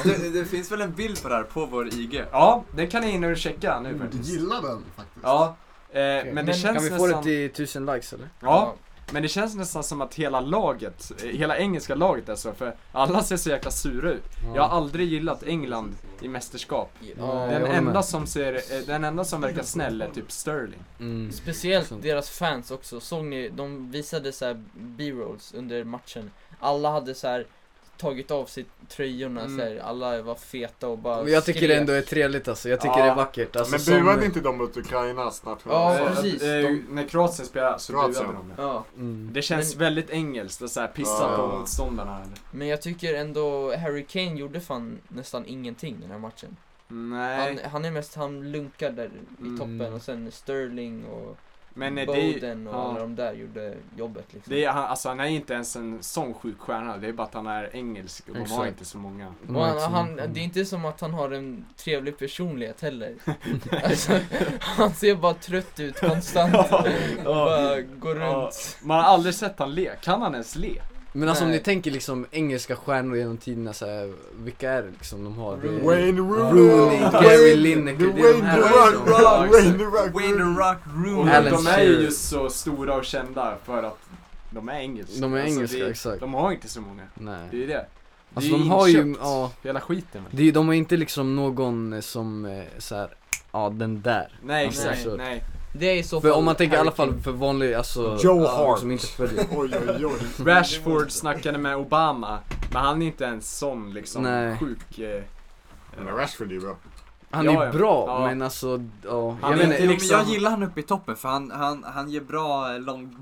Det, det finns väl en bild på det här på vår IG?
Ja, den kan ni in och checka nu faktiskt.
gillar
Mm, den faktiskt. Ja, eh, men det känns
Kan vi få det
nästan...
till 1000 likes eller?
Ja, men det känns nästan som att hela laget, eh, hela engelska laget är så, för alla ser så jäkla sura ut.
Ja.
Jag har aldrig gillat England i mästerskap.
jag
Eh,
den,
håller
enda
med.
som ser, eh, den enda som verkar snäll är typ Sterling.
Mm. Speciellt deras fans också, såg ni? De visade så här b-rolls under matchen. Alla hade så här tagit av sig tröjorna
Mm.
så här. alla var feta och bara
Men jag tycker det
skrek.
ändå är trevligt alltså, jag tycker det är vackert. Alltså,
men
som-
buade inte de mot Ukrainas nationaldag?
Eh, eh, när Kroatien spelar så
Kroatien.
buade de.
Ja.
Mm.
Det känns väldigt engelskt att så här pissa
Ja.
på motståndarna. här.
Men jag tycker ändå Harry Kane gjorde fan nästan ingenting den här matchen.
Nej.
Han, han är mest, han lunkar där i
Mm.
toppen och sen Sterling och
Men eh, det är,
Bowden och
ja.
alla de där gjorde jobbet liksom.
det är, han, alltså, han är inte ens en sån sjuk stjärna. Det är bara att han är engelsk och de har
Exakt.
inte så många.
Och han, han, det är inte som att han har en trevlig personlighet heller. alltså, han ser bara trött ut konstant. Bara går runt.
Man har aldrig sett han le. Kan han ens le?
Men alltså om
Nej.
ni tänker liksom engelska stjärnor genom tiderna så här, vilka är det liksom de har? Det är-
Wayne
Rooney, Gary Lineker, det är de här liksom. Ja, exakt.
Wayne the Rock
Och
Rooney.
Mm. Alan
de är ju
Shearer.
just så stora och kända för att de är engelska. Alltså,
De är engelska,
det,
exakt.
De har inte så många.
Nej.
Det är ju det.
Alltså
det är
de har ju,
inköpt.
ja,
Hela skiten.
det är, de har inte liksom någon eh, som eh, så här, ja den där.
Nej,
Alltså,
exakt,
så-
nej.
Det är i så
För
fall
om man tänker i alla
Harry
fall
Kane.
för vanlig, alltså
Joe
ja,
Hart.
som inte följer.
Oj, oj, oj.
Rashford snackade med Obama, men han är inte ens sån liksom
Nej.
sjuk. Eh,
Men Rashford är ju bra.
Han
Ja,
är
ja.
bra
Ja.
men alltså, ja.
Han
jag
är
vet
inte
inte,
liksom-
Jag gillar han uppe i toppen för han, han, han ger bra eh, lång...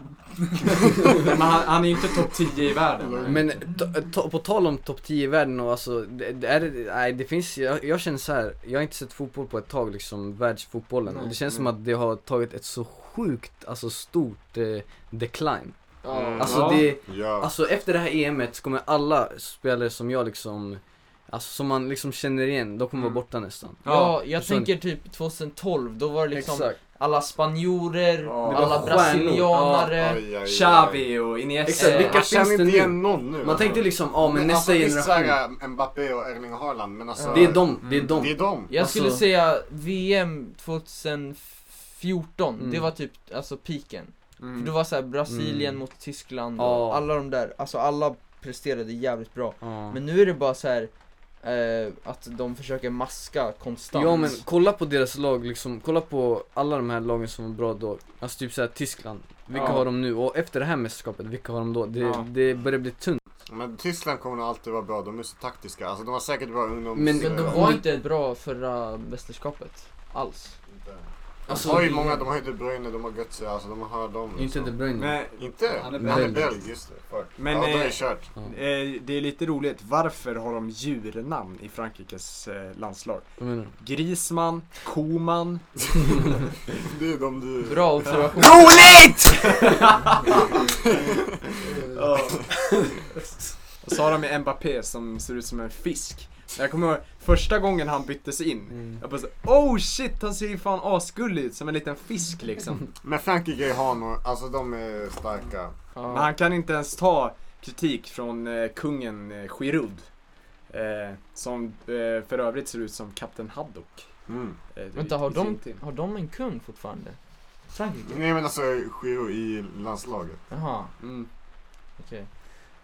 men han, han är ju inte topp 10 i världen.
Men to- to- på tal om topp 10 i världen och alltså, det, det är, det- nej det finns, jag, jag känner så här. jag har inte sett fotboll på ett tag liksom, världsfotbollen.
Nej, Mm.
och det känns
nej.
som att det har tagit ett så sjukt, alltså stort eh, decline.
Ja.
Alltså
Mm. Ja.
det,
Mm. Ja.
alltså efter det här EMet så kommer alla spelare som jag liksom, alltså som man liksom känner igen, de kommer
Mm.
vara borta nästan.
Ja, jag
Förstår ni?
tänker typ 2012, då var det liksom
Exakt.
alla spanjorer,
Ja.
Det
alla
var stjärnor.
brasilianare.
Aj, aj, aj.
Xavi och Iniesta.
Exakt, vilka
Jag
finns
känner
det
inte
nu?
igen någon nu. alltså.
Man tänkte liksom, ja men nästa
alltså,
visst så
generation.
här, eh, Mbappé och Erling Haaland, men alltså.
Det är de, det är
Mm.
de.
Det är de.
Jag skulle
Alltså-
säga VM 2014,
Mm.
det var typ alltså piken.
Mm.
För det var såhär Brasilien
Mm.
mot Tyskland
Ja.
och alla de där, alltså alla presterade jävligt bra.
Ja.
Men nu är det bara så här. Eh, att de försöker maska konstant.
Ja men kolla på deras lag liksom, kolla på alla de här lagen som var bra då. Alltså typ såhär Tyskland, vilka
Ja.
har de nu? Och efter det här mästerskapet, vilka har de då? Det,
Ja.
det börjar bli tunt.
Men Tyskland kommer nog alltid vara bra. De är så taktiska. Alltså de var säkert bra ungdoms...
Men-
Men de var inte bra förra mästerskapet. Alls.
Alltså, de har ju många, de har ju De Bruyne, de har Götze, alltså de har dem. liksom.
Inte De Bruyne.
Men
Inte?
Han
Han
är
är
belg.
belg, just det. Fuck.
Men,
ja, då är
eh,
det kört.
eh, det är lite roligt, varför har de djurnamn i Frankrikes eh, landslag?
Jag menar.
Grisman, Koman.
Det är de du...
Bra observation.
Roligt!
Och så har de ju Mbappé som ser ut som en fisk. Jag kommer ihåg första gången han byttes in.
Mm.
Jag bara så, oh shit han ser ju fan asgullig ut som en liten fisk liksom.
Men Frankrike har nog, alltså de är starka.
Ja.
Men han kan inte ens ta kritik från eh, kungen eh, Giroud. Eh, som eh, för övrigt ser ut som Kapten Haddock.
Mm.
Eh, i-
Vänta, har
i
de,
sin tid.
har de en kung fortfarande? Frankrike?
Nej men alltså Giroud i landslaget.
Jaha,
Mm.
okej.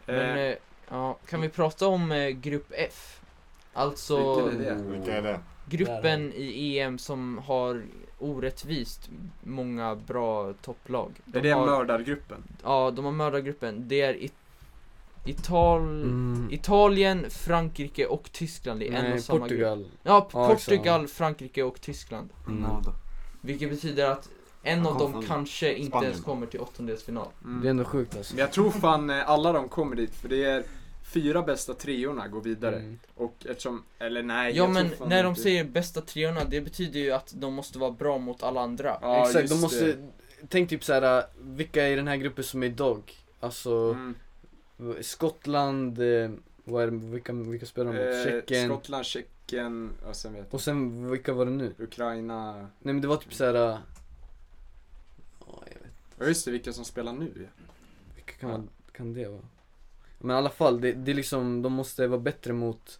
Men,
Eh,
eh, ja, kan vi prata om eh, grupp F? Alltså
Vilken är det?
Vilka är det?
gruppen i EM som har orättvist många bra topplag. De
är det
har,
mördargruppen?
Ja, de har mördargruppen. Det är it- Ital-
Mm.
Italien, Frankrike och Tyskland i en
Nej,
och samma grupp.
Portugal.
Ja, P-
Ja, exakt.
Portugal, Frankrike och Tyskland.
Mm.
Vilket betyder att en
Ja,
av dem
fan.
kanske inte
Spanien.
ens kommer till åttondelsfinal.
Det är ändå sjukt alltså.
Men jag tror fan eh, alla de kommer dit för det är fyra bästa treorna går vidare.
Mm.
Och eftersom, eller nej.
Ja
jag
men
tror fan
när de
inte-
säger bästa treorna, det betyder ju att de måste vara bra mot alla andra.
Ja,
Exakt, de
just
måste,
det.
tänk typ såhär, vilka är i den här gruppen som är idag? Alltså,
Mm.
Skottland, eh, vad är det, vilka, vilka spelar de mot?
Eh,
Tjeckien?
Skottland, Tjeckien och sen vet jag
och sen, vilka var det nu?
Ukraina.
Nej men det var typ såhär, ja jag vet
Ja just det, vilka som spelar nu ja.
Vilka kan, man, kan det vara? Men i alla fall, det, det är liksom, de måste vara bättre mot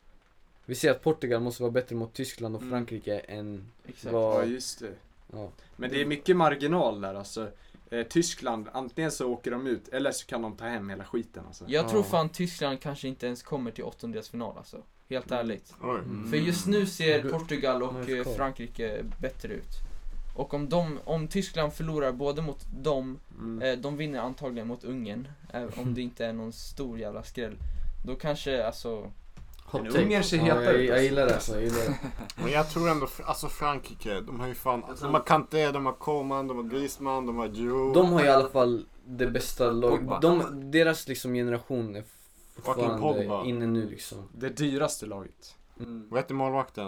Vi ser att Portugal måste vara bättre mot Tyskland och
Mm.
Frankrike än
Exakt.
Ja
vad...
just det.
Ja.
Men det är mycket marginal där alltså. Eh, Tyskland, antingen så åker de ut eller så kan de ta hem hela skiten alltså.
Jag tror
Ja.
fan Tyskland kanske inte ens kommer till åttondelsfinal alltså. Helt
Mm.
ärligt.
Oj.
För just nu ser
Mm.
Portugal och
Mm.
eh, Frankrike bättre ut. Och om, de, om Tyskland förlorar både mot dem,
Mm.
eh, de vinner antagligen mot Ungern, eh, om det inte är någon stor jävla skräll. Då kanske alltså,
Men Ungern ser
ja,
hetare
jag,
ut.
jag
alltså.
gillar det alltså, jag gillar det
Men jag tror ändå, alltså Frankrike, de har ju fan, de har Kanté, de har Coman, de har Griezmann, de har Giroud.
De har ju i alla fall det bästa
Pogba.
laget, de, deras liksom generation är
Pogba.
fortfarande inne nu liksom
Det dyraste laget.
Vad heter målvakten?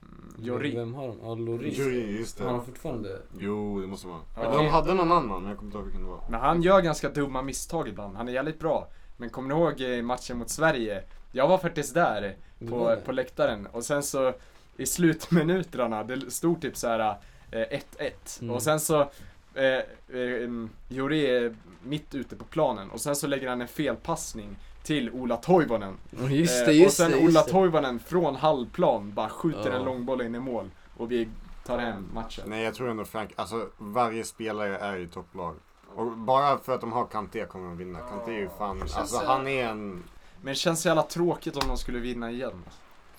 Mm.
Jori.
Vem har de? Ja, Loris.
Jori, just det.
Har de fortfarande?
Jo, det måste man.
Ja.
De hade någon annan, men jag kommer inte ihåg vilken det var.
Men han gör ganska dumma misstag ibland. Han är jävligt bra. Men kommer ni ihåg eh, matchen mot Sverige? Jag var faktiskt där
var
på,
det.
på läktaren och sen så i slutminuterna, det stod typ så här eh, 1-1
Mm.
och sen så eh, eh, mm, Jori är mitt ute på planen och sen så lägger han en felpassning till Ola Toivonen.
Ja, just
Eh,
det, just
och sen
det, just
Ola
det.
Toivonen från halvplan bara skjuter
Ja.
en långboll in i mål och vi tar hem matchen.
Nej, jag tror ändå Frank, alltså varje spelare är ju topplag. Och bara för att de har Kanté kommer de vinna. Kanté är ju fan,
Känns
alltså
så-
han är en...
Men det känns så jävla tråkigt om de skulle vinna igen.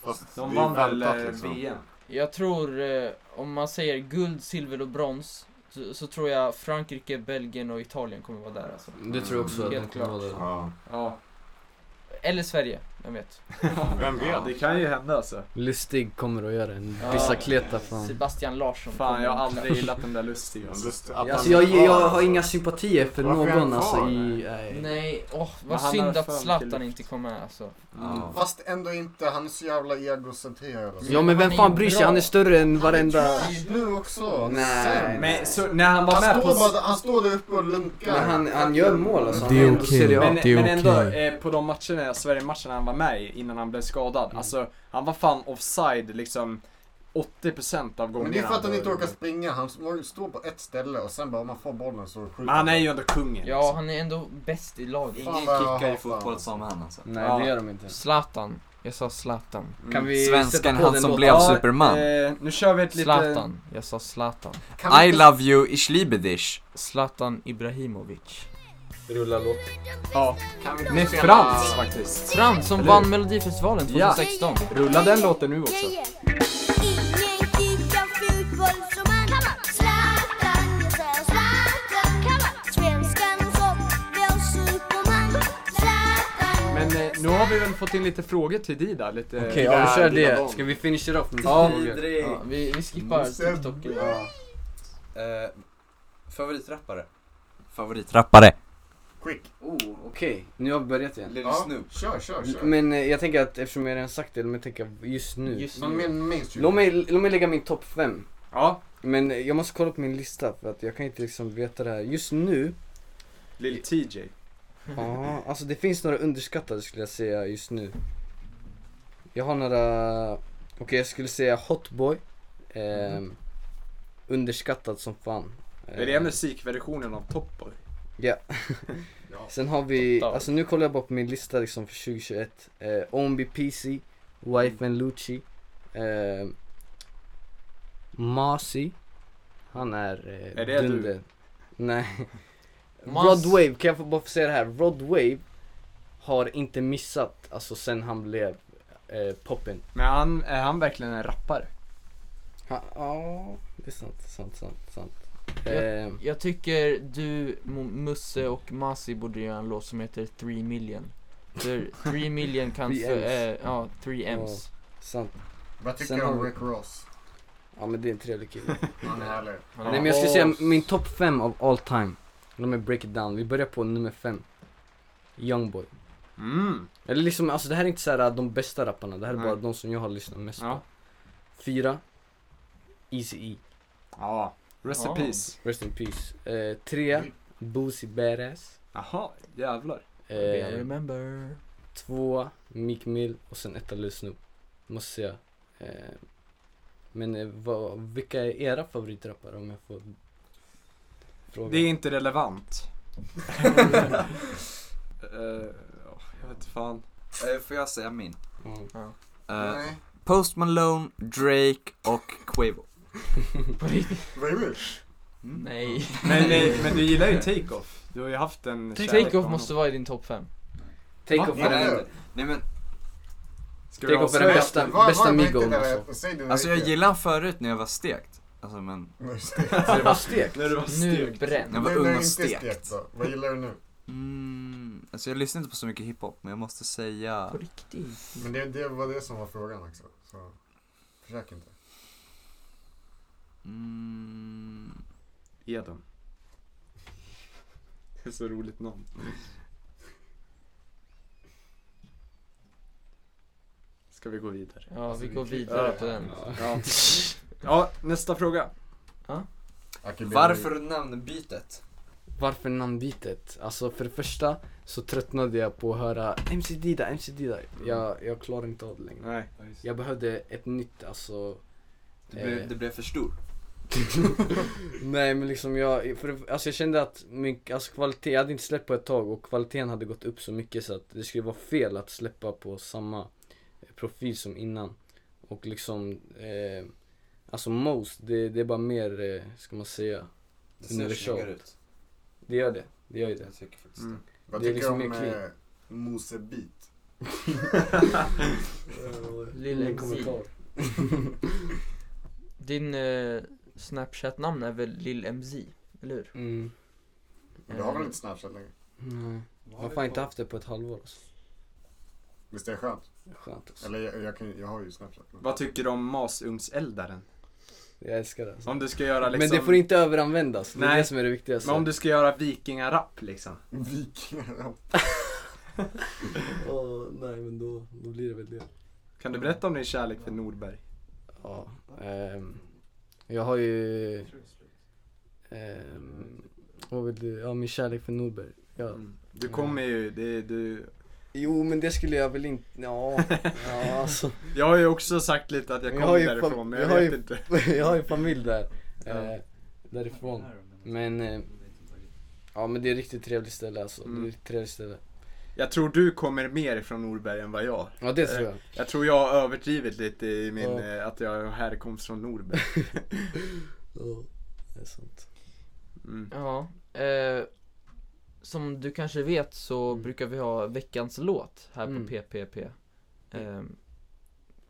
Fast
de
det är
vann väl
väntat,
eh,
liksom.
VM?
Jag tror, eh, om man säger guld, silver och brons, så, så tror jag Frankrike, Belgien och Italien kommer vara där alltså.
Det tror jag också att de
Helt
kommer
klart.
vara där.
Ja.
Ja.
Eller Sverige, vem vet?
Vem
Ja, det kan ju hända alltså.
Lustig kommer att göra en
Ja.
bicicleta fan.
Sebastian Larsson.
Fan,
kommer
jag
att-
har aldrig gillat den där Lustiga.
Lust- att
Alltså
han-
jag, jag har inga sympatier för
Varför är han
någon alltså
kvar?
i... Nej.
Nej, åh,
Men
vad
han
synd
har
att
fan
Zlatan
killar.
inte kom med alltså.
Mm. Fast ändå inte, han är så jävla egocentrerad. alltså.
Ja men vem
är
fan
ju
bryr sig?
bra.
Han är större än varenda...
Nu också!
Nej.
Men så, när han var
Han
med på...
står, bara, han står där uppe och lunkar.
Men han, han gör mål alltså.
Det är
Han ändå
okej.
Serie A.
men, men ändå, eh, på de matcherna, Sverige-matcherna han var med i innan han blev skadad. Alltså, han var fan offside liksom 80% av gångerna.
Men det är för att han inte orkar springa. Han står på ett ställe och sen bara om han får bollen så skjuter
Men han är ju ändå kungen.
Ja, han är ändå bäst i laget.
Fan,
Ingen
vad jag
kickar i
hatar
fotboll
honom.
som han alltså.
Nej det gör de inte.
Zlatan. Jag sa Zlatan.
Kan vi sätta
Svensken,
på
han
den
som
låten?
blev Superman.
Eh, nu kör vi ett litet...
Zlatan. Jag sa Zlatan.
I love you Ishlibedish.
Zlatan Ibrahimovic.
Rulla låt.
Ja. Med
spela-
Frans faktiskt.
Frans som
Eller-
vann Melodifestivalen
Ja.
2016.
Rulla den låten nu också. Men eh, nu har vi väl fått in lite frågor till Dida. Lite...
Okej, ja vi kör det. Ska vi Mm. finish it off med
Ja.
frågor?
Ja, vi, vi skippar TikTok.
Ja.
Eh, favoritrappare? Favoritrappare.
Quick!
Oh, okej. Nu har vi börjat igen.
Lille Snoop.
Kör, kör, kör.
Men eh, jag tänker att eftersom jag redan sagt det, låt mig tänka just nu.
Just
Men
nu.
min mainstream.
Låt mig, låt mig lägga min topp fem.
Ja,
Men eh, jag måste kolla på min lista för att jag kan inte liksom veta det här. Just nu,
Lil TJ.
ja, alltså det finns några underskattade skulle jag säga just nu. Jag har några, okej jag skulle säga Hotboy. Eh, Underskattad som fan.
Är
Eh.
det musikversionen av Top Boy?
Ja. Eh, Sen har vi, alltså nu kollar jag bara på min lista liksom för 2021. Eh, OMB PC, Wife and Lucci, eh, Marcy. Han är eh,
Är det du?
dunder. Nej.
Mas-
Rod Wave, kan jag få bara få säga det här? Rod Wave har inte missat, alltså sen han blev eh, poppen.
Men han, är han verkligen en rappare?
Han- Ja, det är sant, sant, sant, sant.
Ja.
Eh,
Jag tycker du, Mo- Musse och Masi borde göra en låt som heter 3 million. För 3 million kan...
Three
för,
M's.
eh, ja, 3 M's.
sant.
Vad
Sen
tycker du om
har vi-
Rick Ross?
Ja men det är en trevlig kille.
Han är
Eh.
härlig.
Ja.
Nej men jag skulle säga min topp 5 av all time. Låt mig break it down. Vi börjar på nummer 5. Youngboy.
Mm.
Eller liksom, alltså det här är inte så här de bästa rapparna. Det här är
Nej.
bara de som jag har lyssnat mest
Ja.
på. 4. Eazy-E.
Ja. Rest in
Ja.
peace.
Rest in peace. Eh, 3. Boosie Badass.
Jaha, jävlar.
I
Eh,
remember.
två, Meek Mill och sen etta Lil Snoop. Måste säga. Eh, men eh, vad, vilka är era favoritrappare om jag får fråga?
Det är inte relevant. Eh, ja, jag vet fan.
Eh, får jag säga min?
Mm.
Eh,
Nej.
Post Malone, Drake och Quavo.
Vad är det?
Nej.
Men, eh, men du gillar ju Take-Off. Du har ju haft en kärlek för
Take-Off
honom.
måste vara i din topp 5.
Take off
Ja,
är
ja,
den
ja.
Nej men,
Ska
Take-Off är den
avslöja?
bästa,
Vad-
bästa
vad är
Migon
det där?
alltså.
Säg det
alltså jag
riktigt.
gillade han förut när jag var stekt. Alltså men,
För det var stekt.
När du var
Nu
stekt.
när jag
bränn.
Nu
var
när
ung
det
och
inte är
stekt.
stekt då. Vad gillar du nu?
Mm, alltså jag lyssnar inte på så mycket hiphop, men jag måste säga...
På riktigt.
Men det, det var det som var frågan också. Så försök inte.
Mm,
Eden. Det är så roligt namn. Ska Ska vi gå vidare?
Ja, vi går vidare på den.
Ja. ja, nästa fråga.
Varför namnbytet?
Varför namnbytet? Alltså för det första så tröttnade jag på att höra MC Dida, MC Dida. Jag, jag klarar inte av det längre.
Nej.
Jag behövde ett nytt alltså.
Det blev,
eh,
det blev för stort.
Nej men liksom jag, för, det- alltså jag kände att min, alltså kvalitet, jag hade inte släppt på ett tag och kvaliteten hade gått upp så mycket så att det skulle vara fel att släppa på samma eh, profil som innan. Och liksom, eh, alltså most, det, det är bara mer, eh, ska man säga,
Det ser snyggare ut.
Det gör det, det gör ju det.
Jag tycker faktiskt det.
Vad
Det är
tycker
liksom
du om
mer clean.
eh, Mosebit?
Lille
Ingen kommentar.
Din eh, Snapchat-namn är väl LillMZ, eller hur?
Mm.
Du har väl inte Snapchat längre?
Nej. Jag
Vad
har
har
fan
vi
inte haft det på ett halvår alltså.
Visst är det skönt?
Skönt alltså.
Eller jag, jag, kan, jag har ju Snapchat. men-
Vad tycker du om masugnseldaren?
Jag älskar det alltså.
Om du ska göra liksom...
Men det får inte överanvändas, det är
Nej.
det som är det viktigaste.
Men om du ska göra vikingarapp liksom.
Vikingarna.
Åh, nej men då, då blir det väl det.
Kan
Mm.
du berätta om din kärlek för Nordberg?
Ja. ehm, jag har ju... ehm, vad vill du? Ja, min kärlek för Norberg. Ja.
Mm. Du kommer ju, det, du...
Jo, men det skulle jag väl inte... Ja, ja alltså.
Jag har ju också sagt lite att jag
Men
kommer
ju
därifrån
fam-
men jag,
har
vet
ju,
inte.
jag har ju familj där.
Ja.
Eh, därifrån. Men... Eh, ja, men det är ett riktigt trevligt ställe alltså. Det är ett trevligt ställe.
Jag tror du kommer mer ifrån Norberg än vad jag.
Ja, det tror
Eh,
jag.
Jag tror jag har överdrivit lite i min,
Ja.
eh, att jag har härkomst från Norberg.
Ja, det är sant.
Mm.
Ja, eh, som du kanske vet så brukar vi ha veckans låt här
Mm.
på PPP. Eh,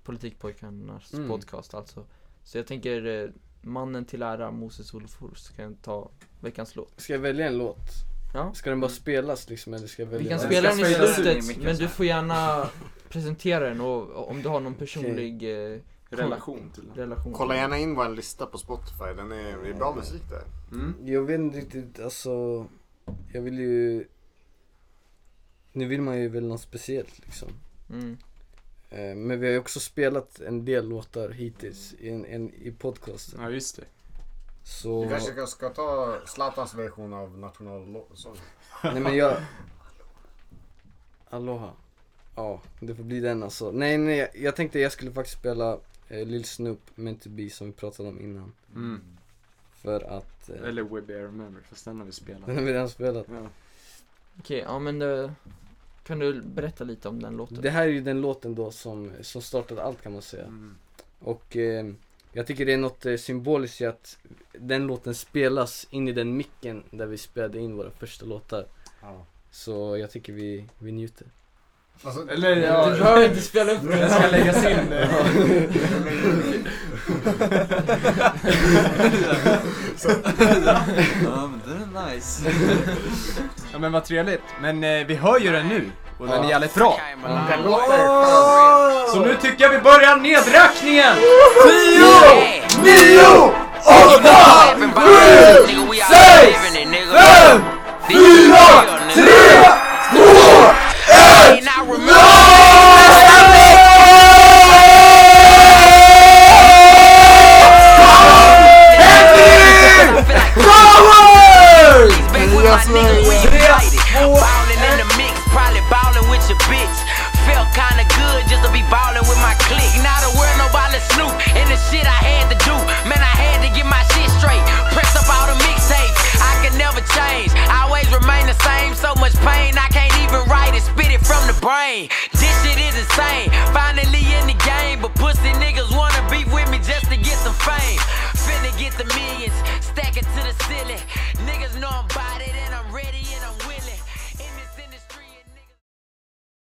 Politikpojkarnas
Mm.
podcast alltså. Så jag tänker eh, mannen till ära Moses Olofors kan ta veckans låt.
Ska jag välja en låt?
Ja.
Ska den bara spelas liksom eller ska jag välja
Vi kan
en?
spela den
ska
i
spelas in i
slutet
micken
men
så
du
här.
får gärna presentera den och och om du har någon personlig eh, kon-
Relation till den.
relation.
Kolla gärna in vår lista på Spotify. Den är, det är bra musik där.
Mm.
Jag vet inte riktigt, alltså. Jag vill ju... Nu vill man ju väl något speciellt liksom.
Mm.
Eh, Men vi har ju också spelat en del låtar hittills i, en, en, i podcasten.
Ja just det.
Vi
Så...
kanske ska- ska ta Zlatans version av nationalsången.
Nej men jag... Aloha. Ja, det får bli den alltså. Nej nej, jag- jag tänkte jag skulle faktiskt spela eh, Lil Snoop, Meant to Be som vi pratade om innan.
Mm.
För att... Eh,
Eller We Be Remember, fast den har vi spelat.
den har vi redan spelat.
Ja.
Okej, ja men eh, kan du berätta lite om den låten?
Det här är ju den låten då som, som startade allt kan man säga.
Mm.
Och eh, jag tycker det är något eh, symboliskt i att den låten spelas in i den micken där vi spelade in våra första låtar.
Ja.
Så jag tycker vi, vi njuter.
Alltså,
Eller
Du
ja,
behöver inte spela upp den.
den ska eh, läggas in.
Ja men det är nice.
Ja men vad trevligt. Men eh, vi hör ju den nu och den är jävligt bra. Så nu tycker jag vi börjar nedräkningen!
Ballin' in the mix, probably ballin' with your bitch. Felt kinda good just to be ballin' with my clique. Not a word, no ballin' Snoop. And the shit I had to do, man, I had to get my shit straight. Press up all the mixtapes, I can never change. Always remain the same, so much pain, I can't even write it. Spit it from the brain. This shit is insane. Finally in the game, but pussy niggas wanna beef with me just to get some fame. Finna get the millions, stack it to the ceiling. Niggas know I'm 'bout it and I'm ready and I'm willing.